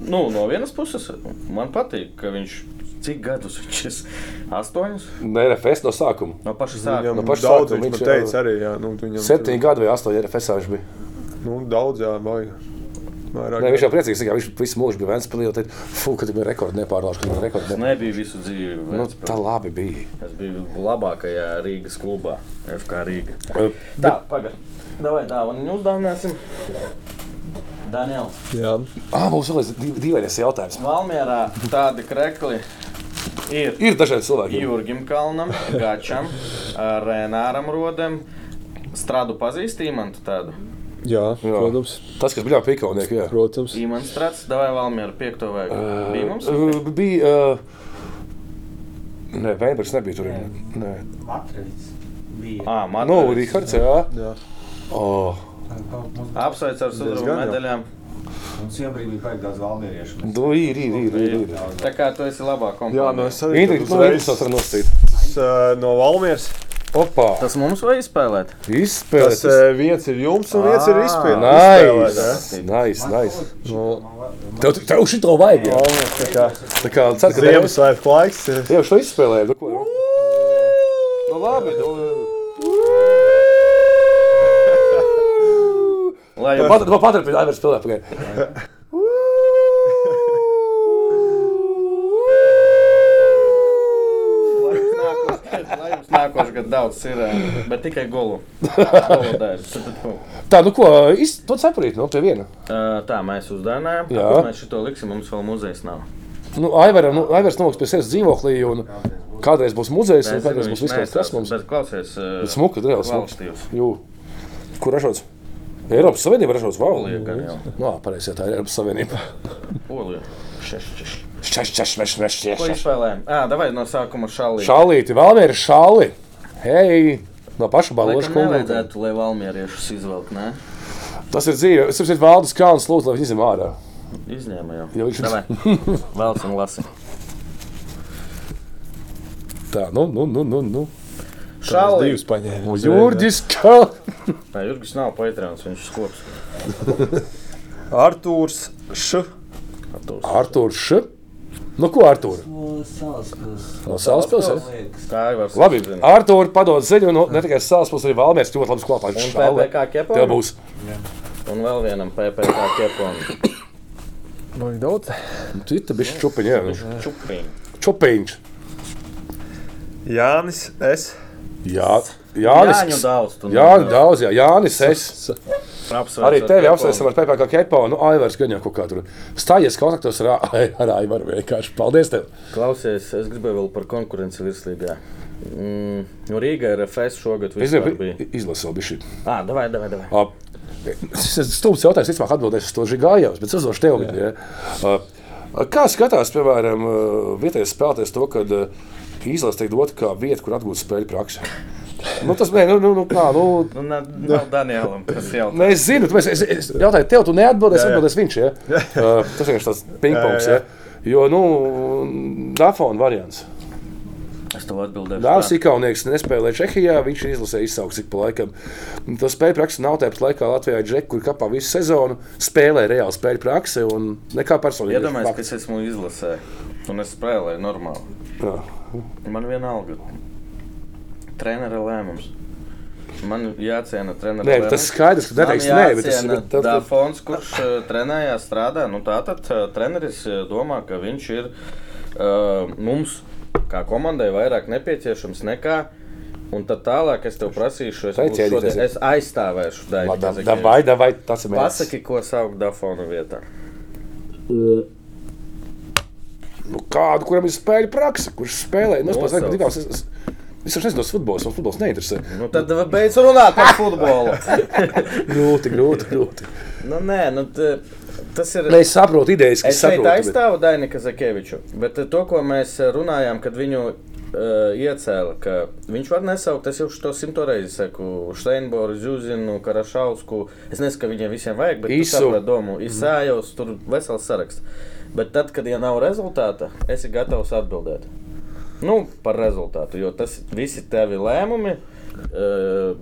Speaker 2: nu, no vienas puses man patīk, ka viņš cik gadus viņš ir? Astoņus?
Speaker 1: Ne RFS no sākuma.
Speaker 2: No paša
Speaker 3: Viņam
Speaker 6: Nu,
Speaker 2: sākuma.
Speaker 1: paša
Speaker 3: daudz
Speaker 1: sākuma
Speaker 3: viņš man
Speaker 1: viņš jau-
Speaker 3: teica arī, jā, nu, viņam
Speaker 1: Septiņi gadi vai astoņi RFS viņš bija.
Speaker 3: tur- Nu, daudz, jā, vai. Vairāk.
Speaker 1: Ne, viņš jau priecīgs, ka viņš visu mūžu bija Vēnspilī. Tad, fū, kad bija rekords nepārlauž, kad bija rekords.
Speaker 2: Es
Speaker 1: Ne...
Speaker 2: nebiju Nu, visu dzīvi.
Speaker 1: Nu,
Speaker 2: Ventspils.
Speaker 1: tā labi bija.
Speaker 2: Es biju labākajā Rīgas klubā, FK Rīga.
Speaker 1: Eh,
Speaker 2: Tā, pagaidi. Davai, tā, un jūs dāvināsim. Daniel,
Speaker 6: Jā.
Speaker 1: Ah, mums vēl ir dīvainies jautājums.
Speaker 2: Valmjerā tādi krekli ir
Speaker 1: Ir dažādi cilvēki.
Speaker 2: Jurgim Kalnam, Gačam, Renāram Rodem. Strādu pazīst īmantu tādu.
Speaker 6: Jā,
Speaker 1: Jā.
Speaker 6: protams.
Speaker 1: Tas, kas bija pīkaunieki, jā.
Speaker 6: protams.
Speaker 2: Īmants strāds, davai Valmjeru piekto vajag. Bija mums?
Speaker 1: Uh, bija. Uh, Nē, Vēnbers nebija tur. Nē,
Speaker 4: Matrīs bija.
Speaker 2: Ā,
Speaker 1: nu,
Speaker 2: Matvejs.
Speaker 1: Rīgards, jā.
Speaker 6: Jā.
Speaker 1: Oh,
Speaker 2: Apsveic ar sudraba
Speaker 3: Diezgan jau.
Speaker 2: medaļām.
Speaker 4: Mums iepriekš bija baigi daudz valmieriešu.
Speaker 1: nu, ir, ir, ir. ir, ir.
Speaker 2: Tā kā tu esi labāk
Speaker 3: Jā,
Speaker 2: kompānijā.
Speaker 3: no es arī
Speaker 1: Intrigi,
Speaker 3: tad
Speaker 1: nu,
Speaker 3: uzreiz-
Speaker 1: viens tas var nosīt.
Speaker 3: Tas,
Speaker 6: uh,
Speaker 3: eh, no Valmieras.
Speaker 1: Opa,
Speaker 2: Tas mums vajag spēlēt.
Speaker 1: izspēlēts.
Speaker 3: Tas
Speaker 6: uh,
Speaker 3: eh, viens ir jums, un viens ir
Speaker 2: Ā,
Speaker 3: izpildījis.
Speaker 1: Nice, nice, nice.
Speaker 4: Nice.
Speaker 1: Tev, tev šito vajag, jā. Tā kā ceru, ka tev
Speaker 3: Ziemassvētku laiks. eh,
Speaker 1: jau šo izspēlēju. Nu, ko? nu labi. Nu,
Speaker 2: Lai
Speaker 1: [laughs] pat, pat, pat, pat, Aivers spēlē pagaidi.
Speaker 2: Lai jums nākošais- lai jums Nākošais gads daudz ir, eh, bet tikai
Speaker 3: [laughs]
Speaker 2: golu. Golu dēļ. Tad, tad, ko?
Speaker 1: Tā, nu ko, iz, to saprīt, nu, pie viena.
Speaker 2: Eh, Tā mēs uzdāvinājām.
Speaker 1: Jā.
Speaker 2: Kur Mēs šo liksim, mums vēl muzejs nav.
Speaker 1: Nu, Aivaram, nu, Aivars nonāks pie sevis dzīvoklī, un kādreiz būs muzejs, un
Speaker 2: Es
Speaker 1: kādreiz
Speaker 2: zinu,
Speaker 1: būs
Speaker 2: viņš
Speaker 1: viss, kas
Speaker 2: neaizstāsta,
Speaker 1: mums ir.
Speaker 2: Bet klausies, eh,
Speaker 1: Smuka, reāli smuka.
Speaker 2: valstīvs.
Speaker 1: Jū. Kur ražots? Eiropas Savienība ražots vau.
Speaker 2: Polija gan jau.
Speaker 1: Nā, pareizi, jā, tā ir Eiropas Savienība.
Speaker 2: Polija. Šeš, šeš.
Speaker 1: Šeš, šeš, šeš, šeš,
Speaker 2: Ko
Speaker 1: šeš.
Speaker 2: izspēlējam? Ā, davai no sākuma šalī.
Speaker 1: Šālīti, vēlamies šāli. Hei, no paša balūža
Speaker 2: Laikam
Speaker 1: kunga.
Speaker 2: nevajadzētu, lai valmieriešus izvelk, ne?
Speaker 1: Tas ir dzīve. Es saprotu, Valdis Kalns lūdzu, lai viņi zem ārā.
Speaker 2: Izņēma jau.
Speaker 1: Jo viņš- [laughs]
Speaker 2: Davai. Velc un lasi.
Speaker 1: Tā, nu, nu, nu, nu, nu.
Speaker 2: Šalī.
Speaker 6: Divas paņēma.
Speaker 1: Jurdis Kalns.
Speaker 2: Nē, Jurgis nav Patreons, viņš skops.
Speaker 3: Artūrs Š.
Speaker 2: Artūrs.
Speaker 1: Artūrs Š. Nu, ko Artūr? No Salaspils.
Speaker 2: Tā jau var.
Speaker 1: Labi, Artūr, padod ziņu, nu, ne tikai Salaspils, arī Valmērs ļoti labs kopā.
Speaker 2: Un
Speaker 1: Šāli.
Speaker 2: PPK kepa.
Speaker 1: Tev būs.
Speaker 2: Un vēl vienam PPC ķeponam.
Speaker 6: Man Nu, ir daudz.
Speaker 1: Cita bišķi čupiņa, jā.
Speaker 2: Čupiņ.
Speaker 1: Čupiņš.
Speaker 3: Jānis S.
Speaker 1: Jā,
Speaker 2: Jāņu
Speaker 1: Jānis.
Speaker 2: daudz. tu
Speaker 1: Jā,
Speaker 2: nomināli.
Speaker 1: daudz, jā, Jānis. Es
Speaker 2: Apsveicu
Speaker 1: arī
Speaker 2: ar
Speaker 1: tevi
Speaker 2: Keponu.
Speaker 1: apsveicu ar PPC Kepo. Nu, Aivars, gan jau kaut kā tur stājies kontaktos ar, Ā- ar Aivaru. Vienkārši paldies tev.
Speaker 2: Klausies, es gribēju vēl par konkurenci virslīgā. Mm, nu Rīga ir FS šogad
Speaker 1: Es
Speaker 2: vispār
Speaker 1: gribu
Speaker 2: bija.
Speaker 1: izlasīt vēl bišķi.
Speaker 2: Ā, davai, davai, davai.
Speaker 1: Ā, Tas ir stulbs jautājums, es domāju, atbildēšu uz to žigājos, bet uzdošu tev. Ja. Ā, Kā skatās, piemēram, ā, vietējais spēlētājs to, kad izlase tiek dota kā vieta, kur atgūt spēļu praksi? Nu, tas, nē, nu, nu, nu, kā, nu,
Speaker 2: Nu, nav, nav Danielam, kas jau
Speaker 1: Nu, es zinu, tāpēc es, es jautāju tev, tu neatbildēsi,
Speaker 3: Jā, jā.
Speaker 1: atbildēs viņš. Ja? Uh, tas vienkārši tāds pingpongs.
Speaker 3: Jā, jā, jā.
Speaker 1: Ja? Jo, nu, dafona variants.
Speaker 2: Es tev atbildēšu.
Speaker 1: Dārzs
Speaker 2: tā.
Speaker 1: Ikaunieks nespēlēja Čehijā, viņš ir izlasījis izsauks ik pa laikam. Un Tas spēļu praksa nav tāpat laikā Latvijā, Džek, kur kapā visu sezonu spēlē reāli spēļu praksi un nekā personīgi.
Speaker 2: Iedomājieties, ka es esmu izlasē, un es spēlēju normāli.
Speaker 1: Jā.
Speaker 2: Man vienalga. Treneris lēmums. Man jāciena treneris.
Speaker 1: Nē, bet tas skaidrs, ka nedrīkst, nē, bet tas- bet tad-
Speaker 2: tā fons, kurš uh, trenējās, strādā. Nu, tātad uh, treneris uh, domā, ka viņš ir uh, mums, kā komandai, vairāk nepieciešams nekā. Un tad tālāk es tev prasīšu, es, būšu
Speaker 1: Sveicieni,
Speaker 2: šodien,
Speaker 1: tas
Speaker 2: es aizstāvēšu daļu.
Speaker 1: Da- Dabai, dabai, tas ir mērķis.
Speaker 2: Pasaki, ko sauc Dafona vietā.
Speaker 1: Nu, kādu, kuram ir spēļu praksa, kurš spēlē? Nu, es pats
Speaker 2: Nosauc.
Speaker 1: laikam divās. es- es- Es jau nezinu, tas futbols, man futbols neinteresē.
Speaker 2: [laughs] Nu, tad beidz runāt par futbolu.
Speaker 1: Grūti, grūti, grūti.
Speaker 2: [laughs] nu, nē, nu, t- tas ir.
Speaker 1: Nē, Es saprotu idejas, ka
Speaker 2: Es šeit
Speaker 1: saprotu. bet-
Speaker 2: aizstāvu Dainu Kazakeviču, bet eh, to, ko mēs eh, runājām, kad viņu uh, iecēla, ka viņš var nesaukt, es jau to simto reizi saku, Steinboru, Zjuzinu, Karašausku. Es nesaku, ka viņiem visiem vajag, bet
Speaker 1: Isu.
Speaker 2: es saprotu domu. Isājos, tur vesels saraksts. Bet tad, kad ja nav rezultāta, es esmu gatavs atbildēt. Nu, par rezultātu, jo tas visi tevi lēmumi eh,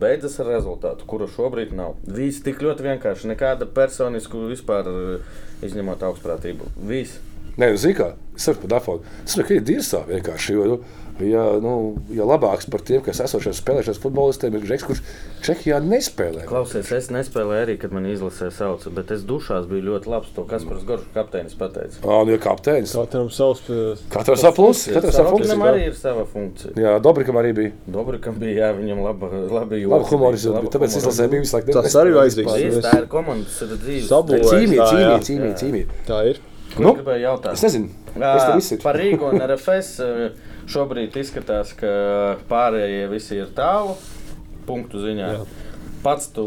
Speaker 2: beidzas ar rezultātu, kuru šobrīd nav. Viss tik ļoti vienkārši, nekāda personisku vispār eh, izņemot augstprātību. Viss.
Speaker 1: Nē, nu, zini, kā es saprotu par dafonu. Es saprotu, ka ir dirzā vienkārši. Jo, nu, ja, nu, ja labāks par tiem, kas esošais spēlēšais futbolistiem, ir Žeks, kurš Čehijā nespēlē.
Speaker 2: Klausies, es nespēlēju arī, kad man izlasīja sauca, bet es dušās biju ļoti labs. To Kaspars Gorčs kapteinis pateica.
Speaker 1: Ā, nu, ja kapteinis.
Speaker 6: Katram savs. eh,
Speaker 1: Katram savu plusu, katram savu
Speaker 2: Viņam arī
Speaker 1: funkciju.
Speaker 2: ir sava funkcija.
Speaker 1: Jā, Dobrikam arī bija
Speaker 2: Dobrikam bija, jā, viņam laba, labi joki
Speaker 1: labi humoris,
Speaker 2: bija, laba
Speaker 1: bet tāpēc
Speaker 2: humora.
Speaker 1: izlasē bija visu laiku.
Speaker 6: Tas arī
Speaker 2: Paldies,
Speaker 6: vajadzīgs.
Speaker 2: Tā ir komandas ir dzīves.
Speaker 6: Sabū-
Speaker 1: Cīmī,
Speaker 6: Tā, jā.
Speaker 1: cīmī, cīmī, cīmī.
Speaker 6: Tā ir.
Speaker 2: Ko
Speaker 1: Nu,
Speaker 2: es gribēju jautāt?
Speaker 1: Es nezinu,
Speaker 2: Ā,
Speaker 1: kas tas ir.
Speaker 2: Ah, Par Rīgu un RFS eh, šobrīd izskatās, ka pārējie visi ir tālu punktu ziņā. Pats tu,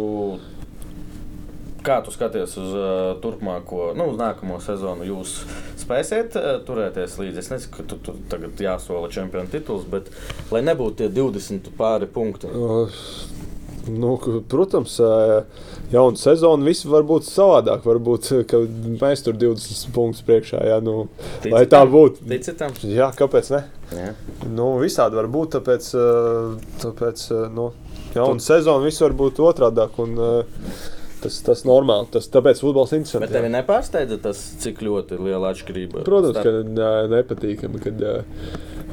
Speaker 2: kā tu skaties uz eh, turpmāko, nu, uz nākamo sezonu, jūs spēsiet eh, turēties līdzi. Es nezinu, ka tu, tu tagad jāsola čempionu tituls, bet lai nebūtu tie 20 pāri punkti.
Speaker 6: Uh, Nu, k- protams, eh, jaunu sezonu viss var būt savādāk. Varbūt eh, ka mēs tur 20 punktus priekšā. Jā, nu, lai tā būtu.
Speaker 2: Ticitam?
Speaker 6: Jā, kāpēc ne?
Speaker 2: Jā.
Speaker 6: Nu, visādi var būt. Tāpēc, eh, tāpēc eh, nu, jaunu sezonu viss var būt otrādāk. Un, eh, tas tas normāli. Tas, tāpēc futbols ir
Speaker 2: Bet
Speaker 6: interesants.
Speaker 2: tevi nepārsteidza tas, cik ļoti liela atšķirība.
Speaker 6: Protams,
Speaker 2: starp-
Speaker 6: ka nē, nepatīkami, kad ā,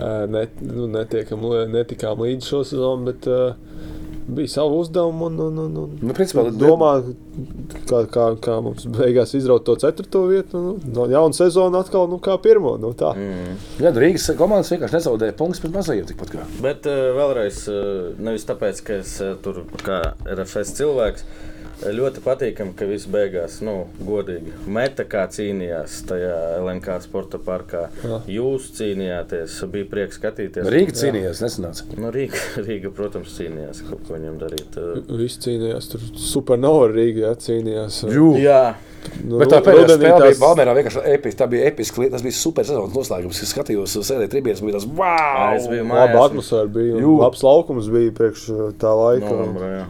Speaker 6: ā, ne, nu, netiekam, li- netikām līdz šo sezonu, bet ā, bija savi uzdevumi. Un, un, un, un.
Speaker 1: Nu, principā, tad-
Speaker 6: domā, kā, kā, kā mums beigās izraut to ceturto vietu, un nu, no jauna sezona atkal nu, kā pirmo. Nu, tā.
Speaker 1: Jā, nu, Rīgas komandas vienkārši nezaudēja punktus pret mazajiem tikpat kā.
Speaker 2: Bet eh, vēlreiz, eh, nevis tāpēc, ka es eh, tur kā RFS cilvēks. eh, Ļoti patīkami, ka viss beigās nu, godīgi. Meta kā cīnījās tajā LNK sporta parkā. Jā. Jūs cīnījāties, bija prieks skatīties.
Speaker 1: Rīga cīnījās, nesanāca.
Speaker 2: Nu, Rīga, [laughs] Rīga, protams, cīnījās, ko ko viņam darīt. eh.
Speaker 6: Visi cīnījās, tur supernovā Rīgā jā, cīnījās.
Speaker 1: Jū.
Speaker 2: Jā,
Speaker 6: Nu,
Speaker 1: Bet tā pēdējā
Speaker 6: rudenī
Speaker 1: spēlē bija
Speaker 6: tās-
Speaker 1: Balmērā vienkārši episka. Tā bija episka, lieta, tas bija super sezonas noslēgums. Es skatījos, sēdēju tribīnēs, bija tas wow!
Speaker 2: es biju mājās.
Speaker 6: Labā atmosfēra bija. un
Speaker 1: Jū.
Speaker 6: Labs laukums bija priekš ā, tā laika. un-
Speaker 2: Novembrā, jā.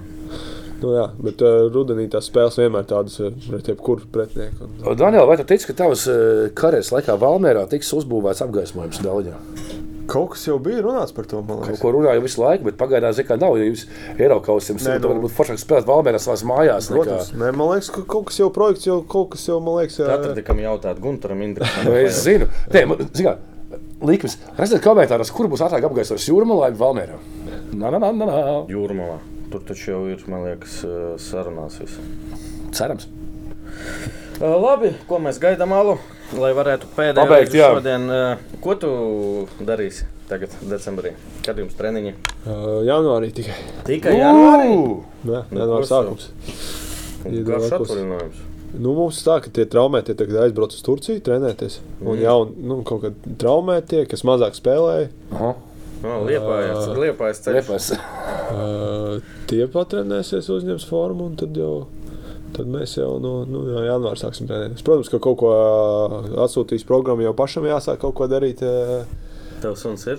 Speaker 6: Nu, jā, bet uh, rudenī tās spēles vienmēr tādas uh, ir pret jebkuru pretinieku. Un,
Speaker 1: Daniel, vai tu tici, ka tavas eh, karjeras laikā Valmērā tiks uzbūvēts apgaismojums daļā?
Speaker 6: Kaut kas jau bija runāts par to, man
Speaker 1: Par
Speaker 6: liekas.
Speaker 1: ko runāju visu laiku, bet pagaidām zinu, ka nav. Ja jūs Eiropausiem
Speaker 6: Nē,
Speaker 1: esat, tad
Speaker 6: nu.
Speaker 1: varbūt foršāk spēlēt Valmērā savās mājās. nekā-
Speaker 6: Protams, nē, man liekas, ka kaut kas jau projekts, jau kaut kas jau, man liekas, jā,
Speaker 2: Tātad, kam jautāt Gunteram,
Speaker 1: Nu, Es
Speaker 2: Indričam?
Speaker 1: zinu, Nē, man- zini kā, likums. Rastiet komentāros, kur būs ātrāk apgaismojums jūrmalā vai Valmērā. Nā, nā, nā, nā, nā.
Speaker 2: Jūrmalā. Tur taču jau ir, man liekas, eh, sarunās viss.
Speaker 1: Cerams.
Speaker 2: Labi, ko mēs gaidām alu, lai varētu pēdējo
Speaker 1: Pabeigt,
Speaker 2: reizi
Speaker 1: jā.
Speaker 2: šodien. eh, Ko tu darīsi tagad, decembrī? Kad jums treniņi?
Speaker 6: uh, janvārī tikai.
Speaker 2: Tikai janvārī.
Speaker 6: Nē,
Speaker 2: Nu,
Speaker 6: janvārī
Speaker 2: kurš jau?
Speaker 6: sākums. Ir
Speaker 2: Garš
Speaker 6: laikos.
Speaker 2: atvaļinājums.
Speaker 6: Nu, mums tā, ka tie traumētie tagad aizbrauc uz Turciju trenēties. Un
Speaker 2: Mm.
Speaker 6: jau, nu, kaut kad traumētie, kas mazāk spēlēja,
Speaker 1: Aha,
Speaker 2: No, liepājās,
Speaker 6: Ā.
Speaker 2: liepājās ceļš.
Speaker 1: Liepais.
Speaker 6: uh, tie patrenēsies, uzņems formu un tad jau. Tad mēs jau no, nu, no janvāra sāksim trenēties. Protams, ka kaut ko
Speaker 2: [laughs]
Speaker 6: ā, atsūtīs programmu jau pašam jāsāk kaut ko darīt. Uh,
Speaker 2: Tev suns ir?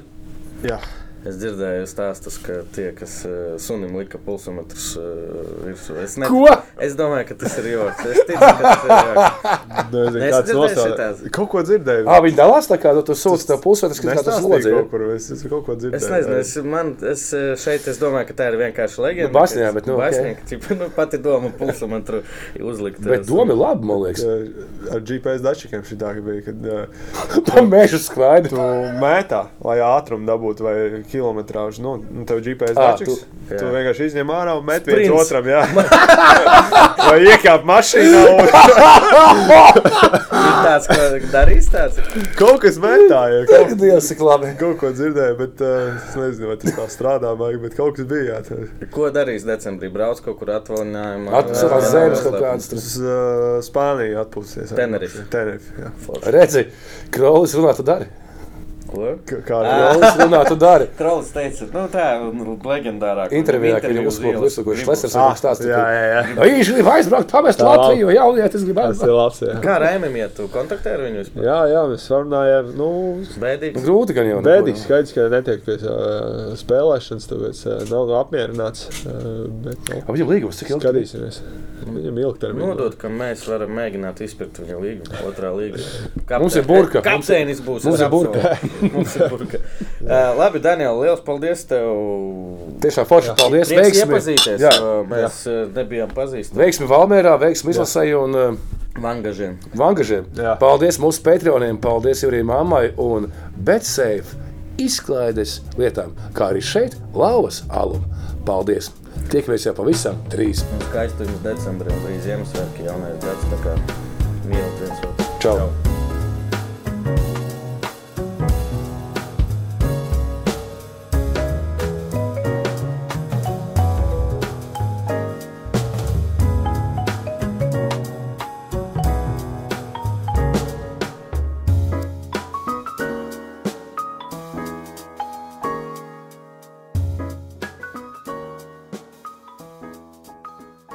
Speaker 6: Jā,
Speaker 2: Es dzirdēju stāstus, ka tie, kas eh, sunim lika pulsmetrs eh, virsū, es, ne...
Speaker 1: Ko?
Speaker 2: es domāju, ka tas ir joks. Es ticu, ka tas ir joks.
Speaker 6: Nezinu,
Speaker 2: Es
Speaker 6: kāds
Speaker 2: dzirdēju
Speaker 6: nosauc.
Speaker 2: šitās.
Speaker 6: Kaut ko dzirdēju.
Speaker 1: Ah, viņi dalās tā kā tu sūti tev pusotru, kas tas
Speaker 6: Nestāstīju
Speaker 1: lodzi.
Speaker 6: kaut kur, es esmu kaut ko dzirdēju.
Speaker 2: Es nezinu, es, man, es eh, šeit es domāju, ka tā ir vienkārši leģenda.
Speaker 1: Nu, basnijā, bet, nu,
Speaker 2: basnijā, okay. tipa, nu, pati doma pulsmetru uzlikt. eh,
Speaker 1: Bet doma ir laba, man liekas.
Speaker 6: Ar GPS dačikiem šī tā bija, kad uh,
Speaker 1: Pa mežu skraida.
Speaker 6: tu mētā, lai ātrumu dabūtu vai kilometrāžu, nu, nu tev GPS
Speaker 1: Ā,
Speaker 6: dačiks,
Speaker 2: tu-
Speaker 6: tu,
Speaker 2: jā.
Speaker 6: tu vienkārši izņem ārā un met viens
Speaker 2: Sprints.
Speaker 6: otram, jā. vai iekāp mašīnā un
Speaker 2: Ir tāds, ko darīs tāds.
Speaker 6: kaut kas mētā, jā. Kaut,
Speaker 1: [laughs] Dievs, cik labi.
Speaker 6: kaut ko dzirdēju, bet uh, es nezinu, vai tas tā strādā, vai, bet kaut kas bija, jā. tā.
Speaker 2: Ko darīs decembrī? Brauc kaut kur atvaļinājumā.
Speaker 1: Atpūsā
Speaker 2: Jā,
Speaker 1: zemes
Speaker 2: jā,
Speaker 1: kaut
Speaker 2: jā.
Speaker 1: kādas. tur.
Speaker 6: Uz uh, Spāniju atpūsties.
Speaker 2: Tenerife.
Speaker 6: Tenerife, jā.
Speaker 1: Redzi, Krolis runā, tu dari.
Speaker 2: Ko?
Speaker 6: K- Kā ar
Speaker 1: Krolis runā, tu dari.
Speaker 2: Trolls teica, nu tā ir leģendārā
Speaker 1: Intervijā, kad viņam uzskūpa visu, ko Šlesers
Speaker 6: Ah,
Speaker 1: viņam stāstīja.
Speaker 6: jā, jā, jā.
Speaker 1: Viņš grib aizbraukt, pamest
Speaker 6: labi.
Speaker 1: Latviju, jauniet, es
Speaker 6: Tas
Speaker 1: gribētu.
Speaker 6: ir labs, jā.
Speaker 2: Kā Raimim iet, tu kontaktēji ar viņu vispār?
Speaker 6: Jā, jā, mēs runājām, nu,
Speaker 2: Bēdīgs.
Speaker 1: Grūti, ka jau. nu,
Speaker 6: Bēdīgi skaidrs, ka netiek pie uh, spēlēšanas, tāpēc uh, nav apmierināts. Uh, bet, nu,
Speaker 1: Apņem līgumus, cik ilgi?
Speaker 6: skatīsimies. Viņam ilgtermiņā.
Speaker 2: Nodot, ka mēs varam mēģināt izpirkt viņa līgumu, otrā līguma.
Speaker 1: Mums ir burka.
Speaker 2: [laughs] Kapteinis būs.
Speaker 1: Mums
Speaker 2: es
Speaker 1: ir burka.
Speaker 2: apsolu. [laughs] Mums ir burka. Ā, Labi, Daniel, liels paldies tev.
Speaker 1: Tiešām forši, paldies,
Speaker 2: Prieks
Speaker 1: veiksmi.
Speaker 2: iepazīties.
Speaker 1: Jā.
Speaker 2: Ā, Mēs ā, nebijām pazīstami.
Speaker 1: Veiksmi Valmērā, veiksmi izlasēji un uh,
Speaker 2: Vangažiem.
Speaker 1: vangažiem.
Speaker 6: Jā.
Speaker 1: Paldies mūsu patroniem, paldies arī mammai un Betseif izklaides lietām, kā arī šeit lauvas alum. Paldies! Tiekamies jau pavisam trīs.
Speaker 2: Skaistums decembrim līdz Ziemassvētku jaunais gads, tā kā mīlu viens otru.
Speaker 1: Čau! Čau.
Speaker 2: Čau.